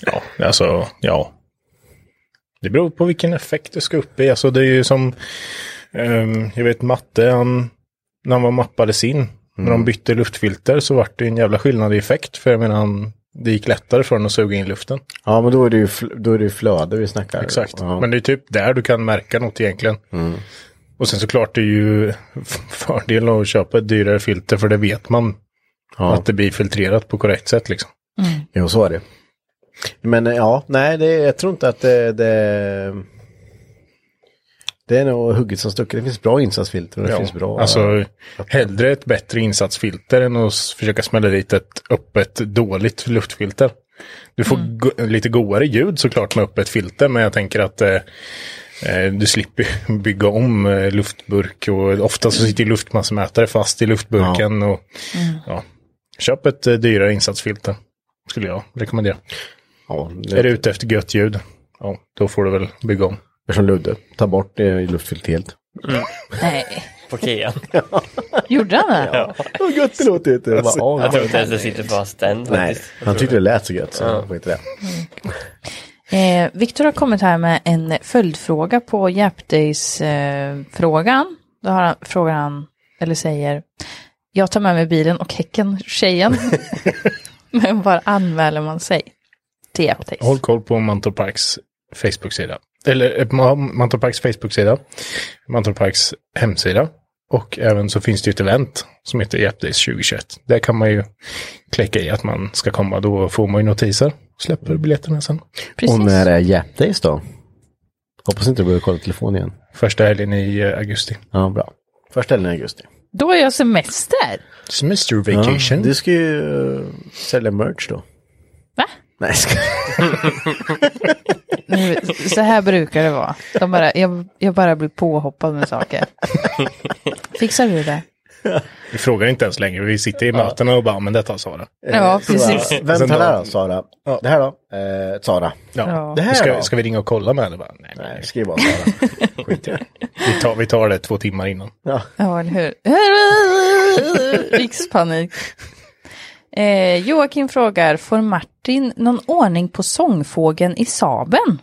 [SPEAKER 2] Ja, alltså, ja. Det beror på vilken effekt du ska upp i. Alltså det är ju som, ehm, jag vet matte, han, när han var mappades in, när
[SPEAKER 1] Mm.
[SPEAKER 2] de bytte luftfilter så vart det en jävla skillnad i effekt. För jag menar, han, det gick lättare för honom att suga in luften.
[SPEAKER 1] ja, men då är det ju, fl- då är det ju flöde vi snackar.
[SPEAKER 2] Exakt.
[SPEAKER 1] Ja. Mm.
[SPEAKER 2] Men det är typ där du kan märka något egentligen. Och sen såklart det är ju f- fördelen att köpa ett dyrare filter för det vet man
[SPEAKER 1] Ja.
[SPEAKER 2] att det blir filtrerat på korrekt sätt liksom.
[SPEAKER 1] Jo, så är det. Men eh, ja, nej, det, jag tror inte att det, det... Det är nog hugget som stucket. Det finns bra insatsfilter och det
[SPEAKER 2] Ja,
[SPEAKER 1] finns bra...
[SPEAKER 2] Alltså, hellre ett bättre insatsfilter än att s- försöka smälla dit ett öppet dåligt luftfilter. Du får go- lite godare ljud såklart med öppet filter, men jag tänker att eh, eh, du slipper bygga om eh, luftburk och ofta så sitter ju luftmassmätare fast i luftburken. Och, ja. Köp ett eh, dyrare insatsfilter, skulle jag rekommendera.
[SPEAKER 1] ja,
[SPEAKER 2] Är du ute efter gött ljud, ja, då får du väl bygga om.
[SPEAKER 1] Som Ludde, ta bort det i luftfilter helt.
[SPEAKER 3] Nej.
[SPEAKER 4] På Kia.
[SPEAKER 3] Gjorde han det?
[SPEAKER 1] Vad gött det låter! inte. Jag bara, ja,
[SPEAKER 4] Jag tror inte ens det sitter fast än
[SPEAKER 1] Nej,
[SPEAKER 4] faktiskt.
[SPEAKER 1] han tyckte det lät så gött så han skiter i det.
[SPEAKER 3] Eh, Viktor har kommit här med en följdfråga på Jap Days-frågan. Då har han, frågar han, eller säger, jag tar med mig bilen och häcken, tjejen. Men var anmäler man sig till Jap Days?
[SPEAKER 2] Håll koll på Mantorp Parks Facebook-sida. Eller eh, Ma- Mantorp Parks Facebook-sida. Mantorp Parks hemsida. Och även så finns det ju ett event som heter Yep Days 2021. Där kan man ju klicka i att man ska komma. Då får man ju notiser. Släpper biljetterna sen.
[SPEAKER 3] Precis.
[SPEAKER 1] Och när är Jap Days då? Hoppas inte du börjar kolla telefonen igen.
[SPEAKER 2] Första helgen i eh, augusti.
[SPEAKER 1] Ja, bra. Första helgen i augusti.
[SPEAKER 3] Då är jag semester.
[SPEAKER 2] Semester
[SPEAKER 1] Ja,
[SPEAKER 2] vacation.
[SPEAKER 1] du ska ju eh, sälja merch då.
[SPEAKER 3] Va?
[SPEAKER 1] Nej, jag ska...
[SPEAKER 3] Nu, så här brukar det vara. De bara, jag, jag bara blir påhoppad med saker. Fixar du det?
[SPEAKER 2] Vi frågar inte ens längre. Vi sitter i mötena och bara, men detta sa det.
[SPEAKER 3] Ja, precis.
[SPEAKER 1] Sara, Vem tar det här då, Sara? Det här då? Eh, Sara.
[SPEAKER 2] Ja.
[SPEAKER 3] Ja.
[SPEAKER 1] Det här
[SPEAKER 2] Ska,
[SPEAKER 1] då?
[SPEAKER 2] ska vi ringa och kolla med henne? Bara, Nej,
[SPEAKER 1] Nej, skriv bara Sara.
[SPEAKER 2] skit i det. Vi tar, vi tar det två timmar innan.
[SPEAKER 3] Ja, eller hur? Rikspanik. Eh, Joakim frågar, får Martin någon ordning på sångfågeln i Saben?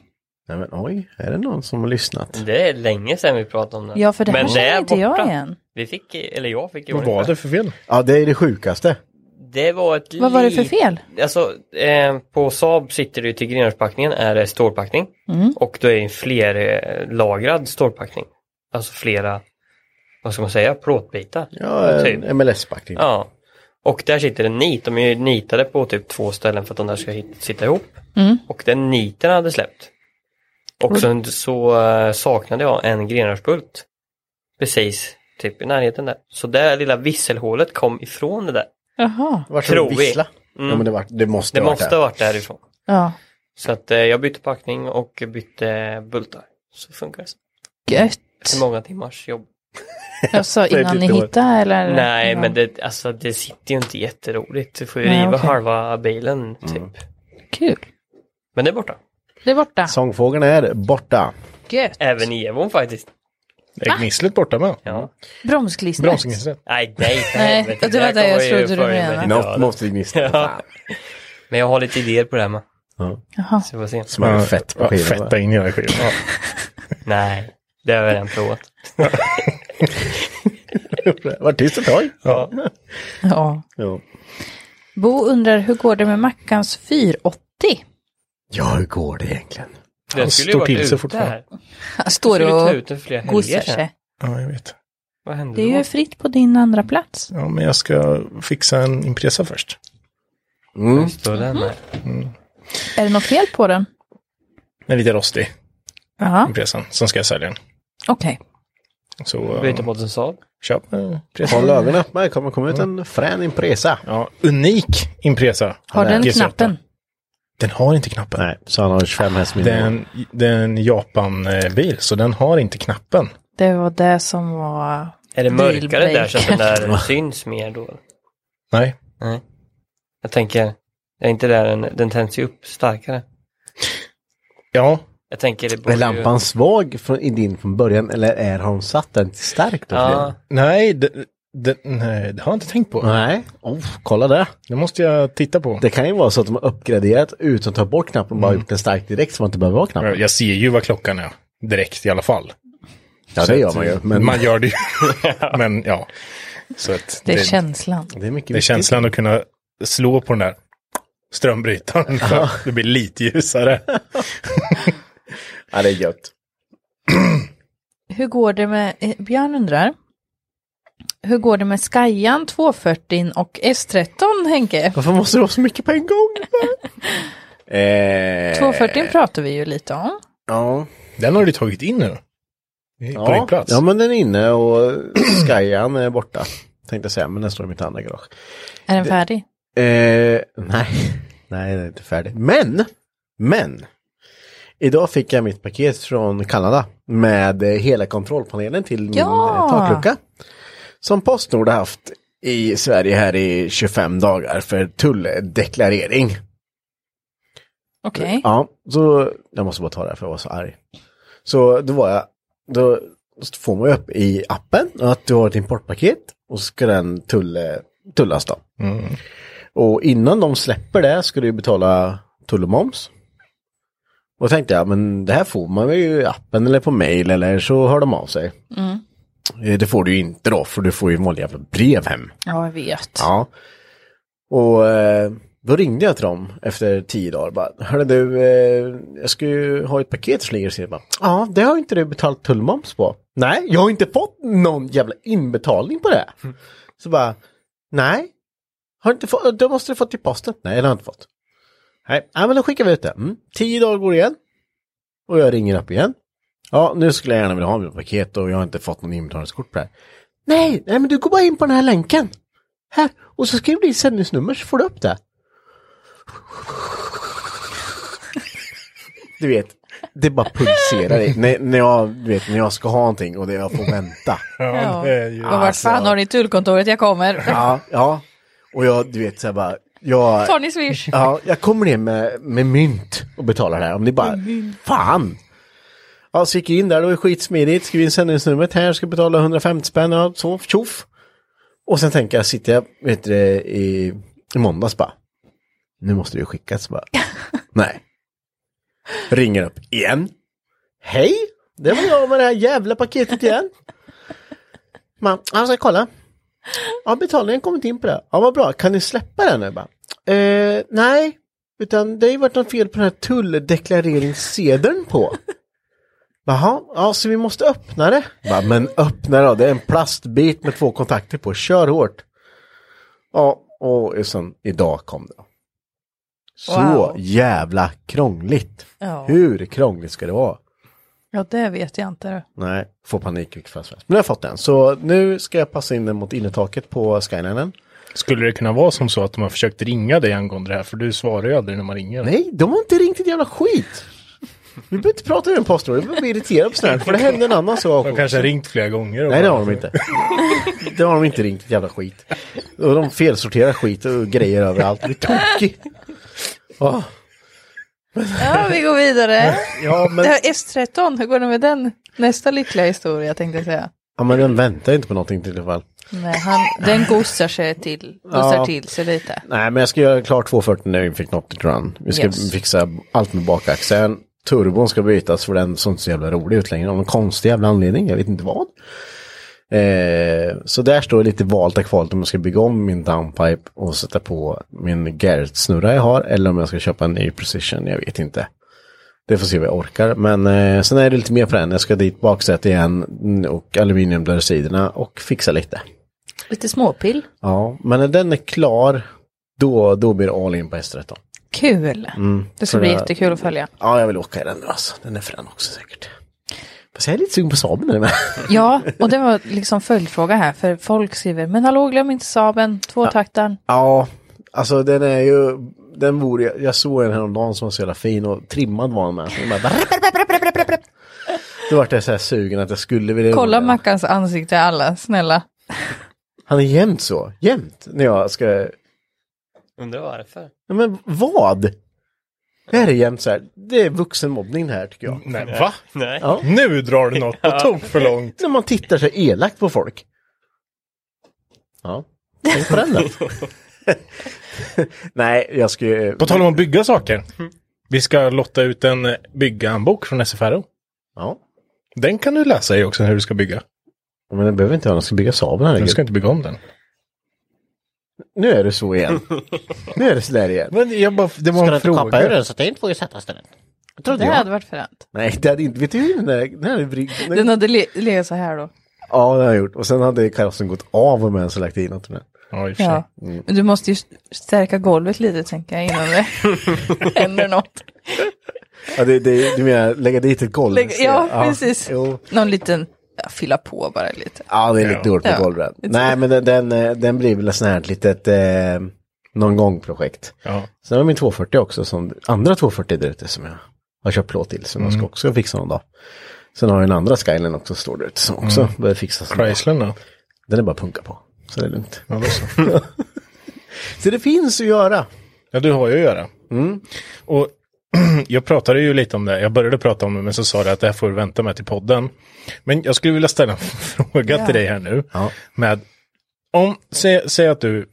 [SPEAKER 1] Nej men oj, är det någon som har lyssnat?
[SPEAKER 4] Det är länge sedan vi pratade om det.
[SPEAKER 3] Ja, för det här
[SPEAKER 4] Men
[SPEAKER 3] känner
[SPEAKER 4] är
[SPEAKER 3] inte jag
[SPEAKER 4] borta.
[SPEAKER 3] igen.
[SPEAKER 4] Vi fick, eller jag fick i
[SPEAKER 2] Vad
[SPEAKER 4] ordning
[SPEAKER 2] var
[SPEAKER 4] på
[SPEAKER 2] det för fel?
[SPEAKER 1] Ja, det är det sjukaste.
[SPEAKER 4] Det var ett
[SPEAKER 3] Vad var det för
[SPEAKER 4] lit-
[SPEAKER 3] fel?
[SPEAKER 4] Alltså eh, på Saab sitter det ju till grenarpackningen är det stålpackning och då är det en flerlagrad stålpackning. Alltså flera, vad ska man säga, plåtbitar.
[SPEAKER 1] Ja, en
[SPEAKER 4] Typ.
[SPEAKER 1] MLS-backning.
[SPEAKER 4] Ja. Och där sitter en nit, de är ju nitade på typ två ställen för att de där ska hit- sitta ihop. Och den niten hade släppt. Och sen så eh, saknade jag en grenrörsbult. Precis, typ i närheten där. Så det där lilla visselhålet kom ifrån det där.
[SPEAKER 3] Jaha.
[SPEAKER 1] Vart ska
[SPEAKER 4] Tror
[SPEAKER 1] de
[SPEAKER 4] vi.
[SPEAKER 1] vissla?
[SPEAKER 4] Mm.
[SPEAKER 1] Ja men det, var, det måste
[SPEAKER 4] Det
[SPEAKER 1] ha varit
[SPEAKER 4] måste ha varit därifrån.
[SPEAKER 3] Ja,
[SPEAKER 4] Så att eh, jag bytte packning och bytte bultar. Så funkar det.
[SPEAKER 3] gött.
[SPEAKER 4] Efter många timmars jobb.
[SPEAKER 3] Jag sa
[SPEAKER 2] Det är
[SPEAKER 3] innan ni
[SPEAKER 2] lite-
[SPEAKER 3] hittade eller?
[SPEAKER 4] Nej,
[SPEAKER 3] innan?
[SPEAKER 4] men det, alltså, det sitter ju inte jätteroligt. Du får ju
[SPEAKER 3] Nej,
[SPEAKER 4] riva
[SPEAKER 3] okej.
[SPEAKER 4] halva bilen typ.
[SPEAKER 3] Kul.
[SPEAKER 4] Men det är borta.
[SPEAKER 3] Det är borta.
[SPEAKER 1] Sångfågeln är borta.
[SPEAKER 3] Gött.
[SPEAKER 4] Även i Evon faktiskt.
[SPEAKER 2] Är gnisslet borta med?
[SPEAKER 4] Ja.
[SPEAKER 3] Bromsklistret.
[SPEAKER 2] Bromsgnisslet.
[SPEAKER 4] Nej, nej, för
[SPEAKER 3] Nej,
[SPEAKER 4] helvete.
[SPEAKER 3] det var
[SPEAKER 4] här
[SPEAKER 3] det jag
[SPEAKER 4] kommer ju
[SPEAKER 3] trodde du
[SPEAKER 4] förr eller
[SPEAKER 3] menade.
[SPEAKER 4] senare.
[SPEAKER 1] Något måste vi gnissla.
[SPEAKER 4] Ja. Men jag har lite idéer på det här med.
[SPEAKER 3] Jaha.
[SPEAKER 4] Så vi får se.
[SPEAKER 1] Smörjer fett på
[SPEAKER 2] Ja,
[SPEAKER 1] skivan.
[SPEAKER 2] Fetta in hela skivan. Ja.
[SPEAKER 4] Nej, det har jag redan provat.
[SPEAKER 1] Vart tyst ett tag.
[SPEAKER 4] Ja.
[SPEAKER 3] Ja.
[SPEAKER 1] Ja.
[SPEAKER 3] Bo undrar hur går det med Mackans 480?
[SPEAKER 1] ja, hur går det egentligen?
[SPEAKER 4] Den
[SPEAKER 2] Han
[SPEAKER 4] skulle ju
[SPEAKER 2] står
[SPEAKER 4] varit
[SPEAKER 2] till sig
[SPEAKER 4] ute
[SPEAKER 2] fortfarande.
[SPEAKER 4] här.
[SPEAKER 3] Han
[SPEAKER 4] Du skulle
[SPEAKER 3] står
[SPEAKER 4] ju ta
[SPEAKER 3] och
[SPEAKER 4] ut den för flera helger
[SPEAKER 3] gosar
[SPEAKER 4] sedan.
[SPEAKER 3] sig.
[SPEAKER 2] ja, jag vet.
[SPEAKER 4] Vad hände
[SPEAKER 3] eh. Det är ju
[SPEAKER 4] då?
[SPEAKER 3] fritt på din andra plats.
[SPEAKER 2] Ja, men jag ska fixa en Impresa först.
[SPEAKER 1] Mm.
[SPEAKER 4] Står den här?
[SPEAKER 3] Är det något fel på den?
[SPEAKER 2] Den är lite rostig,
[SPEAKER 3] Ja,
[SPEAKER 2] Impresan. Sen ska jag sälja den.
[SPEAKER 3] okej.
[SPEAKER 2] Så eh,
[SPEAKER 4] Byta mot en Saab?
[SPEAKER 2] köp eh, en Impresa.
[SPEAKER 1] Håll ögonen öppna, det kommer komma ut en frän Impresa.
[SPEAKER 2] Ja, unik Impresa.
[SPEAKER 3] Har den
[SPEAKER 2] G7.
[SPEAKER 3] knappen?
[SPEAKER 2] Den har inte knappen.
[SPEAKER 1] Nej, så han har 25
[SPEAKER 2] Det är
[SPEAKER 1] hästminne.
[SPEAKER 2] en, det är en Japan-bil, så den har inte knappen.
[SPEAKER 3] Det var det som var...
[SPEAKER 4] Är det mörkare där så att den
[SPEAKER 3] Bilbreaker.
[SPEAKER 4] där syns mer då?
[SPEAKER 2] Nej.
[SPEAKER 4] Jag tänker, är inte där den, den tänds ju upp starkare?
[SPEAKER 2] Ja,
[SPEAKER 4] Jag tänker det borde
[SPEAKER 1] Är lampan svag från, i din från början eller är hon satt den till starkt?
[SPEAKER 4] ju... Ja,
[SPEAKER 2] nej det, det, nej, det har jag inte tänkt på.
[SPEAKER 1] Nej, oh, kolla det.
[SPEAKER 2] Det måste jag titta på.
[SPEAKER 1] Det kan ju vara så att de har uppgraderat utan att ta bort knappen och bara gjort den stark direkt så man inte behöver ha knappen.
[SPEAKER 2] Jag ser ju vad klockan är direkt i alla fall.
[SPEAKER 1] Ja,
[SPEAKER 2] Så
[SPEAKER 1] det gör
[SPEAKER 2] att-
[SPEAKER 1] man ju. Men
[SPEAKER 2] Man gör det ju. men ja. Så att
[SPEAKER 3] Det
[SPEAKER 2] det,
[SPEAKER 3] är
[SPEAKER 2] det,
[SPEAKER 3] känslan.
[SPEAKER 1] det är mycket
[SPEAKER 2] är
[SPEAKER 1] viktigt.
[SPEAKER 2] känslan att kunna slå på den där strömbrytaren. för att det blir lite ljusare.
[SPEAKER 1] Ja, det är gött.
[SPEAKER 3] Hur går det med... eh, Björn undrar. Hur går det med Skyan 240 och S13 Henke?
[SPEAKER 1] Varför måste det vara så mycket på en gång? eh,
[SPEAKER 3] 240 pratar vi ju lite om.
[SPEAKER 1] Ja.
[SPEAKER 2] Den har du tagit in nu. På din
[SPEAKER 1] Ja.
[SPEAKER 2] plats.
[SPEAKER 1] ja, men den är inne och Skyan är borta. Tänkte jag säga, men den står i mitt andra garage.
[SPEAKER 3] Är den färdig?
[SPEAKER 1] Eh, nej, nej, det är inte färdigt. Men, men. Idag fick jag mitt paket från Kanada med eh, hela kontrollpanelen till min
[SPEAKER 3] Ja.
[SPEAKER 1] eh, taklucka. Som Postnord har haft i Sverige här i 25 dagar för tulldeklarering.
[SPEAKER 3] Okej.
[SPEAKER 1] Ja, så jag måste bara ta det här för jag var så arg. Så då var jag, då får man ju upp i appen att du har ett importpaket och så ska den tull, tullas då. Och innan de släpper det ska du ju betala tull och moms. Och då tänkte jag, men det här får man väl ju i appen eller på mail eller så hör de av sig. Eh, Det får du ju inte då, för du får ju vanliga brev hem.
[SPEAKER 3] Ja, jag vet.
[SPEAKER 1] Ja. Och eh, då ringde jag till dem efter tio dagar. Bara, Hörru du, eh, jag ska ju ha ett paket som ligger och ser. Bara, Ja, det har inte du betalt tullmoms på. Nej, jag har inte fått någon jävla inbetalning på det. Så bara, nej. Har du inte fått, då måste du fått till posten. Nej, det har jag inte fått. Nej, ja, men då skickar vi ut det. Mm. Tio dagar går igen. Och jag ringer upp igen. Ja, nu skulle jag gärna vilja ha mitt paket och jag har inte fått någon inbetalningskort på det här. Nej, nej men du går bara in på den här länken. Här, och så skriver du i sändningsnummer så får du upp det. Du vet, det bara pulserar i. när, när, jag, du vet, när jag ska ha någonting och det jag får vänta.
[SPEAKER 3] Ja.
[SPEAKER 2] det är ju-
[SPEAKER 3] Och vart fan har ni tullkontoret? Jag kommer.
[SPEAKER 1] Ja, ja. Och jag, du vet, så här bara. Jag,
[SPEAKER 3] Tar ni swish?
[SPEAKER 1] Ja, jag kommer ner med, med mynt och betalar det här. Om det bara, fan! Ja, så gick jag in där, det var skitsmidigt. Skrev in sändningsnumret här, ska betala 150 spänn, ja, så, tjoff. Och sen tänker jag, sitter jag, vet du, det, i, i måndags bara, nu måste det ju skickas bara. Nej. Ringer upp igen. Hej! Det var jag med det här jävla paketet igen. Man, jag ska kolla. Ja, betalningen kommit in på det. Ja, vad bra. Kan ni släppa den nu? Bara, eh, nej, utan det har ju varit något fel på den här tulldeklareringssedeln på. Jaha, ja, så vi måste öppna det. Bara, men öppna då, det är en plastbit med två kontakter på. Kör hårt. Ja, och sen idag kom det. Så
[SPEAKER 3] Wow.
[SPEAKER 1] jävla krångligt.
[SPEAKER 3] Ja.
[SPEAKER 1] Hur krångligt ska det vara?
[SPEAKER 3] ja, det vet jag inte.
[SPEAKER 1] Nej, får panik vilket fall som helst. Men jag har fått den. Så nu ska jag passa in den mot innertaket på skylinen.
[SPEAKER 2] Skulle det kunna vara som så att de har försökt ringa dig angående det här? För du svarar ju aldrig när man ringer.
[SPEAKER 1] Nej, de har inte ringt ett jävla skit. Vi behöver inte prata med en pastor, jag blir irriterad på sånt här, för det hände en annan sak.
[SPEAKER 2] De kanske har ringt flera gånger. och
[SPEAKER 1] Nej, det har
[SPEAKER 2] bara-
[SPEAKER 1] de inte. Det har de inte ringt, ett jävla skit. Och de felsorterar skit och grejer överallt. Det är tokigt. Ah. Ja,
[SPEAKER 3] Ja, vi går vidare.
[SPEAKER 1] ja,
[SPEAKER 3] Det
[SPEAKER 1] men,
[SPEAKER 3] här S13, hur går det med den? Nästa lyckliga historia tänkte jag säga.
[SPEAKER 1] ja, men den väntar inte på någonting till i alla fall.
[SPEAKER 3] Nej, han, den gosar sig till, gosar
[SPEAKER 1] Ja.
[SPEAKER 3] till sig lite.
[SPEAKER 1] Nej, men jag ska göra klart 240 när vi fick något run. Vi ska
[SPEAKER 3] Yes.
[SPEAKER 1] fixa allt med bakaxeln. Turbon ska bytas för den såg inte så jävla rolig ut längre. Av någon konstig jävla anledning, jag vet inte vad. Eh, så där står lite valt och kvalt om jag ska bygga om min downpipe och sätta på min Garrett-snurra jag har. Eller om jag ska köpa en ny precision, jag vet inte. Det får se vad jag orkar. Men eh, sen är det lite mer på den. Jag ska dit baksätet igen och aluminium där i sidorna och fixa lite.
[SPEAKER 3] Lite småpill.
[SPEAKER 1] Ja, men när den är klar, då, då blir det all in på S13.
[SPEAKER 3] Kul. det ska
[SPEAKER 1] för
[SPEAKER 3] bli
[SPEAKER 1] Mm, det-
[SPEAKER 3] jättekul att följa.
[SPEAKER 1] Ja, jag vill åka i den nu alltså. Den är frän också säkert. Fast jag är lite sugen på Saaben nu med.
[SPEAKER 3] Ja, och det var liksom följdfråga här, för folk skriver, men hallå glöm inte Saben, tvåtaktaren.
[SPEAKER 1] Ja, alltså den är ju, den vore, jag- jag såg en häromdagen som var så jävla fin och trimmad var den med. Så den bara- Då vart jag så här sugen att jag skulle vilja
[SPEAKER 3] Kolla
[SPEAKER 1] göra den.
[SPEAKER 3] Mackans ansikte alla, snälla.
[SPEAKER 1] Han är jämt så, jämt när jag ska
[SPEAKER 4] Undrar varför.
[SPEAKER 1] Ja, men vad? Det här är jämt så här. Det är vuxenmobbning det här tycker jag.
[SPEAKER 2] Nej, va?
[SPEAKER 4] Nej.
[SPEAKER 1] Ja.
[SPEAKER 2] Nu drar du något på tok för långt.
[SPEAKER 1] När man tittar så elakt på folk. Ja, tänk på den då. Nej, jag ska ju...
[SPEAKER 2] På tal om att bygga saker. Vi ska lotta ut en eh, bygghandbok från SFRO.
[SPEAKER 1] Ja,
[SPEAKER 2] Den kan du läsa i också hur du ska bygga.
[SPEAKER 1] men den behöver inte jag, den ska bygga Saaben här.
[SPEAKER 2] Du ska inte bygga om den.
[SPEAKER 1] Nu är det så igen. nu är det sådär igen.
[SPEAKER 2] Men jag bara, det var
[SPEAKER 1] Ska
[SPEAKER 2] en
[SPEAKER 1] den kapa ur
[SPEAKER 2] fråga.
[SPEAKER 1] den så att det inte får sättas där? Trodde
[SPEAKER 3] Det
[SPEAKER 1] jag.
[SPEAKER 3] hade varit fränt.
[SPEAKER 1] Nej, det hade inte... Vet du hur den där... Den här är vrid- den-
[SPEAKER 3] Den hade le- legat så här då.
[SPEAKER 1] Ja, det har jag gjort. Och sen hade karossen gått av och med så lagt i något med.
[SPEAKER 2] Ja, i och för sig.
[SPEAKER 3] Ja.
[SPEAKER 1] Mm.
[SPEAKER 3] Men du måste ju stärka golvet lite tänker jag innan det händer något.
[SPEAKER 1] Ja, det, det, du menar lägga dit ett golv?
[SPEAKER 3] Lägg- ja, precis.
[SPEAKER 1] Jo.
[SPEAKER 3] Någon liten, ja, fylla på bara lite.
[SPEAKER 1] Ja, det är lite
[SPEAKER 2] Ja.
[SPEAKER 1] dåligt med
[SPEAKER 3] Ja.
[SPEAKER 1] golvbränd. Nej, men den, den, eh, den blir väl ett sånt här litet eh, någon gång-projekt.
[SPEAKER 2] Ja.
[SPEAKER 1] Sen har jag min 240 också, som, andra 240 där ute som jag har köpt plåt till, som jag ska också fixa någon dag. Sen har jag den andra skyline också, står där ute, som också behöver fixas. någon dag.
[SPEAKER 2] Chrysler då?
[SPEAKER 1] Den är bara att punka på, så det är lugnt.
[SPEAKER 2] Ja, då så.
[SPEAKER 1] Så det finns att göra.
[SPEAKER 2] Ja, du har ju att göra.
[SPEAKER 1] Mm.
[SPEAKER 2] Och jag pratade ju lite om det. Jag började prata om det, men så sa du att det här får du vänta med till podden. Men jag skulle vilja ställa en fråga till dig här nu.
[SPEAKER 1] Ja.
[SPEAKER 2] Med, om, sä, säg att du eh,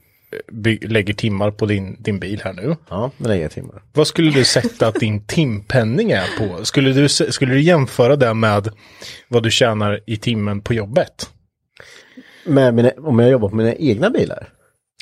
[SPEAKER 2] by, lägger timmar på din, din bil här nu.
[SPEAKER 1] Ja, den är inga timmar.
[SPEAKER 2] Vad skulle du sätta att din timpenning är på? Skulle du, s- skulle du jämföra det med vad du tjänar i timmen på jobbet?
[SPEAKER 1] Men mina, om jag jobbar på mina egna bilar,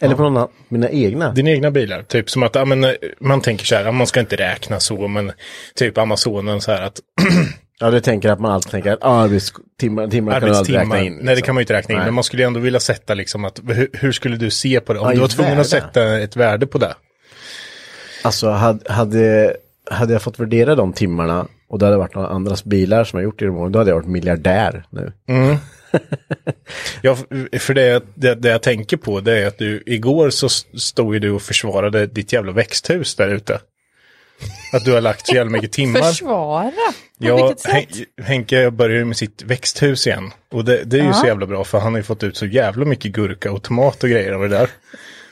[SPEAKER 1] eller på någon annan, mina egna.
[SPEAKER 2] Dina egna bilar, typ som att ja, men, eh, man tänker så här, ja, man ska inte räkna så, men typ Amazonen så här att
[SPEAKER 1] Ja, du tänker att man alltid tänker att arbetstimmar, timmar kan du aldrig
[SPEAKER 2] Arbetstimmar.
[SPEAKER 1] räkna in. liksom.
[SPEAKER 2] Nej, det kan man ju inte räkna in.
[SPEAKER 1] Nej.
[SPEAKER 2] Men man skulle ju ändå vilja sätta liksom att hur, hur skulle du se på det? Om
[SPEAKER 1] Ja,
[SPEAKER 2] du
[SPEAKER 1] i
[SPEAKER 2] var tvungen att
[SPEAKER 1] värde.
[SPEAKER 2] sätta ett värde på det.
[SPEAKER 1] Alltså hade, hade, hade jag fått värdera de timmarna och det hade varit några andras bilar som jag gjort i de åren, då hade jag varit miljardär nu.
[SPEAKER 2] Ja, för det, det, det jag tänker på det är att du igår så s- stod ju du och försvarade ditt jävla växthus där ute. Att du har lagt så jävla mycket timmar.
[SPEAKER 3] Försvara? På
[SPEAKER 2] Ja,
[SPEAKER 3] vilket sätt?
[SPEAKER 2] Hen- Henke börjar ju med sitt växthus igen. Och det, det är ju så jävla bra för han har ju fått ut så jävla mycket gurka och tomat och grejer av det där.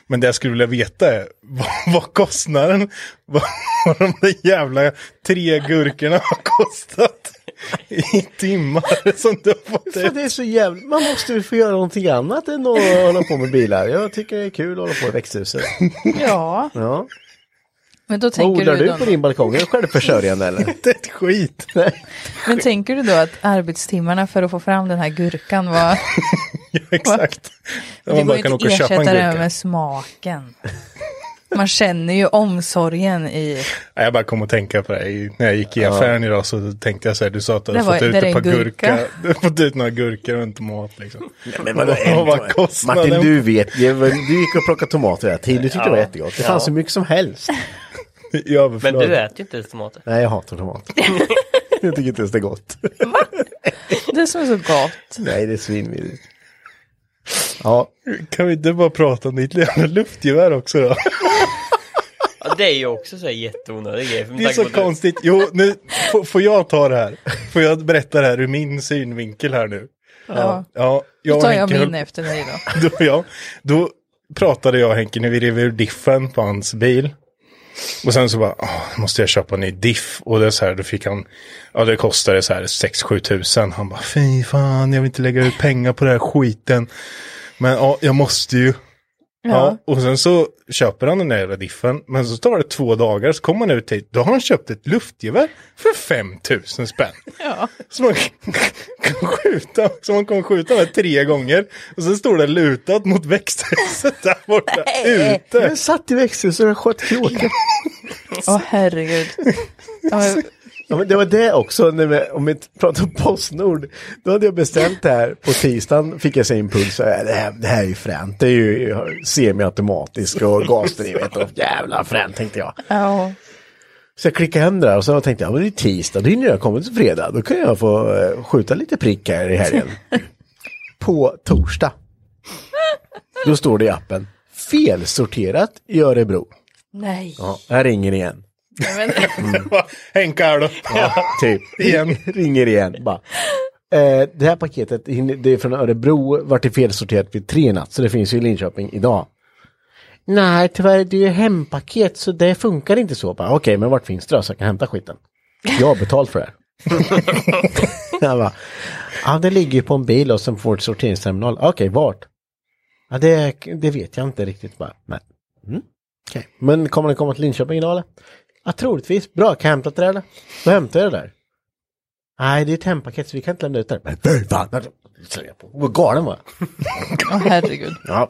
[SPEAKER 2] Men det jag skulle vilja veta är vad, vad kostnaden, vad, vad de där jävla tre gurkorna har kostat i timmar som du har fått
[SPEAKER 1] För
[SPEAKER 2] ut.
[SPEAKER 1] det är så jävla, man måste ju få göra någonting annat än att hålla på med bilar. Jag tycker det är kul att hålla på i växthuset.
[SPEAKER 3] Ja,
[SPEAKER 1] Ja.
[SPEAKER 3] men då tänker
[SPEAKER 1] Odlar
[SPEAKER 3] du,
[SPEAKER 1] du på
[SPEAKER 3] då,
[SPEAKER 1] din balkong? Är du självförsörjande eller?
[SPEAKER 2] Inte ett skit.
[SPEAKER 3] men tänker du då att arbetstimmarna för att få fram den här gurkan var...
[SPEAKER 2] Ja, exakt.
[SPEAKER 3] Det går ju inte att ersätta det här med smaken. Man känner ju omsorgen i...
[SPEAKER 2] Ja, Jag bara kom att tänka på det. I- När jag gick i affären idag så tänkte jag så här, du sa att du
[SPEAKER 3] Det
[SPEAKER 2] hade
[SPEAKER 3] var-
[SPEAKER 2] fått
[SPEAKER 3] där
[SPEAKER 2] ut
[SPEAKER 3] är en
[SPEAKER 2] ett par
[SPEAKER 3] gurka.
[SPEAKER 2] gurka. Du har fått ut några gurkor och en tomat liksom.
[SPEAKER 1] Men
[SPEAKER 2] vadå, en- kostnaden?
[SPEAKER 1] Martin, du vet, ju, du gick och plockade tomater hela tiden. Du tyckte det var
[SPEAKER 4] Ja.
[SPEAKER 1] jättegott. Det fanns
[SPEAKER 4] Ja.
[SPEAKER 1] hur mycket som helst.
[SPEAKER 2] I överflöd.
[SPEAKER 4] Men du äter ju inte ens tomater.
[SPEAKER 1] Nej, jag hatar tomater. Jag tycker inte ens det är gott.
[SPEAKER 3] Det som är så gott.
[SPEAKER 1] Nej, det är svinvidrigt. Ja,
[SPEAKER 2] Kan vi inte bara prata om ditt jävla luftgevär också då?
[SPEAKER 4] Ja, det är ju också så här jätteonödig grej. för med
[SPEAKER 2] Det är
[SPEAKER 4] tanke
[SPEAKER 2] så
[SPEAKER 4] på att du-
[SPEAKER 2] konstigt. Jo, nu får- får jag ta det här. Får jag berätta det här ur min synvinkel här nu?
[SPEAKER 3] Ja.
[SPEAKER 2] Ja,
[SPEAKER 3] Då
[SPEAKER 2] och
[SPEAKER 3] tar jag
[SPEAKER 2] Henke höll-
[SPEAKER 3] min efter dig då.
[SPEAKER 2] då, ja, då pratade jag och Henke när vi rev ur diffen på hans bil. Och sen så bara, "Åh, måste jag köpa en ny diff? Och det är så här, då fick han, ja det kostade så här 6-7 tusen. Han bara, fy fan, jag vill inte lägga ut pengar på den här skiten. Men ja, jag måste ju. Ja. och sen så köper han den där jävla diffen. Men så tar det två dagar, så kommer han ut hit. Då har han köpt ett luftgevär för 5 000 spänn. Som man kan skjuta, som man kommer skjuta med tre gånger. Och sen står det lutat mot växthuset där borta, ute.
[SPEAKER 1] Jag satt i växthuset och sköt kråkor.
[SPEAKER 3] Åh herregud. Ja, men,
[SPEAKER 1] Ja, men det var det också, när vi, om vi pratar om Postnord. Då hade jag bestämt det här på tisdagen, fick jag så impuls. så här, Det här, det här är ju fränt, det är ju semiautomatiskt och gasdrivet och jävla fränt tänkte jag.
[SPEAKER 3] ja.
[SPEAKER 1] Så jag klickade hem det där och så tänkte jag, ja, men det är tisdag, det är ju när jag kommer till fredag, då kan jag få eh, skjuta lite prick här i helgen. på torsdag. Då står det i appen, felsorterat i Örebro.
[SPEAKER 3] Nej.
[SPEAKER 1] Ja, jag ringer igen.
[SPEAKER 3] Men,
[SPEAKER 2] Henka här då.
[SPEAKER 1] Typ.
[SPEAKER 2] Igen.
[SPEAKER 1] Ringer igen. Bara. Eh, det här paketet, hinner- det är från Örebro, vart det felsorterat vid tre i natt, så det finns ju i Linköping idag. Nej, tyvärr, det är ju hempaket, så det funkar inte så. Bara, Okej, men vart finns det då, så jag kan hämta skiten? Jag har betalt för det här. Han bara, ja, det ligger ju på en bil och sen får ett sorteringsterminal. Okej, vart? Ja, det, det vet jag inte riktigt. Bara, nej. Mm. okej. Men kommer den komma till Linköping idag eller? Ja, troligtvis. Bra, kan jag hämta det där eller? Då hämtar jag det där. Nej, det är ett hempaket så vi kan inte lämna ut det. Men fy fan! slänger jag på. Vad galen var jag.
[SPEAKER 3] åh herregud.
[SPEAKER 1] Ja.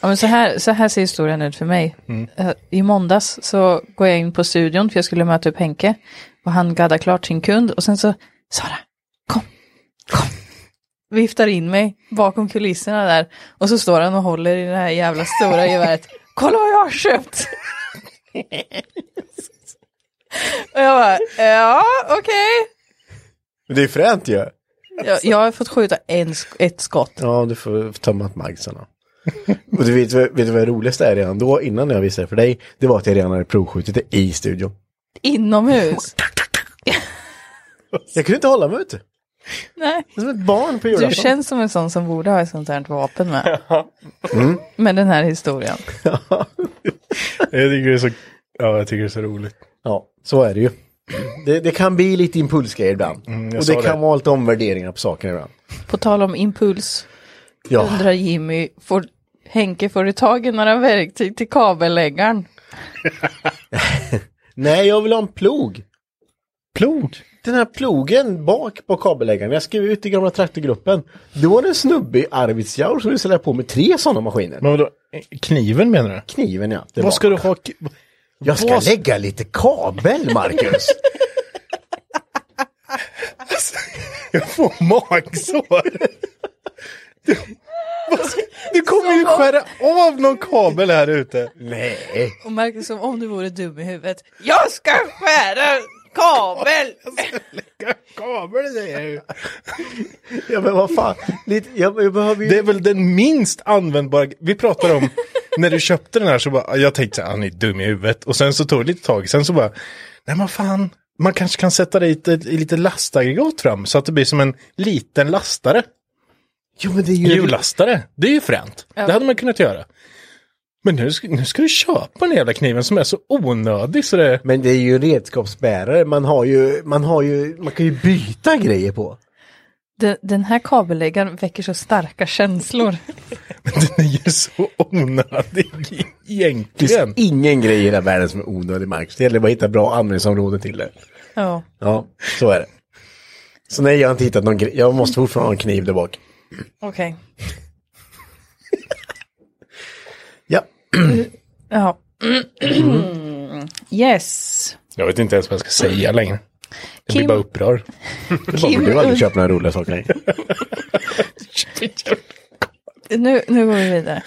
[SPEAKER 3] Ja, men så, här, så här ser historien ut för mig. Eh, I måndags så går jag in på studion för jag skulle möta upp Henke. Och han gaddar klart sin kund och sen så, Sara, kom, kom. Viftar in mig bakom kulisserna där. Och så står han och håller i det här jävla stora geväret. Kolla vad jag har köpt! och jag bara, ja okej.
[SPEAKER 1] Men det är fränt ju.
[SPEAKER 3] Jag, jag har fått skjuta en, sk- ett skott.
[SPEAKER 1] Ja, du får tömma ett magsen då. Och du vet, vet du vad det roligaste är redan då, innan jag visade det för dig? Det var att jag redan hade provskjutit det i studion.
[SPEAKER 3] Inomhus.
[SPEAKER 1] Jag kunde inte hålla mig vet du.
[SPEAKER 3] Nej.
[SPEAKER 1] Det är Som ett barn på
[SPEAKER 3] Du
[SPEAKER 1] julafton.
[SPEAKER 3] känns som en sån som borde ha ett sånt här vapen med.
[SPEAKER 2] Mm.
[SPEAKER 3] Med den här historien.
[SPEAKER 2] Jag tycker det är så, ja, jag tycker det är så roligt.
[SPEAKER 1] Ja, så är det ju. Det, det kan bli lite impulsgrejer ibland.
[SPEAKER 2] jag
[SPEAKER 1] och
[SPEAKER 2] sa
[SPEAKER 1] Mm, det kan
[SPEAKER 2] det.
[SPEAKER 1] vara lite omvärderingar på saker ibland.
[SPEAKER 3] På tal om impuls
[SPEAKER 1] Ja,
[SPEAKER 3] undrar Jimmy, får, Henke får du tag i några verktyg till kabelläggaren?
[SPEAKER 1] nej jag vill ha en plog.
[SPEAKER 2] Plog.
[SPEAKER 1] Den här plogen bak på kabelläggaren, jag skrev ut i gamla traktorgruppen. Det var en snubbe i Arvidsjaur som ville sälja på med tre sådana maskiner.
[SPEAKER 2] Men vadå, kniven menar du?
[SPEAKER 1] Kniven ja. Det var-
[SPEAKER 2] Vad ska du ha? k-
[SPEAKER 1] Jag ska
[SPEAKER 2] vad-
[SPEAKER 1] lägga lite kabel, Marcus.
[SPEAKER 2] Jag får magsår. Du, vad ska- du kommer ju skära av någon kabel här ute.
[SPEAKER 1] Nej.
[SPEAKER 3] Och Marcus, som om du vore dum i huvudet. Jag ska skära kabel!
[SPEAKER 2] Kabel säger jag ju.
[SPEAKER 1] Ja men vad fan. Lite, jag, jag behöver ju...
[SPEAKER 2] Det är väl den minst användbara. Vi pratar om när du köpte den här så bara, jag tänkte så här, han är dum i huvudet. Och sen så tog det lite tag, sen så bara, nej men fan, man kanske kan sätta dit ett, ett lite lastaggregat fram så att det blir som en liten lastare.
[SPEAKER 1] Jo men det är ju...
[SPEAKER 2] Hjullastare, det är ju fränt. Det hade man kunnat göra. Men nu ska, nu ska du köpa den jävla kniven som är så onödig så det...
[SPEAKER 1] Men det är ju en redskapsbärare. Man har ju, man har ju, man kan ju byta grejer på.
[SPEAKER 3] Den, den här kabelläggaren väcker så starka känslor.
[SPEAKER 2] Den är ju så onödig
[SPEAKER 1] Det finns
[SPEAKER 2] egentligen.
[SPEAKER 1] ingen grej i hela världen som är onödig, Marcus. Det gäller bara att hitta bra användningsområden till det.
[SPEAKER 3] Ja.
[SPEAKER 1] Ja, så är det. Så nej, jag har inte hittat någon grej. Jag måste fortfarande ha en kniv där bak.
[SPEAKER 3] Okej.
[SPEAKER 1] Ja.
[SPEAKER 3] Ja. yes.
[SPEAKER 2] Jag vet inte ens vad jag ska säga längre. Jag blir
[SPEAKER 3] Kim-
[SPEAKER 2] bara upprörd.
[SPEAKER 1] Kim... Du har aldrig köpt några roliga saker. nej.
[SPEAKER 3] Nu, nu går vi vidare.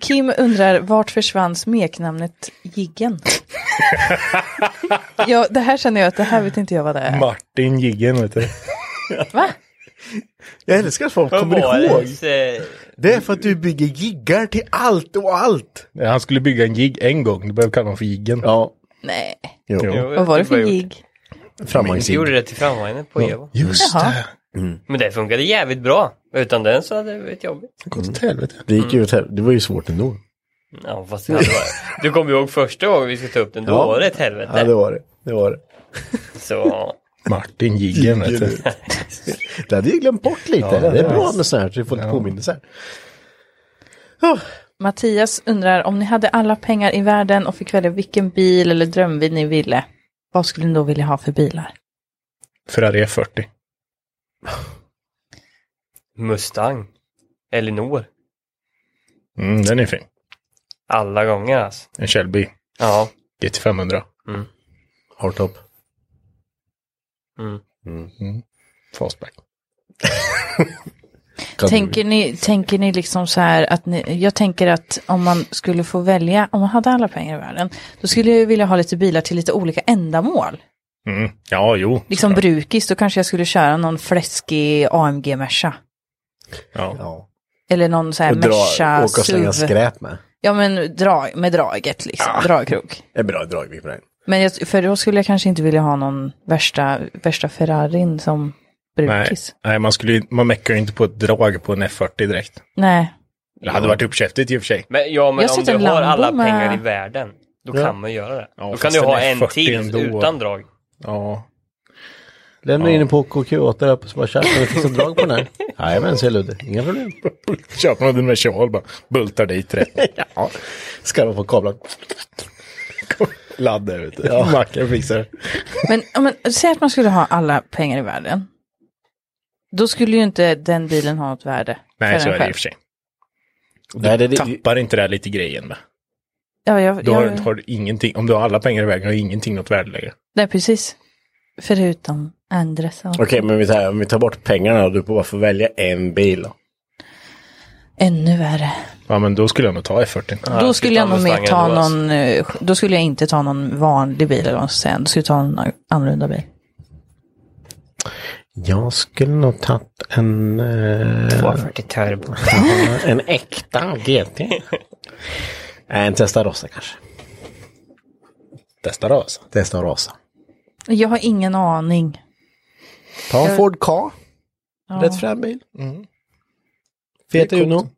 [SPEAKER 3] Kim undrar vart försvann smeknamnet Jiggen? ja, det här känner jag att det här vet inte jag vad det är.
[SPEAKER 2] Martin Jiggen, vet du.
[SPEAKER 3] Va?
[SPEAKER 1] Jag älskar att folk
[SPEAKER 4] Vad
[SPEAKER 1] kommer
[SPEAKER 4] var
[SPEAKER 1] ihåg.
[SPEAKER 4] ens, eh,
[SPEAKER 1] Det är för att du bygger jiggar till allt och allt.
[SPEAKER 2] Nej, Han skulle bygga en jigg en gång, då behövde kalla honom för jiggen.
[SPEAKER 1] Ja,
[SPEAKER 3] Nej,
[SPEAKER 1] jo.
[SPEAKER 2] Jo.
[SPEAKER 4] Jo,
[SPEAKER 3] vad var det
[SPEAKER 4] jag
[SPEAKER 3] för
[SPEAKER 4] gjort.
[SPEAKER 3] gig?
[SPEAKER 4] Vi
[SPEAKER 1] Framvagnsjigg.
[SPEAKER 4] gjorde det till framvagnen på Evo.
[SPEAKER 2] Just
[SPEAKER 3] Jaha.
[SPEAKER 2] det.
[SPEAKER 4] Men det funkade jävligt bra. Utan den så hade det varit jobbigt.
[SPEAKER 2] Det går åt helvete.
[SPEAKER 1] Det gick ju åt helvete. Det var ju svårt ändå.
[SPEAKER 4] Ja, fast det hade varit. Du kommer ihåg första gången vi skulle ta upp den. Då
[SPEAKER 1] Ja.
[SPEAKER 4] var det ett
[SPEAKER 1] Ja, det
[SPEAKER 4] helvete.
[SPEAKER 1] var det. Det var det.
[SPEAKER 4] Så
[SPEAKER 2] Martin Jiggen, vet du.
[SPEAKER 1] Det hade jag glömt bort lite.
[SPEAKER 2] Ja,
[SPEAKER 1] det är bra
[SPEAKER 2] nice.
[SPEAKER 1] med sånt här, så vi får lite
[SPEAKER 2] Ja.
[SPEAKER 1] påminnelser.
[SPEAKER 3] Mattias undrar om ni hade alla pengar i världen och fick välja vilken bil eller drömbil ni ville. Vad skulle ni då vilja ha för bilar?
[SPEAKER 2] Ferrari F40.
[SPEAKER 4] Mustang. Elinor.
[SPEAKER 2] Mm, den är fin.
[SPEAKER 4] Alla gånger alltså.
[SPEAKER 2] En Shelby
[SPEAKER 4] Ja.
[SPEAKER 2] GT500.
[SPEAKER 1] Hardtop.
[SPEAKER 4] Mm.
[SPEAKER 2] Fastback.
[SPEAKER 3] Tänker ni, tänker ni liksom så här att ni, jag tänker att om man skulle få välja, om man hade alla pengar i världen, då skulle jag ju vilja ha lite bilar till lite olika ändamål.
[SPEAKER 2] Mm. Ja, jo.
[SPEAKER 3] Liksom brukis, då kanske jag skulle köra någon fläskig AMG-Merca.
[SPEAKER 2] Ja.
[SPEAKER 1] Ja.
[SPEAKER 3] Eller någon så här
[SPEAKER 1] Och dra,
[SPEAKER 3] Äh, Merca
[SPEAKER 1] åka och slänga
[SPEAKER 3] SUV.
[SPEAKER 1] skräp med.
[SPEAKER 3] Ja men drag, med draget liksom, dragkrok.
[SPEAKER 1] Det är bra dragvikt på den.
[SPEAKER 3] Men jag, för då skulle jag kanske inte vilja ha någon värsta, värsta Ferrarin som
[SPEAKER 2] Nej,
[SPEAKER 3] brukis.
[SPEAKER 2] nej man, skulle, ju- man meckar ju inte på ett drag på en F40 direkt.
[SPEAKER 3] Nej.
[SPEAKER 2] Det hade varit uppkäftigt i och för sig.
[SPEAKER 4] Men ja, men
[SPEAKER 3] Jag har
[SPEAKER 4] om
[SPEAKER 3] sett
[SPEAKER 4] du har
[SPEAKER 3] en Lambo
[SPEAKER 4] alla
[SPEAKER 3] med-
[SPEAKER 4] pengar i världen. Då kan man göra det. då
[SPEAKER 2] fast
[SPEAKER 4] kan du
[SPEAKER 2] den
[SPEAKER 4] ha
[SPEAKER 2] är
[SPEAKER 4] en
[SPEAKER 2] 40
[SPEAKER 4] till
[SPEAKER 2] ändå.
[SPEAKER 4] utan drag.
[SPEAKER 2] Ja.
[SPEAKER 1] Lämna in den på KQ8 där uppe så bara tja, kan vi fixa drag på den här? Jajamän, säger Ludde. Inga problem.
[SPEAKER 2] Köper man den med kjol bara. Bultar dit rätt.
[SPEAKER 1] Ja, skarva på kablar.
[SPEAKER 2] Laddar vet du.
[SPEAKER 1] Ja.
[SPEAKER 2] Mackan fixar det.
[SPEAKER 3] Men, ja, men säg att man skulle ha alla pengar i världen. Då skulle ju inte den bilen ha något värde.
[SPEAKER 2] Nej,
[SPEAKER 3] för
[SPEAKER 2] så
[SPEAKER 3] en
[SPEAKER 2] är det i
[SPEAKER 3] själv.
[SPEAKER 2] och för sig.
[SPEAKER 1] Nej, det, det,
[SPEAKER 2] Tappar inte det här lite grejen va?
[SPEAKER 3] Ja, jag,
[SPEAKER 2] Då har,
[SPEAKER 3] jag,
[SPEAKER 2] har du ingenting, om du har alla pengar i vägen har du ingenting något värde längre.
[SPEAKER 3] Nej, precis. Förutom Andres. och-
[SPEAKER 1] Okej, men vi tar, om vi tar bort pengarna och du får bara få välja en bil. då.
[SPEAKER 3] Ännu värre.
[SPEAKER 2] Ja, men då skulle jag nog ta F40.
[SPEAKER 3] då skulle jag nog mer
[SPEAKER 4] Mustangen
[SPEAKER 3] ta
[SPEAKER 4] då, alltså.
[SPEAKER 3] någon, eh, då skulle jag inte ta någon vanlig bil eller vad man ska säga. Då skulle jag ta någon annorlunda bil.
[SPEAKER 1] Jag skulle nog tagit en, eh,
[SPEAKER 4] 240 turbo.
[SPEAKER 1] en äkta GT. Nej, en Testarossa kanske. Testarossa? Testarossa.
[SPEAKER 3] Jag har ingen aning.
[SPEAKER 1] Ta en Ford K.
[SPEAKER 3] Ja.
[SPEAKER 1] Rätt fram bil. Feta Uno.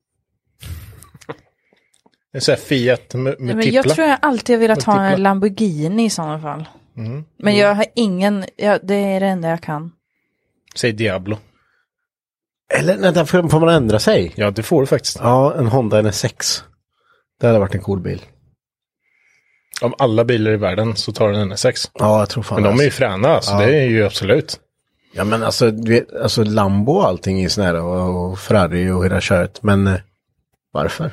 [SPEAKER 2] En sån här Fiat med,
[SPEAKER 3] Nej,
[SPEAKER 2] med
[SPEAKER 3] men
[SPEAKER 2] tippla.
[SPEAKER 3] jag tror jag alltid har velat ha
[SPEAKER 2] Multipla.
[SPEAKER 3] en Lamborghini i sådana fall. Men jag har ingen, ja, det är det enda jag kan.
[SPEAKER 2] Säg Diablo.
[SPEAKER 1] Eller vänta, får får man ändra sig?
[SPEAKER 2] Ja, det får du faktiskt.
[SPEAKER 1] Ja, en Honda NSX. Det hade varit en cool bil.
[SPEAKER 2] Om alla bilar i världen så tar den NSX.
[SPEAKER 1] Ja, jag tror fan
[SPEAKER 2] Men de
[SPEAKER 1] det.
[SPEAKER 2] är ju fräna alltså,
[SPEAKER 1] Ja.
[SPEAKER 2] det är ju absolut.
[SPEAKER 1] Ja men alltså, du vet, alltså Lambo och allting är sån här och, och Ferrari och hela köret. Men eh, varför?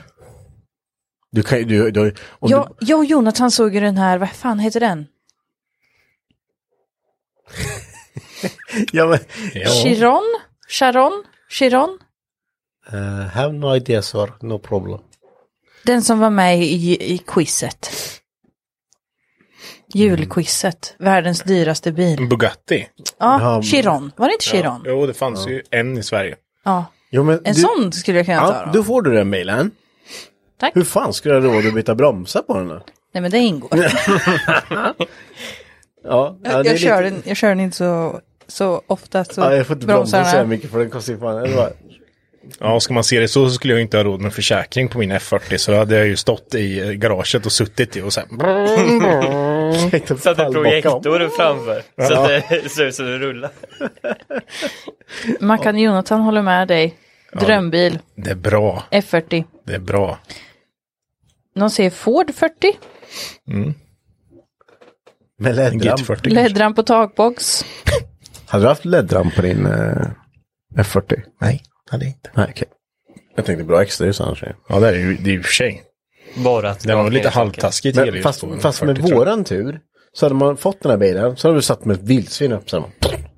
[SPEAKER 1] Du kan ju, du, du, om
[SPEAKER 3] Jag,
[SPEAKER 1] du,
[SPEAKER 3] jag och Jonathan såg ju den här, vad fan heter den?
[SPEAKER 1] ja, men,
[SPEAKER 2] Ja.
[SPEAKER 3] Chiron? Charon? Chiron?
[SPEAKER 1] eh, have no idea sir, no problem.
[SPEAKER 3] Den som var med i, i quizet. Julquizet. Världens dyraste bil.
[SPEAKER 2] En Bugatti.
[SPEAKER 3] Ja,
[SPEAKER 1] Ja,
[SPEAKER 3] Chiron. Var det inte Chiron?
[SPEAKER 2] Jo, det fanns ju en i Sverige.
[SPEAKER 3] Ja.
[SPEAKER 1] Jo, men
[SPEAKER 3] En
[SPEAKER 1] du,
[SPEAKER 3] sån skulle jag kunna ta
[SPEAKER 1] Ja,
[SPEAKER 3] då.
[SPEAKER 1] då får du den bilen.
[SPEAKER 3] Tack.
[SPEAKER 1] Hur fan skulle jag ha råd att byta bromsar på den då?
[SPEAKER 3] Nej men det ingår.
[SPEAKER 1] Ja, ja,
[SPEAKER 3] jag,
[SPEAKER 1] det är
[SPEAKER 3] jag, kör
[SPEAKER 1] lite-
[SPEAKER 3] den, jag kör den inte så, så ofta. Så
[SPEAKER 1] Ja, jag får inte bromsa
[SPEAKER 3] bromsarna-
[SPEAKER 1] så här mycket för den kostar ju fan. det var-
[SPEAKER 2] Ja, ska man se det så, så skulle jag inte ha råd med försäkring på min F40. Så då hade jag ju stått i eh, garaget och suttit i och så här.
[SPEAKER 1] tänkte
[SPEAKER 4] Satt en
[SPEAKER 1] fall baka om.
[SPEAKER 4] projektor framför. Så att det ser ut som det rullar.
[SPEAKER 3] Mackan Jonathan håller med dig. Drömbil,
[SPEAKER 2] Det är bra,
[SPEAKER 3] F40.
[SPEAKER 2] det är bra.
[SPEAKER 3] Någon säger Ford 40.
[SPEAKER 1] Med
[SPEAKER 2] En
[SPEAKER 1] ledramp.
[SPEAKER 2] GT40 kanske.
[SPEAKER 3] Ledran på takbox.
[SPEAKER 1] Hade du haft ledramp på din eh, F40? Nej, hade inte. Nej, okej. Jag tänkte bra extra ljus annars.
[SPEAKER 2] Ja, det är ju det är ju för sig.
[SPEAKER 4] Bara att
[SPEAKER 2] Det var lite
[SPEAKER 4] halvtaskigt.
[SPEAKER 2] halvtaskigt.
[SPEAKER 1] Men
[SPEAKER 2] elljus
[SPEAKER 1] fast,
[SPEAKER 2] på en
[SPEAKER 1] fast med
[SPEAKER 2] 40, tror jag.
[SPEAKER 1] våran tur så hade man fått den här bilen så hade du satt med ett vildsvin upp sen.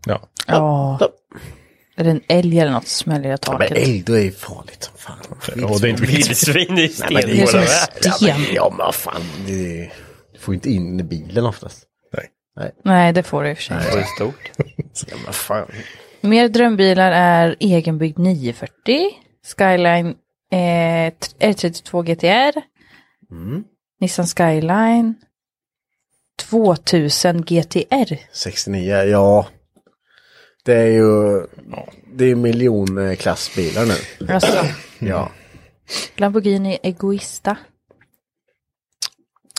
[SPEAKER 2] Ja.
[SPEAKER 3] Ja.
[SPEAKER 1] Ja.
[SPEAKER 3] Är det en älg eller något som smäller i
[SPEAKER 1] Ja, men
[SPEAKER 3] taket?
[SPEAKER 1] älg, då är det farligt som fan.
[SPEAKER 2] Och det är inte
[SPEAKER 4] Vildsvin i
[SPEAKER 1] Nej, men det är ju
[SPEAKER 4] stenhåla
[SPEAKER 1] som
[SPEAKER 4] värld.
[SPEAKER 1] sten. Ja, men vad fan. Det är... Du får ju inte in i bilen oftast.
[SPEAKER 2] Nej.
[SPEAKER 3] Nej, det får du i och för sig.
[SPEAKER 4] Det var ju stort.
[SPEAKER 1] Ja, men fan.
[SPEAKER 3] Mer drömbilar är egenbyggd 940, Skyline eh, t- R32 GTR,
[SPEAKER 1] Mm.
[SPEAKER 3] Nissan Skyline, 2000 GTR.
[SPEAKER 1] 69, ja. Det är ju det är miljonklassbilar nu.
[SPEAKER 3] Alltså,
[SPEAKER 1] Ja.
[SPEAKER 3] Lamborghini Egoista.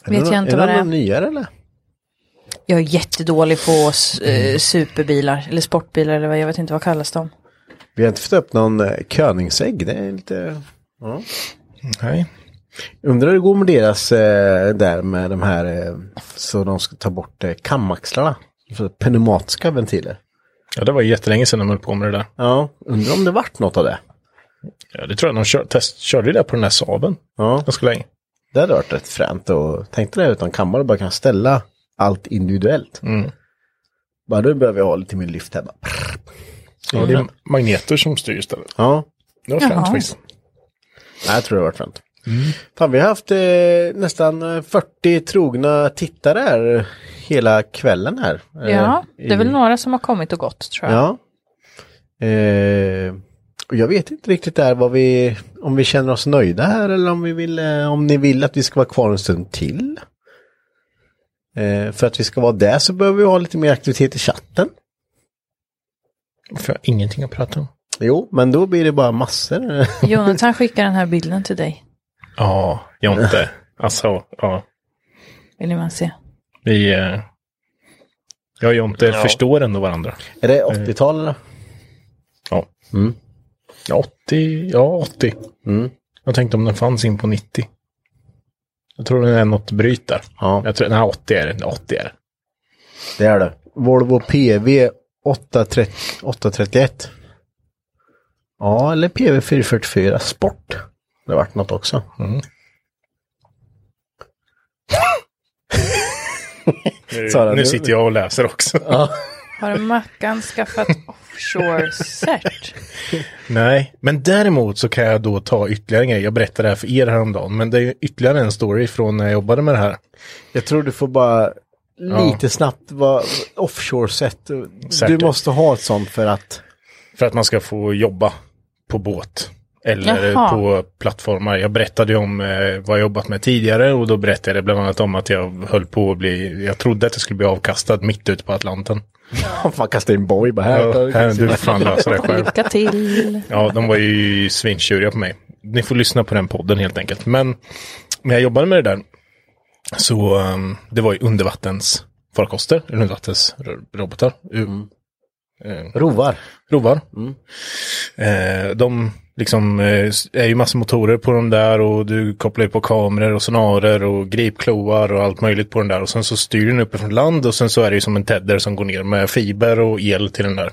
[SPEAKER 1] Är
[SPEAKER 3] Vet
[SPEAKER 1] det
[SPEAKER 3] jag
[SPEAKER 1] nå-
[SPEAKER 3] inte vad det
[SPEAKER 1] Är
[SPEAKER 3] är.
[SPEAKER 1] det någon nyare eller?
[SPEAKER 3] Jag är jättedålig på s- eh, superbilar eller sportbilar eller vad jag vet inte vad kallas de.
[SPEAKER 1] Vi har inte fått upp någon eh, Königsegg. Det är lite... Ja.
[SPEAKER 2] Nej.
[SPEAKER 1] Undrar hur det går med deras eh, där med de här eh, så de ska ta bort eh, kamaxlarna. För pneumatiska ventiler.
[SPEAKER 2] Ja, det var ju jättelänge sedan de höll på med det där.
[SPEAKER 1] Ja, undrar om det vart något av det.
[SPEAKER 2] Ja, det tror jag de kör, test, körde ju det på den här Saaben
[SPEAKER 1] Ja,
[SPEAKER 2] ganska länge.
[SPEAKER 1] det hade varit rätt fränt och tänkte det utan kammare bara kan ställa allt individuellt.
[SPEAKER 2] Mm.
[SPEAKER 1] Bara nu behöver jag ha lite min lyft här bara.
[SPEAKER 2] Ja, det
[SPEAKER 1] Mm.
[SPEAKER 2] är magneter som styr istället.
[SPEAKER 1] Ja,
[SPEAKER 2] Det var fränt
[SPEAKER 3] Jaha.
[SPEAKER 2] faktiskt.
[SPEAKER 1] Nej, jag tror det har varit fränt. Fan, vi har haft eh, nästan eh, 40 trogna tittare här eh, hela kvällen här. eh,
[SPEAKER 3] Ja, det är
[SPEAKER 1] i-
[SPEAKER 3] väl några som har kommit och gått tror jag.
[SPEAKER 1] Ja. Eh, och jag vet inte riktigt där vad vi, om vi känner oss nöjda här eller om vi vill, eh, om ni vill att vi ska vara kvar en stund till. Eh, för att vi ska vara där så behöver vi ha lite mer aktivitet i chatten.
[SPEAKER 2] För jag har ingenting att prata om.
[SPEAKER 1] Jo, men då blir det bara massor.
[SPEAKER 3] Jonathan skickar den här bilden till dig.
[SPEAKER 2] Ja, Jonte. Alltså, ja.
[SPEAKER 3] Vill man se?
[SPEAKER 2] Vi... eh, Jag och Jonte
[SPEAKER 4] Ja.
[SPEAKER 2] förstår ändå varandra.
[SPEAKER 1] Är det 80-tal eller?
[SPEAKER 2] Ja.
[SPEAKER 1] Mm.
[SPEAKER 2] Ja, 80. Ja, 80.
[SPEAKER 1] Mm.
[SPEAKER 2] Jag tänkte om den fanns in på 90. Jag tror den är något bryt där.
[SPEAKER 1] Ja.
[SPEAKER 2] Jag tror, nej, 80 är det. 80 är det.
[SPEAKER 1] Det är det. Volvo PV 830, 831. Ja, eller PV 444 Sport. Det vart något också.
[SPEAKER 2] Mm. Nu,
[SPEAKER 1] Sara,
[SPEAKER 2] nu
[SPEAKER 1] du-
[SPEAKER 2] sitter jag och läser också.
[SPEAKER 3] Har Mackan skaffat offshore-cert?
[SPEAKER 2] Nej, men däremot så kan jag då ta ytterligare en grej. Jag berättade det här för er häromdagen, men det är ju ytterligare en story från när jag jobbade med det här.
[SPEAKER 1] Jag tror du får bara lite snabbt vara offshore-set. Du
[SPEAKER 2] Säkert.
[SPEAKER 1] måste ha ett sånt för att...
[SPEAKER 2] För att man ska få jobba på båt. Eller
[SPEAKER 3] Jaha.
[SPEAKER 2] på plattformar. Jag berättade ju om eh, vad jag jobbat med tidigare och då berättade jag bland annat om att jag höll på att bli, jag trodde att jag skulle bli avkastad mitt ute på Atlanten.
[SPEAKER 1] Fan, kasta in boy bara
[SPEAKER 2] Ja,
[SPEAKER 1] här.
[SPEAKER 2] här, du får fan lösa det själv.
[SPEAKER 3] Lycka till!
[SPEAKER 2] Ja, de var ju svintjuriga på mig. Ni får lyssna på den podden helt enkelt. Men när jag jobbade med det där så um, det var ju undervattensfarkoster, eller undervattensrobotar, mm.
[SPEAKER 1] Rovar.
[SPEAKER 2] rovar. Eh, de liksom, eh, s- är ju massor motorer på de där och du kopplar ju på kameror och sonarer och gripkloar och allt möjligt på den där. Och sen så styr den uppifrån land och sen så är det ju som en tedder som går ner med fiber och el till den där.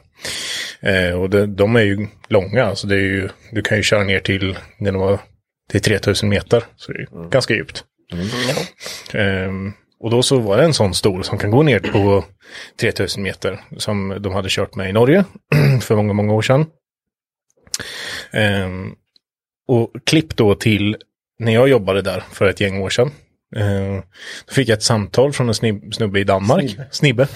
[SPEAKER 2] Eh, och det, de är ju långa, så det är ju, du kan ju köra ner till, när det var, till 3000 meter. Så det är ju ganska djupt. Ehm, och då så var det en sån stol som kan gå ner på 3000 meter som de hade kört med i Norge för många, många år sedan. Ehm, och klipp då till när jag jobbade där för ett gäng år sedan. Ehm, då fick jag ett samtal från en snib- snubbe i Danmark. Snibbe.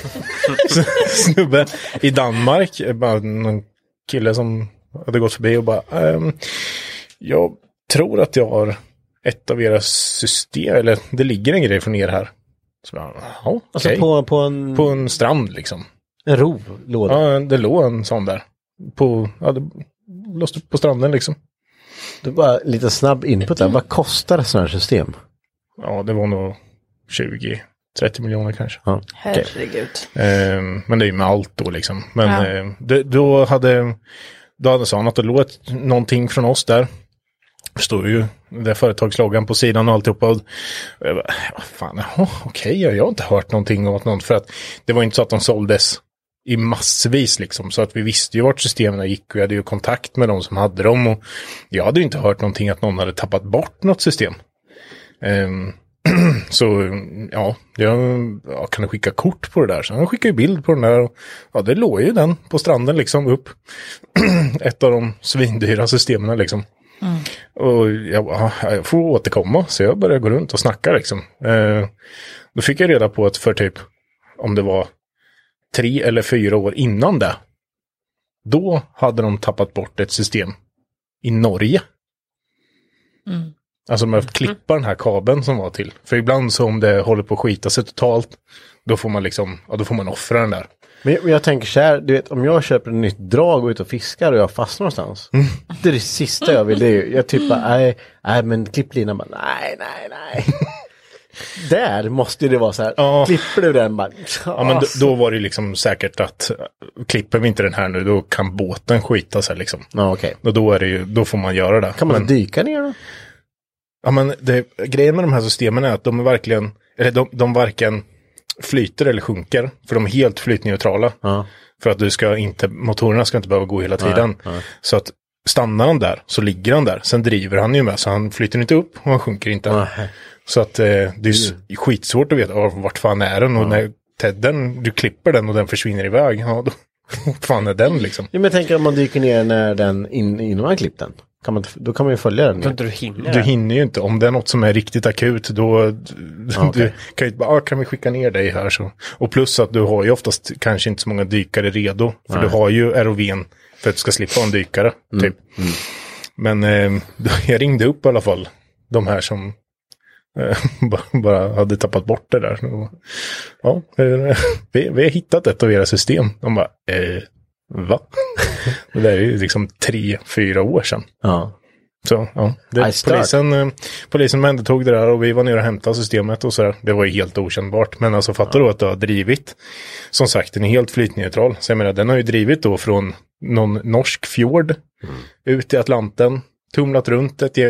[SPEAKER 2] snubbe i Danmark. eh, Bara någon kille som hade gått förbi och bara ehm, jag tror att jag har ett av era system, eller det ligger en grej från er här. Så bara, ja,
[SPEAKER 1] Alltså
[SPEAKER 2] okej.
[SPEAKER 1] på, på en,
[SPEAKER 2] på en strand liksom.
[SPEAKER 1] en rovlåda.
[SPEAKER 2] Ja, det låg en sån där. På, ja, det låg på stranden liksom.
[SPEAKER 1] Du bara lite snabb input där. Vad kostar ett sånt här system?
[SPEAKER 2] Ja, det var nog 20, 30 miljoner kanske.
[SPEAKER 1] Ja. okej.
[SPEAKER 3] Herregud.
[SPEAKER 2] Ehm, men det är ju med allt då liksom. Men
[SPEAKER 3] Ja.
[SPEAKER 2] eh, det, då hade, då hade han att det låg ett- någonting från oss där. Står ju det företagsloggan på sidan och alltihopa. Och jag bara, vad fan, jaha, okej, jag har inte hört någonting om att någon, för att det var inte så att de såldes i massvis liksom, så att vi visste ju vart systemen gick och vi hade ju kontakt med de som hade dem och jag hade ju inte hört någonting att någon hade tappat bort något system. Ehm, så ja, jag, ja, kan du skicka kort på det där? Så han skickade ju bild på den där. Och, ja, det låg ju den på stranden liksom upp. Ett av de svindyra systemen liksom. Och jag, bara, ja, jag får återkomma, så jag började gå runt och snacka liksom. Eh, då fick jag reda på att för typ, om det var tre eller fyra år innan det, då hade de tappat bort ett system i Norge. Alltså de har behövt klippa den här kabeln som var till. För ibland så om det håller på att skita sig totalt, då får man liksom, ja då får man offra den där.
[SPEAKER 1] Men jag, jag tänker så här, du vet om jag köper ett nytt drag och är ute och fiskar och jag fastnar någonstans.
[SPEAKER 2] Mm.
[SPEAKER 1] Det är det sista jag vill. Det är, ju- jag typ bara, nej, nej men klipplinan bara, nej, nej, nej. Där måste det vara så här,
[SPEAKER 2] Ja.
[SPEAKER 1] klipper du den bara,
[SPEAKER 2] Ja men då, då var det ju liksom säkert att äh, klipper vi inte den här nu då kan båten skita sig liksom.
[SPEAKER 1] Ja, okej.
[SPEAKER 2] Och då är det ju, då får man göra det.
[SPEAKER 1] Kan man
[SPEAKER 2] men,
[SPEAKER 1] inte dyka ner då?
[SPEAKER 2] Ja, men det, grejen med de här systemen är att de är verkligen, eller de, de varken flyter eller sjunker, för de är helt flytneutrala. För att du ska inte, motorerna ska inte behöva gå hela tiden. Så att stannar han där så ligger han där. Sen driver han ju med, så han flyter inte upp och han sjunker inte.
[SPEAKER 1] Nej.
[SPEAKER 2] Så att eh, det är s- skitsvårt att veta ja, vart fan är den och när tedden, du klipper den och den försvinner iväg, ja då vart fan är den liksom.
[SPEAKER 1] Ja, men jag tänker om man dyker ner när den, in, innan man klippt den. Kan man, inte- då kan man ju följa den.
[SPEAKER 4] Jag tror inte du hinner.
[SPEAKER 2] Du
[SPEAKER 4] det.
[SPEAKER 2] hinner ju inte, om det är något som är riktigt akut då du
[SPEAKER 1] okej.
[SPEAKER 2] kan ju inte bara, ah, kan vi skicka ner dig här så. Och plus att du har ju oftast kanske inte så många dykare redo. För du har ju ROVn för att du ska slippa ha en dykare.
[SPEAKER 4] Mm,
[SPEAKER 2] Typ. Men eh, jag ringde upp i alla fall de här som eh, bara- bara hade tappat bort det där. Och, ja, eh, vi, vi har hittat ett av era system. De bara, eh, va? Det där är ju liksom tre, fyra år sedan.
[SPEAKER 1] Ja.
[SPEAKER 2] Så, ja.
[SPEAKER 1] I
[SPEAKER 2] Det,
[SPEAKER 1] start.
[SPEAKER 2] polisen, eh, polisen omhändertog det där och vi var nere och hämtade systemet och sådär. Det var ju helt okännbart. Men alltså fattar du att du har drivit. Som sagt, den är helt flytneutral. Så jag menar, den har ju drivit då från någon norsk fjord ut i Atlanten. Tumlat runt ett eh,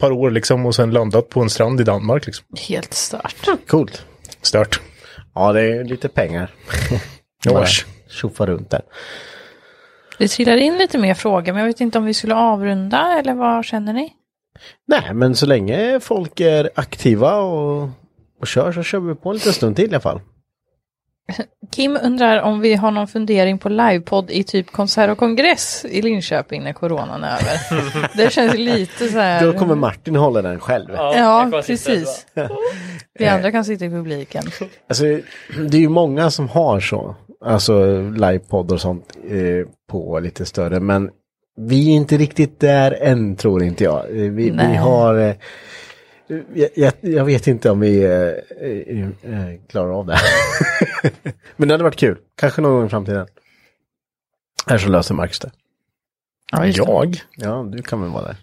[SPEAKER 2] par år liksom och sen landat på en strand i Danmark liksom.
[SPEAKER 3] Helt stört.
[SPEAKER 1] Coolt.
[SPEAKER 2] Stört.
[SPEAKER 1] Ja, det är lite pengar.
[SPEAKER 2] Ja,
[SPEAKER 1] Bara
[SPEAKER 2] äsch.
[SPEAKER 1] Tjoffa runt där.
[SPEAKER 3] Det trillar in lite mer frågor, men jag vet inte om vi skulle avrunda eller vad känner ni?
[SPEAKER 1] Nej, men så länge folk är aktiva och, och kör så kör vi på en liten stund till i alla fall.
[SPEAKER 3] Kim undrar om vi har någon fundering på livepodd i typ konsert och kongress i Linköping när coronan är över. Det känns lite så här.
[SPEAKER 1] Då kommer Martin hålla den själv.
[SPEAKER 3] Ja,
[SPEAKER 4] jag kan sitta
[SPEAKER 3] precis. Vi andra kan sitta i publiken.
[SPEAKER 1] Alltså, det är ju många som har så. Alltså livepodd och sånt eh, på lite större. Men vi är inte riktigt där än tror inte jag. Eh, Vi, vi
[SPEAKER 3] Nej.
[SPEAKER 1] har... Eh, jag, jag, jag vet inte om vi eh, eh, eh, klarar av det. Men det hade varit kul. Kanske någon gång i framtiden. Här så löser Marcus det.
[SPEAKER 3] Ja, just det.
[SPEAKER 2] Jag?
[SPEAKER 1] Ja, du kan väl vara där.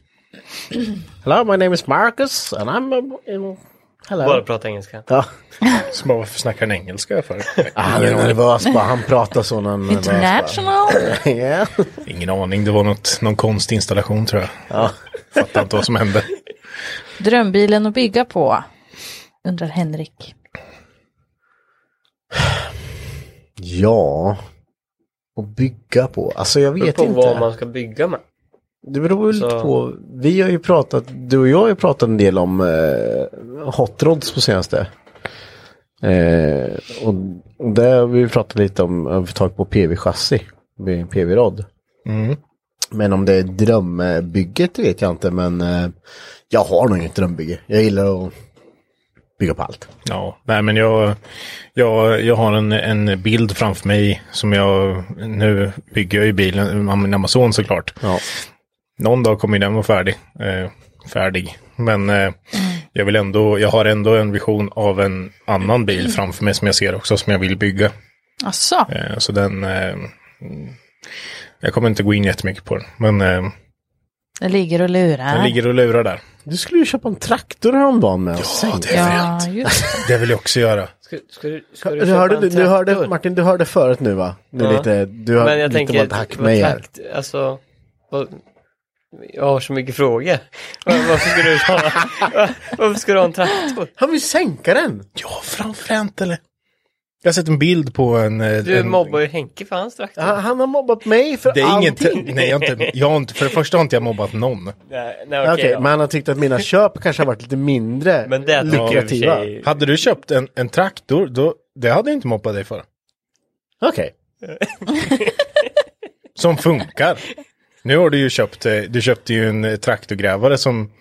[SPEAKER 1] Hello, my name is Marcus and I'm a...
[SPEAKER 4] Bara
[SPEAKER 1] Hello.
[SPEAKER 4] prata engelska.
[SPEAKER 1] Ja.
[SPEAKER 2] Så bara, varför snackar han engelska för?
[SPEAKER 1] Ah, Han är nervös bara, han pratar så när han är nervös, bara.
[SPEAKER 3] International.
[SPEAKER 1] Ja.
[SPEAKER 2] Ingen aning, det var något, någon konstinstallation tror jag. Fattar inte vad som hände.
[SPEAKER 3] Drömbilen att bygga på, undrar Henrik.
[SPEAKER 1] ja. Och bygga på. Alltså jag
[SPEAKER 4] Det
[SPEAKER 1] vet
[SPEAKER 4] på
[SPEAKER 1] inte.
[SPEAKER 4] vad man ska bygga med.
[SPEAKER 1] Det beror väl
[SPEAKER 4] Så-
[SPEAKER 1] på. Vi har ju pratat, du och jag har ju pratat en del om eh, hot rods på senaste. Eh, och, och där har vi ju pratat lite om att få tag på PV-chassi. PV-rodd. Men om det är drömbygget vet jag inte. Men eh, jag har nog inget drömbygge. Jag gillar att bygga på allt.
[SPEAKER 2] Ja, nej men jag, jag, jag har en, en bild framför mig som jag, nu bygger jag ju bilen, min Amazon såklart.
[SPEAKER 1] Ja.
[SPEAKER 2] Någon dag kommer ju den vara färdig. Eh, färdig. Men eh, jag vill ändå, jag har ändå en vision av en annan bil framför mig som jag ser också som jag vill bygga.
[SPEAKER 3] Asså,
[SPEAKER 2] Eh, så den, eh, mm, jag kommer inte gå in jättemycket på den. Men eh,
[SPEAKER 3] den ligger och lurar.
[SPEAKER 2] den ligger och lurar där.
[SPEAKER 1] Du skulle ju köpa en traktor häromdagen med oss. Ja,
[SPEAKER 3] Ja, just det.
[SPEAKER 2] Det vill jag också göra.
[SPEAKER 4] Ska, ska du, ska du,
[SPEAKER 1] Du
[SPEAKER 4] köpa
[SPEAKER 1] hörde,
[SPEAKER 4] en
[SPEAKER 1] du, du hörde,
[SPEAKER 4] traktor?
[SPEAKER 1] Martin, du hörde förut nu va? Nu
[SPEAKER 4] Ja.
[SPEAKER 1] lite, du har
[SPEAKER 4] Men jag
[SPEAKER 1] lite
[SPEAKER 4] tänker,
[SPEAKER 1] varit hack
[SPEAKER 4] vad
[SPEAKER 1] med här.
[SPEAKER 4] trakt, alltså, vad, jag har så mycket frågor. Var- Varför ska du ha, varför ska du ha en traktor?
[SPEAKER 1] Han vill sänka den!
[SPEAKER 2] Ja, framfränt eller? Jag har sett en bild på en... eh,
[SPEAKER 4] Du
[SPEAKER 2] en,
[SPEAKER 4] mobbar ju Henke för hans traktor.
[SPEAKER 1] Han, han har mobbat mig för
[SPEAKER 2] Det är inget,
[SPEAKER 1] allting.
[SPEAKER 2] nej, jag har inte, jag har inte, för det första har inte jag mobbat någon.
[SPEAKER 4] Nej,
[SPEAKER 1] Okej,
[SPEAKER 4] nej, okej då.
[SPEAKER 1] men han har tyckt att mina köp kanske har varit lite mindre
[SPEAKER 4] Men det tycker jag i och för
[SPEAKER 1] lukrativa. Okej,
[SPEAKER 4] sig-
[SPEAKER 2] Hade du köpt en, en traktor, då, det hade jag inte mobbat dig för. Som funkar. Nu har du ju köpt, eh, du köpte ju en eh, traktorgrävare som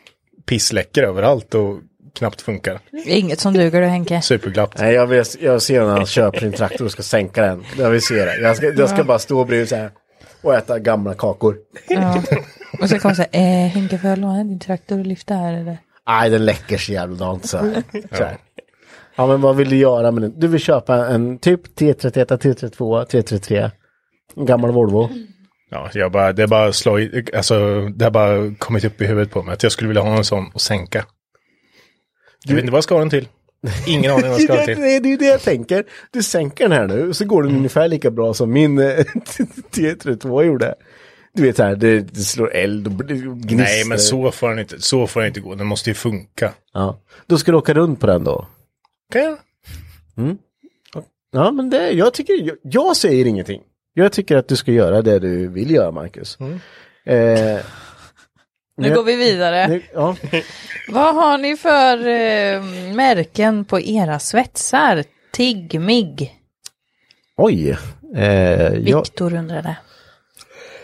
[SPEAKER 2] pissläcker överallt och knappt funkar.
[SPEAKER 3] Inget som duger du Henke.
[SPEAKER 2] Superglatt.
[SPEAKER 1] nej jag, vill, jag ser när han köper sin traktor och ska sänka den. Jag vill se det. Jag ska, jag ska bara stå bredvid så här och äta gamla kakor.
[SPEAKER 3] Ja. Och så kommer så här, eh, Henke får jag låna din traktor och lyfta här eller?
[SPEAKER 1] Nej, den läcker så jävla dant så här. Så här. Ja, men vad vill du göra med den? Du vill köpa en typ T31, T32, T33. En gammal Volvo.
[SPEAKER 2] Ja, jag bara, det bara slår, i- alltså det har bara kommit upp i huvudet på mig att jag skulle vilja ha en sån och sänka. Jag vet inte vad jag ska ha den till. Ingen aning vad jag Mm.
[SPEAKER 1] Det
[SPEAKER 2] ska ha
[SPEAKER 1] är,
[SPEAKER 2] den
[SPEAKER 1] det,
[SPEAKER 2] till.
[SPEAKER 1] det är ju det jag tänker. Du sänker den här nu, så går den ungefär lika bra som min eh, T32 gjorde. Du vet så här, det, det slår eld och det gnistar.
[SPEAKER 2] Nej, men så får den inte, så får den inte gå. Den måste ju funka.
[SPEAKER 1] Ja. Då ska du åka runt på den då?
[SPEAKER 2] Kan jag?
[SPEAKER 1] Ja, men det, jag, tycker, jag, jag säger ingenting. Jag tycker att du ska göra det du vill göra, Marcus.
[SPEAKER 2] Mm.
[SPEAKER 1] Eh,
[SPEAKER 3] Nu
[SPEAKER 1] Ja.
[SPEAKER 3] går vi vidare.
[SPEAKER 1] nu, ja.
[SPEAKER 3] Vad har ni för eh, märken på era svetsar? Tigg, migg?
[SPEAKER 1] Oj. Eh, jag,
[SPEAKER 3] Viktor undrade.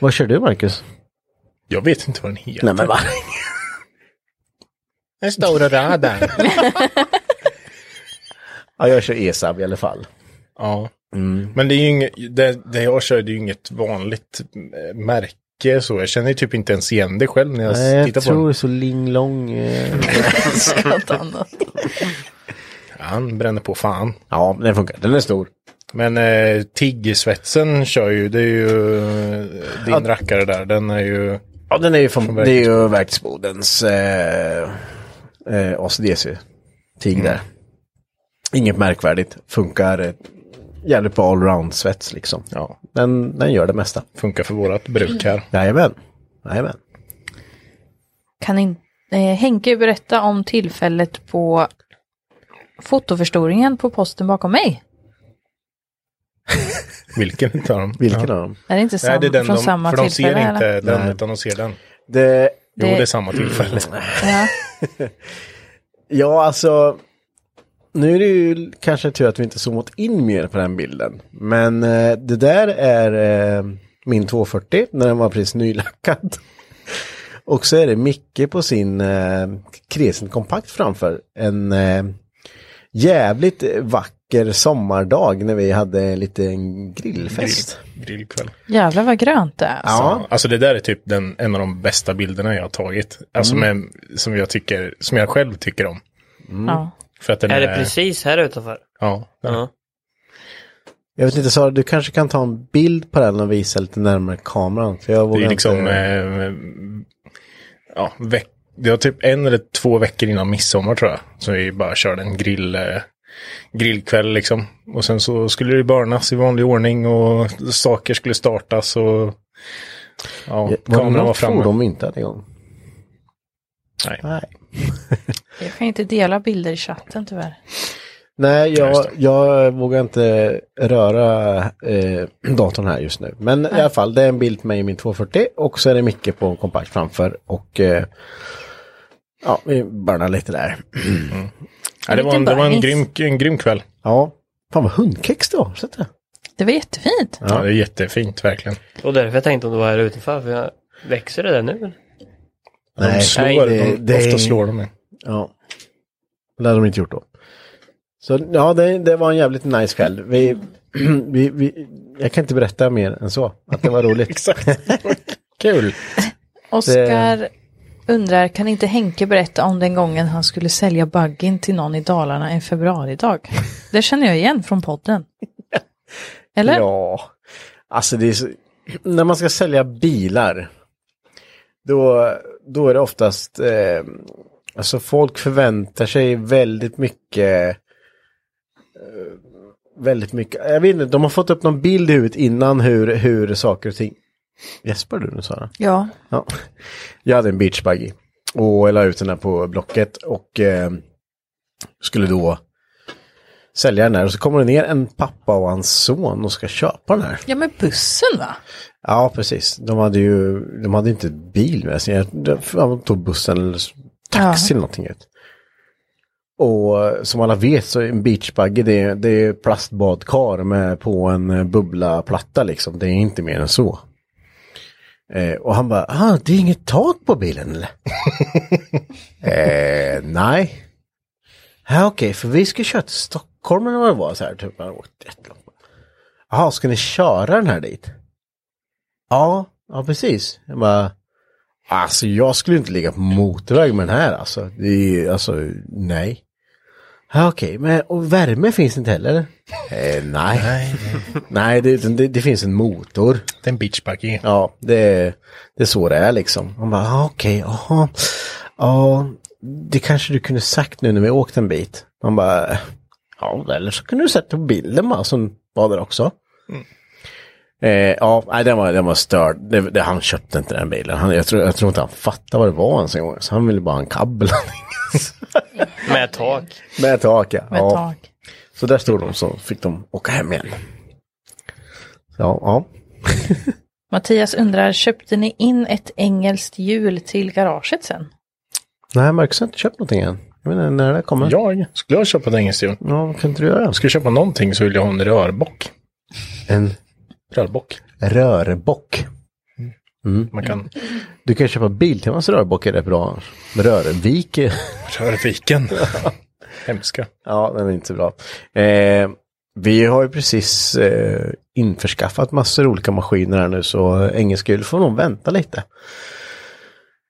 [SPEAKER 1] vad kör du, Marcus?
[SPEAKER 2] Jag vet inte vad den heter.
[SPEAKER 1] Nej, men va?
[SPEAKER 2] En stor radar.
[SPEAKER 1] Ja, jag kör E ESAB i alla fall.
[SPEAKER 2] ja.
[SPEAKER 1] Mm.
[SPEAKER 2] Men det är ju inget, det, det jag kör det är ju inget vanligt eh, märke så. Jag känner ju typ inte ens igen det själv när jag
[SPEAKER 1] Nej, jag
[SPEAKER 2] tittar på
[SPEAKER 1] tror
[SPEAKER 2] den.
[SPEAKER 1] så linglong. Eh.
[SPEAKER 3] Allt annat.
[SPEAKER 2] Ja, Han bränner på fan.
[SPEAKER 1] Ja, den funkar. Den är stor.
[SPEAKER 2] Men eh, Tigg-svetsen kör ju, det är ju eh, din
[SPEAKER 1] Att-
[SPEAKER 2] rackare där, den är ju...
[SPEAKER 1] Ja, den är ju från, det är
[SPEAKER 2] verktygsboden.
[SPEAKER 1] ju verktygsbodens eh, eh, ACDC. Tig där. Inget märkvärdigt. Funkar eh, jävligt bra allround-svets liksom.
[SPEAKER 2] Ja,
[SPEAKER 1] Den, den gör det mesta.
[SPEAKER 2] funkar för vårat bruk här.
[SPEAKER 1] Jajamän. Jajamän.
[SPEAKER 3] Kan in, eh, Henke berätta om tillfället på fotoförstoringen på posten bakom mig?
[SPEAKER 2] Vilken utav dem?
[SPEAKER 1] Vilken
[SPEAKER 2] ja.
[SPEAKER 1] av dem?
[SPEAKER 3] Är det inte sam,
[SPEAKER 2] Nej, det är den
[SPEAKER 3] från
[SPEAKER 2] de,
[SPEAKER 3] samma
[SPEAKER 2] för de ser
[SPEAKER 3] tillfälle?
[SPEAKER 2] inte
[SPEAKER 3] eller?
[SPEAKER 2] den,
[SPEAKER 1] Nej. Mm,
[SPEAKER 2] utan de ser den.
[SPEAKER 1] Det,
[SPEAKER 2] Jo, det är samma tillfälle.
[SPEAKER 3] ja.
[SPEAKER 1] ja, alltså. Nu är det ju kanske tur att vi inte zoomat in mer på den bilden. Men eh, det där är eh, min 240 när den var precis nylackad. Och så är det Micke på sin eh, Crescent kompakt framför. En eh, jävligt vacker sommardag när vi hade en liten grillfest.
[SPEAKER 2] Grillkväll.
[SPEAKER 3] Jävlar vad grönt det är. Alltså.
[SPEAKER 2] Ja. Alltså det där är typ den, en av de bästa bilderna jag har tagit. Alltså med, som jag tycker, som jag själv tycker om.
[SPEAKER 3] Ja.
[SPEAKER 2] För att den
[SPEAKER 4] Är det precis här utanför?
[SPEAKER 2] Ja, den,
[SPEAKER 4] Ja.
[SPEAKER 1] Jag vet inte Sara, du kanske kan ta en bild på den och visa lite närmare kameran. För jag
[SPEAKER 2] det
[SPEAKER 1] vågar
[SPEAKER 2] är liksom,
[SPEAKER 1] inte...
[SPEAKER 2] eh, ja, veck, det var typ en eller två veckor innan midsommar tror jag. Så vi bara körde en grill, eh, grillkväll liksom. Och sen så skulle det barnas i vanlig ordning och saker skulle startas och ja,
[SPEAKER 1] Var det
[SPEAKER 2] kameran var
[SPEAKER 1] något
[SPEAKER 2] framme.
[SPEAKER 1] fordon vi inte hade igång?
[SPEAKER 2] Nej.
[SPEAKER 1] Nej.
[SPEAKER 3] Jag kan inte dela bilder i chatten tyvärr.
[SPEAKER 1] Nej,
[SPEAKER 2] just
[SPEAKER 1] jag,
[SPEAKER 2] det.
[SPEAKER 1] jag vågar inte röra eh, datorn här just nu. Men i alla fall, det är en bild på mig i min 240 och så är det Micke på kompakt framför och eh, ja, vi burnar lite där.
[SPEAKER 2] Ja, det var, en, det var en,
[SPEAKER 3] Liten
[SPEAKER 2] grym, en grym kväll.
[SPEAKER 1] Ja, fan vad hundkex det var, sett det?
[SPEAKER 3] Det var jättefint.
[SPEAKER 2] Ja. det är jättefint verkligen.
[SPEAKER 4] Och därför jag tänkte om det var här utanför, för jag växer det där nu?
[SPEAKER 1] Nej,
[SPEAKER 2] de slår,
[SPEAKER 4] nej,
[SPEAKER 1] det-
[SPEAKER 2] de,
[SPEAKER 1] det är-
[SPEAKER 2] ofta slår de en.
[SPEAKER 1] Ja. Det hade de inte gjort då. Så ja, det, det var en jävligt nice kväll. Vi, vi, vi, jag kan inte berätta mer än så, att det var roligt.
[SPEAKER 2] Exakt.
[SPEAKER 1] Kul!
[SPEAKER 3] Oskar undrar, kan inte Henke berätta om den gången han skulle sälja buggen till någon i Dalarna en februaridag? Det känner jag igen från podden. Eller?
[SPEAKER 1] Ja, alltså det är så... när man ska sälja bilar, då, då är det oftast, eh, alltså folk förväntar sig väldigt mycket, eh, väldigt mycket, jag vet inte, de har fått upp någon bild i huvudet innan hur, hur saker och ting, gäspar du nu Sara?
[SPEAKER 3] Ja.
[SPEAKER 1] Ja. Jag hade en beachbuggy och jag la ut den här på Blocket och eh, skulle då sälja den här och så kommer det ner en pappa och hans son och ska köpa den här.
[SPEAKER 3] Ja men bussen va?
[SPEAKER 1] Ja, precis. De hade ju, de hade inte bil med sig. Jag- de- De tog bussen eller s- taxi eller någonting. Ut. Och eh, som alla vet så är en beachbuggy det är, det är plastbadkar med på en eh, bubblaplatta liksom. Det är inte mer än så. Eh, och han bara, ah, det är inget tak på bilen eller? eh, nej. Ja, okej, för vi ska köra till Stockholm eller vad det var så här. Typ, man åkte ett långt. Jaha, ska ni köra den här dit? Ja, ja precis. Jag bara, Alltså jag skulle inte ligga på motorväg med den här alltså. Det är, ju- alltså nej. Ja, Okej, men och värme finns inte heller? Eh, nej. Nej, det, det, det finns en motor.
[SPEAKER 2] Det är en beachparking.
[SPEAKER 1] Ja, det, det är så det är liksom. Man bara, ah, okej, jaha. Ja, det kanske du kunde sagt nu när vi åkt en bit. Man bara, ja, eller så kunde du sett på bilden bara som var där också. Eh, ja, nej, den var, den var störd. Det, det, han köpte inte den bilen. Han, jag, tror, jag tror inte han fattade vad det var ens en gång. Så han ville bara ha en kabbel.
[SPEAKER 4] Med tak.
[SPEAKER 1] Med tak, ja.
[SPEAKER 3] Med
[SPEAKER 1] ja.
[SPEAKER 3] tak.
[SPEAKER 1] Så där stod de så fick de åka hem igen. Ja, ja.
[SPEAKER 3] Mattias undrar, köpte ni in ett engelskt hjul till garaget sen?
[SPEAKER 1] Nej, Marcus har inte köpt någonting än. Jag vet inte när det där kommer.
[SPEAKER 2] Jag skulle köpa ett engelskt hjul.
[SPEAKER 1] Ja, vad kan inte du göra?
[SPEAKER 2] Skulle jag köpa någonting så vill jag ha en rörbock.
[SPEAKER 1] En
[SPEAKER 2] Rörbock.
[SPEAKER 1] rörbock. Mm.
[SPEAKER 2] Man kan...
[SPEAKER 1] Du kan köpa Biltemans rörbock är rätt bra. Rörvik. är-
[SPEAKER 2] Rörviken. Hemska.
[SPEAKER 1] ja, den är inte så bra. Eh, vi har ju precis eh, införskaffat massor olika maskiner här nu så engelska får nog vänta lite.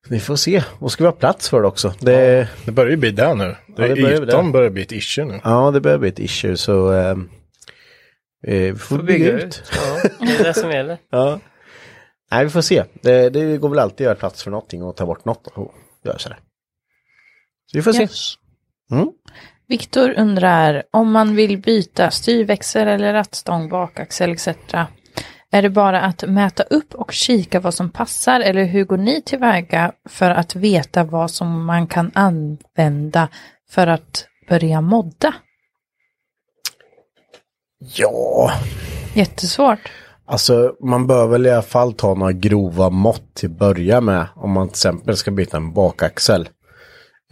[SPEAKER 1] Ni får se. Och ska vi ha plats för det också. Det,
[SPEAKER 2] Det börjar ju bli där nu.
[SPEAKER 1] Ja,
[SPEAKER 2] Det
[SPEAKER 1] det börjar
[SPEAKER 2] är
[SPEAKER 1] ju där.
[SPEAKER 2] ytan börjar bli ett issue nu.
[SPEAKER 1] ja, det börjar bli ett issue så eh, eh, vi får, bygga, ut.
[SPEAKER 4] Ja, det är det som gäller.
[SPEAKER 1] Ja. Nej, vi får se. Det, det går väl alltid att göra plats för någonting och ta bort något och lösa det. Så vi får se. Mm.
[SPEAKER 3] Viktor undrar, om man vill byta styrväxel eller rattstång, bakaxel etc. Är det bara att mäta upp och kika vad som passar eller hur går ni tillväga för att veta vad som man kan använda för att börja modda?
[SPEAKER 1] Ja,
[SPEAKER 3] Jättesvårt.
[SPEAKER 1] alltså man bör väl i alla fall ta några grova mått till att börja med. Om man till exempel ska byta en bakaxel.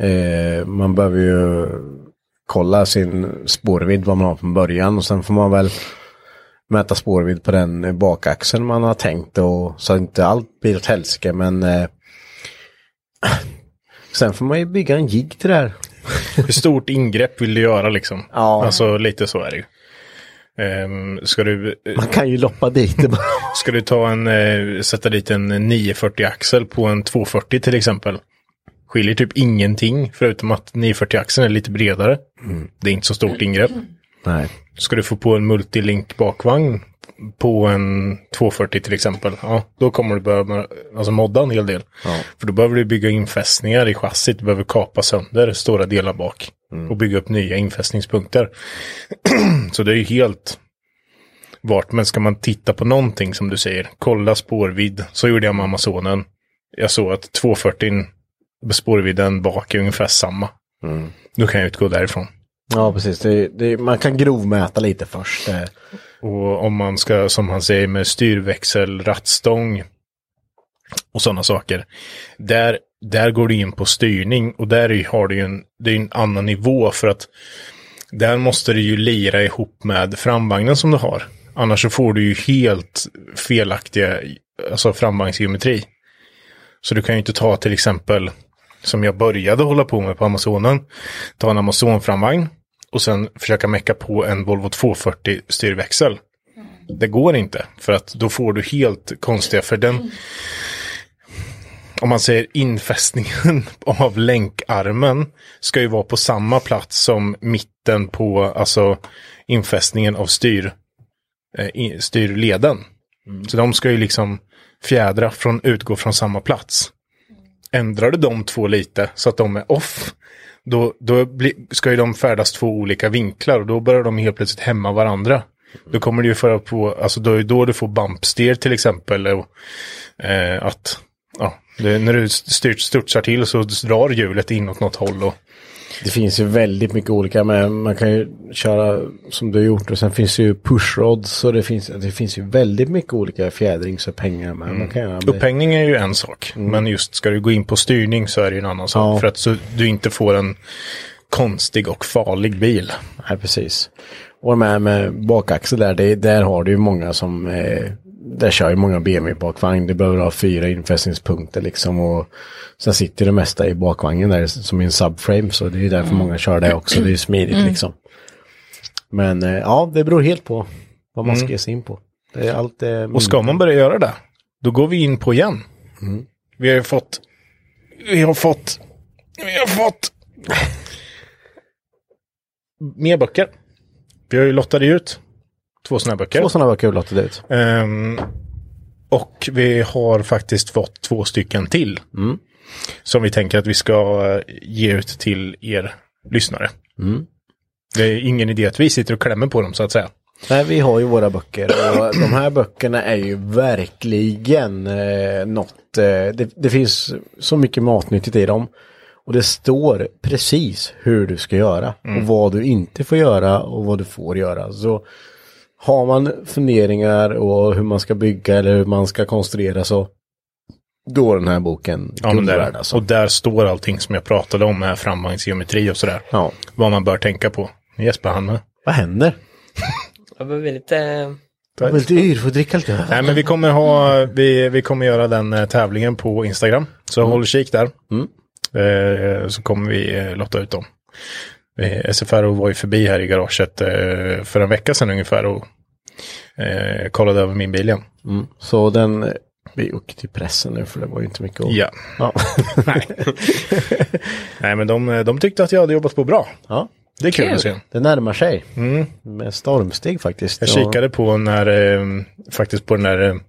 [SPEAKER 1] Eh, man behöver ju kolla sin spårvidd vad man har från början och sen får man väl mäta spårvidd på den bakaxeln man har tänkt och så att inte allt blir åt helsike men eh, sen får man ju bygga en jigg till det här.
[SPEAKER 2] Hur stort ingrepp vill du göra liksom?
[SPEAKER 1] Ja.
[SPEAKER 2] Alltså lite så är det ju. Ehm, ska, du, eh,
[SPEAKER 1] Man kan ju loppa dit det bara.
[SPEAKER 2] ska du ta en, eh, sätta dit en 940-axel på en 240 till exempel? Skiljer typ ingenting förutom att 940-axeln är lite bredare. Det är inte så stort ingrepp.
[SPEAKER 1] Nej.
[SPEAKER 2] Ska du få på en multilink bakvagn på en 240 till exempel, ja, då kommer du behöva alltså modda en hel del. För då behöver du bygga infästningar i chassit, du behöver kapa sönder stora delar bak och bygga upp nya infästningspunkter. Så det är ju helt vart, men ska man titta på någonting som du säger, kolla spårvidd, så gjorde jag med Amazonen. Jag såg att 240 spårvidden bak är ungefär samma. Då kan jag utgå därifrån.
[SPEAKER 1] Ja, precis. Det, det, man kan grovmäta lite först. eh.
[SPEAKER 2] Och om man ska, som han säger, med styrväxel, rattstång och sådana saker. Där, där går du in på styrning och där är- har du ju en, det är en annan nivå för att där måste du ju lira ihop med framvagnen som du har. Annars så får du ju helt felaktiga alltså framvagnsgeometri. Så du kan ju inte ta till exempel, som jag började hålla på med på Amazonen, ta en Amazon-framvagn och sen försöka mecka på en Volvo 240 styrväxel. Det går inte, för att då får du helt konstiga, för den, om man säger infästningen av länkarmen, ska ju vara på samma plats som mitten på, alltså infästningen av styr, eh, i- styrleden. Så de ska ju liksom fjädra från, utgå från samma plats. Ändrar du de två lite så att de är off, då, då bli, ska ju de färdas två olika vinklar och då börjar de helt plötsligt hämma varandra. Då kommer det ju föra på, alltså då är då du får bumpsteer till exempel. Och, eh, att, ja, det, när du styrt, studsar till så drar hjulet inåt något håll. Och,
[SPEAKER 1] Det finns ju väldigt mycket olika. Men man kan ju köra som du har gjort. Och sen finns det ju pushrods. Och det finns, det finns ju väldigt mycket olika fjädringsupphängningar. Men man kan göra med.
[SPEAKER 2] Upphängning är ju en sak, men just ska du gå in på styrning så är det ju en annan sak.
[SPEAKER 1] Ja.
[SPEAKER 2] För att så, du inte får en konstig och farlig bil.
[SPEAKER 1] Nej, precis. Och de här med bakaxel där. Det, där har du ju många som... Eh, där kör ju många BMW bakvagn. Det behöver ha fyra infästningspunkter liksom. Och sen sitter det mesta i bakvagnen där som i en subframe. Så det är ju därför många kör det också. Det är ju smidigt liksom. Men eh, ja, det beror helt på vad man ska ge sig in på. Det är allt, eh,
[SPEAKER 2] Och ska man börja göra det, då går vi in på igen. Vi har ju fått... Vi har fått... Vi har fått... Mer böcker. Vi har ju lottat ut två sådana böcker.
[SPEAKER 5] Två sådana böcker låter det ut.
[SPEAKER 2] Ehm, och vi har faktiskt fått två stycken till. Som vi tänker att vi ska eh, ge ut till er lyssnare. Det är ingen idé att vi sitter och klämmer på dem så att säga.
[SPEAKER 5] Nej, vi har ju våra böcker.
[SPEAKER 1] Och de här böckerna är ju verkligen eh, något. Eh, det, det finns så mycket matnyttigt i dem. Och det står precis hur du ska göra.
[SPEAKER 2] Mm.
[SPEAKER 1] Och vad du inte får göra och vad du får göra. Så har man funderingar och hur man ska bygga eller hur man ska konstruera så. Då är den här boken
[SPEAKER 2] Ja, men
[SPEAKER 1] guld
[SPEAKER 2] där,
[SPEAKER 1] värd alltså.
[SPEAKER 2] Och där står allting som jag pratade om med framvagnsgeometri och sådär.
[SPEAKER 1] Ja.
[SPEAKER 2] Vad man bör tänka på. Jesper han med.
[SPEAKER 1] Vad händer?
[SPEAKER 4] Jag behöver lite... eh,
[SPEAKER 1] Jag blir lite yr, får dricka lite öl.
[SPEAKER 2] Nej men vi kommer ha, vi, vi kommer göra den eh, tävlingen på Instagram. Så
[SPEAKER 1] Mm.
[SPEAKER 2] håll kik där. Eh, så kommer vi eh, lotta ut dem. Eh, SFRO var ju förbi här i garaget eh, för en vecka sedan ungefär och eh, kollade över min bil igen.
[SPEAKER 1] Så den, eh, vi åker till pressen nu för det var ju inte mycket att...
[SPEAKER 2] Ja.
[SPEAKER 1] Ja.
[SPEAKER 2] Nej. Nej men de, de tyckte att jag hade jobbat på bra.
[SPEAKER 1] ja.
[SPEAKER 2] Det är kul, att se.
[SPEAKER 1] Det närmar sig. Med stormsteg faktiskt.
[SPEAKER 2] Mm. Jag
[SPEAKER 1] Ja.
[SPEAKER 2] kikade på när, eh, faktiskt på den där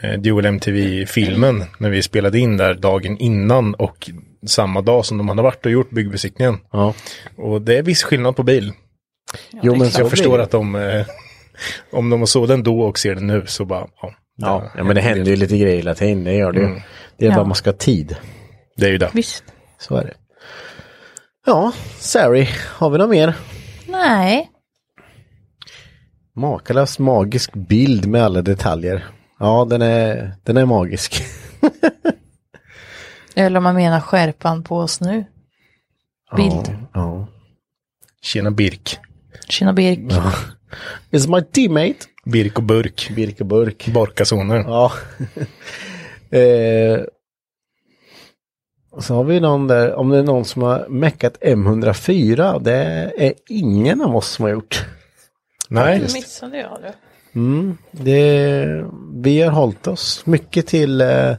[SPEAKER 2] eh, Dual MTV-filmen när vi spelade in där dagen innan och samma dag som de hade varit och gjort byggbesiktningen.
[SPEAKER 1] Ja.
[SPEAKER 2] Och det är viss skillnad på bil.
[SPEAKER 1] Jo, men så
[SPEAKER 2] Jag förstår
[SPEAKER 1] blir det.
[SPEAKER 2] att de, eh, om de såg den då och ser den nu så bara, ja.
[SPEAKER 1] Ja, ja, men det händer ju lite grejer hela tiden, det gör det ju.
[SPEAKER 2] Mm.
[SPEAKER 1] Det är bara man ska ha tid.
[SPEAKER 2] Det är ju det.
[SPEAKER 3] Visst.
[SPEAKER 1] Så är det. Ja, Sari, har vi något mer?
[SPEAKER 3] Nej.
[SPEAKER 1] Makalöst magisk bild med alla detaljer. Ja, den är, den är magisk.
[SPEAKER 3] Eller om man menar skärpan på oss nu. Bild.
[SPEAKER 1] Ja.
[SPEAKER 2] Tjena Birk.
[SPEAKER 3] Tjena Birk.
[SPEAKER 1] It's my teammate.
[SPEAKER 2] Birk och Burk.
[SPEAKER 1] Birke Burk.
[SPEAKER 2] Barkasoner.
[SPEAKER 1] Ja. eh, så har vi någon där, om det är någon som har meckat M104, det är ingen av oss som har gjort.
[SPEAKER 2] Nej,
[SPEAKER 3] missade jag det.
[SPEAKER 1] Det, vi har hållit oss mycket till eh,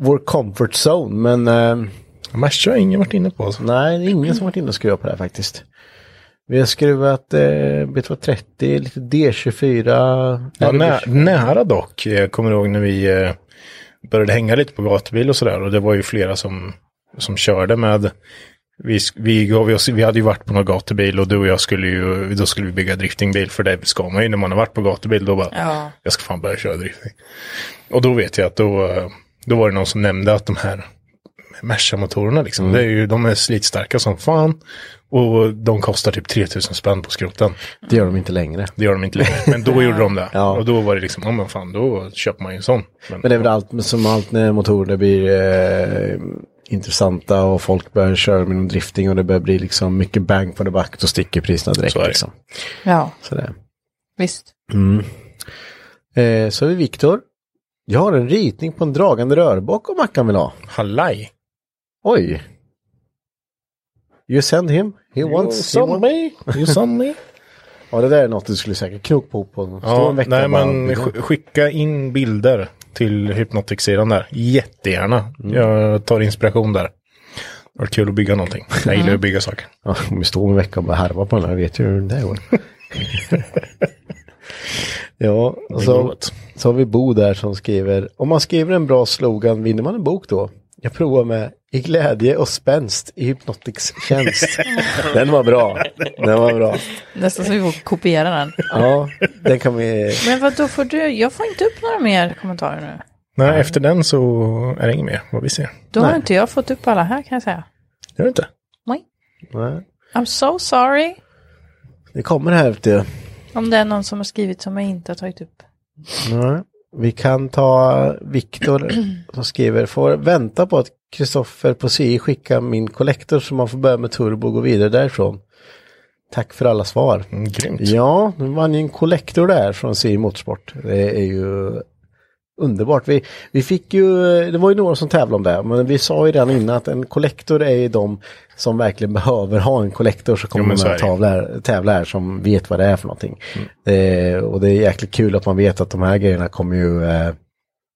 [SPEAKER 1] vår comfort zone, men eh,
[SPEAKER 2] Merca har ingen varit inne på. Alltså.
[SPEAKER 1] nej, det är ingen som varit inne och skruvat på det här faktiskt. Vi har skruvat eh, B230, lite D24.
[SPEAKER 2] Ja,
[SPEAKER 1] RB.
[SPEAKER 2] nä, nära dock. Jag kommer ihåg när vi eh, började hänga lite på gatubil och sådär. Och det var ju flera som, som körde med. Vi, sk- vi, gav ju oss, vi hade ju varit på någon gatubil och du och jag skulle ju, då skulle vi bygga driftingbil. För det ska man ju när man har varit på gatubil. Då bara,
[SPEAKER 3] Ja.
[SPEAKER 2] jag ska fan börja köra drifting. Och då vet jag att då, eh, då var det någon som nämnde att de här Merca-motorerna liksom, det är ju, de är slitstarka som fan. Och de kostar typ 3000 spänn på skroten.
[SPEAKER 1] Det gör de inte längre.
[SPEAKER 2] Det gör de inte längre. Men då gjorde de det.
[SPEAKER 1] Ja.
[SPEAKER 2] Och då var det liksom, ja men fan, då köper man ju en sån. Men,
[SPEAKER 1] Men det är väl allt, som allt när motorer blir eh, intressanta och folk börjar köra med någon drifting och det börjar bli liksom mycket bang for the buck, då sticker priserna direkt.
[SPEAKER 2] Så är
[SPEAKER 1] Så
[SPEAKER 2] det.
[SPEAKER 1] liksom.
[SPEAKER 3] Ja,
[SPEAKER 1] Sådär.
[SPEAKER 3] visst.
[SPEAKER 1] mm. Eh, så har vi Viktor. Jag har en ritning på en dragande rörbock om Mackan vill ha.
[SPEAKER 2] Hallaj!
[SPEAKER 1] Oj. You send him. He wants. He wants.
[SPEAKER 2] me! You some me!
[SPEAKER 1] Ja, det där är något du skulle säkert knoka på på. Stå
[SPEAKER 2] ja,
[SPEAKER 1] en vecka
[SPEAKER 2] nej
[SPEAKER 1] och bara-
[SPEAKER 2] men sk- skicka in bilder till Hypnotic-sidan där. Jättegärna.
[SPEAKER 1] Mm.
[SPEAKER 2] Jag tar inspiration där. Det var kul att bygga någonting. Jag gillar ju att bygga saker.
[SPEAKER 1] Ja, om vi står om en vecka och bara harvar på den här, vet ju hur det går. ja, och så, så har vi Bo där som skriver, om man skriver en bra slogan, vinner man en bok då? Jag provar med i glädje och spänst i Hypnotics tjänst. den var bra. Den var bra.
[SPEAKER 3] Nästan så vi får kopiera den.
[SPEAKER 1] Ja, den kan vi...
[SPEAKER 3] Men vad då får du? Jag får inte upp några mer kommentarer nu.
[SPEAKER 2] Nej, efter den så är det inget mer vad vi ser.
[SPEAKER 3] Då har inte jag fått upp alla här kan jag säga.
[SPEAKER 2] Gör det inte?
[SPEAKER 3] Nej.
[SPEAKER 1] Nej,
[SPEAKER 3] I'm so sorry
[SPEAKER 1] det kommer här ute.
[SPEAKER 3] om det är någon som har skrivit som jag inte har tagit upp.
[SPEAKER 1] Nej. Vi kan ta Viktor som skriver, får vänta på att Kristoffer på CI skickar min kollektor så man får börja med turbo och gå vidare därifrån. Tack för alla svar.
[SPEAKER 2] Mm, grymt.
[SPEAKER 1] Ja, nu vann ju en kollektor där från CI Motorsport. Det är ju underbart. Vi, vi fick ju, det var ju några som tävlade om det, här, men vi sa ju redan innan att en kollektor är ju de som verkligen behöver ha en kollektor så kommer
[SPEAKER 2] Jo, men
[SPEAKER 1] de
[SPEAKER 2] så är
[SPEAKER 1] här
[SPEAKER 2] det.
[SPEAKER 1] tävla här,
[SPEAKER 2] Mm.
[SPEAKER 1] tävla här som vet vad det är för någonting. Eh, och det är jäkligt kul att man vet att de här grejerna kommer ju eh,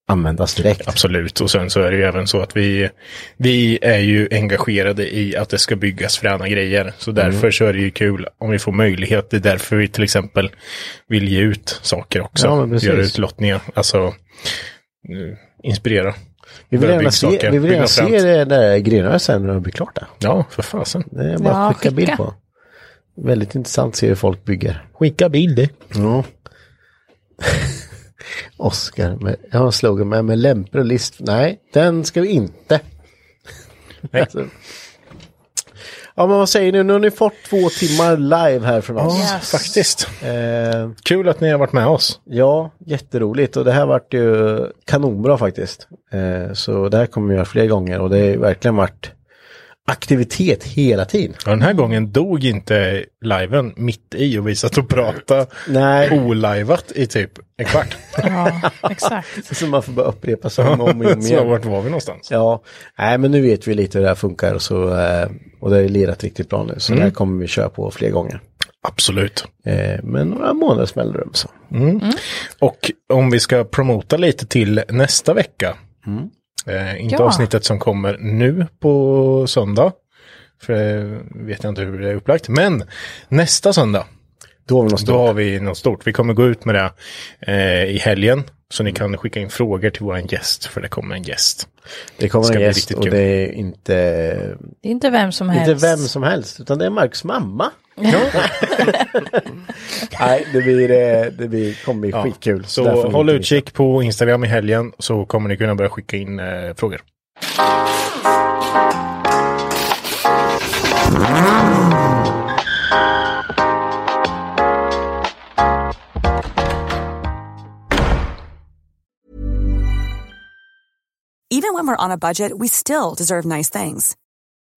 [SPEAKER 1] användas direkt.
[SPEAKER 2] Absolut, och sen så är det ju även så att vi, vi är ju engagerade i att det ska byggas fräna grejer. Så
[SPEAKER 1] Mm.
[SPEAKER 2] därför så är det ju kul om vi får möjlighet. Det är därför vi till exempel vill ge ut saker också.
[SPEAKER 1] Ja, men precis.
[SPEAKER 2] Göra utlottningar, alltså eh, inspirera.
[SPEAKER 1] Vi vill
[SPEAKER 2] Börja
[SPEAKER 1] gärna
[SPEAKER 2] bygga
[SPEAKER 1] se,
[SPEAKER 2] saker,
[SPEAKER 1] vi vill
[SPEAKER 2] bygga
[SPEAKER 1] gärna se
[SPEAKER 2] fränt.
[SPEAKER 1] det där grönare sen när det blir klart. Där.
[SPEAKER 2] Ja, för fasen.
[SPEAKER 1] Det är bara
[SPEAKER 3] Ja,
[SPEAKER 1] att skicka,
[SPEAKER 3] skicka.
[SPEAKER 1] bild på. Väldigt intressant att se hur folk bygger.
[SPEAKER 2] Skicka bilder.
[SPEAKER 1] Ja. Oscar, med, jag har en slogan med, med lämpor och list. Nej, den ska vi inte. Alltså. Ja men vad säger ni, nu har ni fått två timmar live här från oss.
[SPEAKER 2] Ja, faktiskt.
[SPEAKER 1] Eh,
[SPEAKER 2] Kul att ni har varit med oss.
[SPEAKER 1] ja, jätteroligt och det här vart ju kanonbra faktiskt. Eh, så det här kommer vi göra fler gånger och det har ju verkligen varit aktivitet hela tiden.
[SPEAKER 2] Ja, den här gången dog inte liven mitt i och vi satt och pratade
[SPEAKER 1] Nej.
[SPEAKER 2] olajvat i typ en kvart.
[SPEAKER 3] Ja, exakt.
[SPEAKER 1] Så man får bara upprepa sig om och om igen.
[SPEAKER 2] så vart var vi någonstans?
[SPEAKER 1] Ja, nej men nu vet vi lite hur det här funkar och, så, eh, och det har ju lirat riktigt bra nu. Så det här kommer vi köra på fler gånger.
[SPEAKER 2] Absolut.
[SPEAKER 1] Eh, Men några månader smäller det upp så.
[SPEAKER 2] Och om vi ska promota lite till nästa vecka.
[SPEAKER 1] Mm.
[SPEAKER 2] Eh, inte
[SPEAKER 3] Ja.
[SPEAKER 2] avsnittet som kommer nu på söndag. För det vet jag inte hur det är upplagt. Men nästa söndag,
[SPEAKER 1] Då har vi något stort.
[SPEAKER 2] då har vi något stort. Vi kommer gå ut med det eh, i helgen. Så ni kan skicka in frågor till vår gäst, för det kommer en gäst.
[SPEAKER 1] Det kommer
[SPEAKER 2] ska
[SPEAKER 1] en
[SPEAKER 2] bli
[SPEAKER 1] gäst
[SPEAKER 2] riktigt
[SPEAKER 1] och
[SPEAKER 2] kul.
[SPEAKER 1] det är inte,
[SPEAKER 3] Det är inte vem som helst.
[SPEAKER 1] inte vem som helst utan det är Marks mamma. nej, det, blir, eh, det blir, kommer bli skitkul.
[SPEAKER 2] Så
[SPEAKER 1] det här får ni
[SPEAKER 2] håll
[SPEAKER 1] inte missa.
[SPEAKER 2] utkik på Instagram i helgen så kommer ni kunna börja skicka in eh, frågor.
[SPEAKER 6] Even when we're on a budget, we still deserve nice things.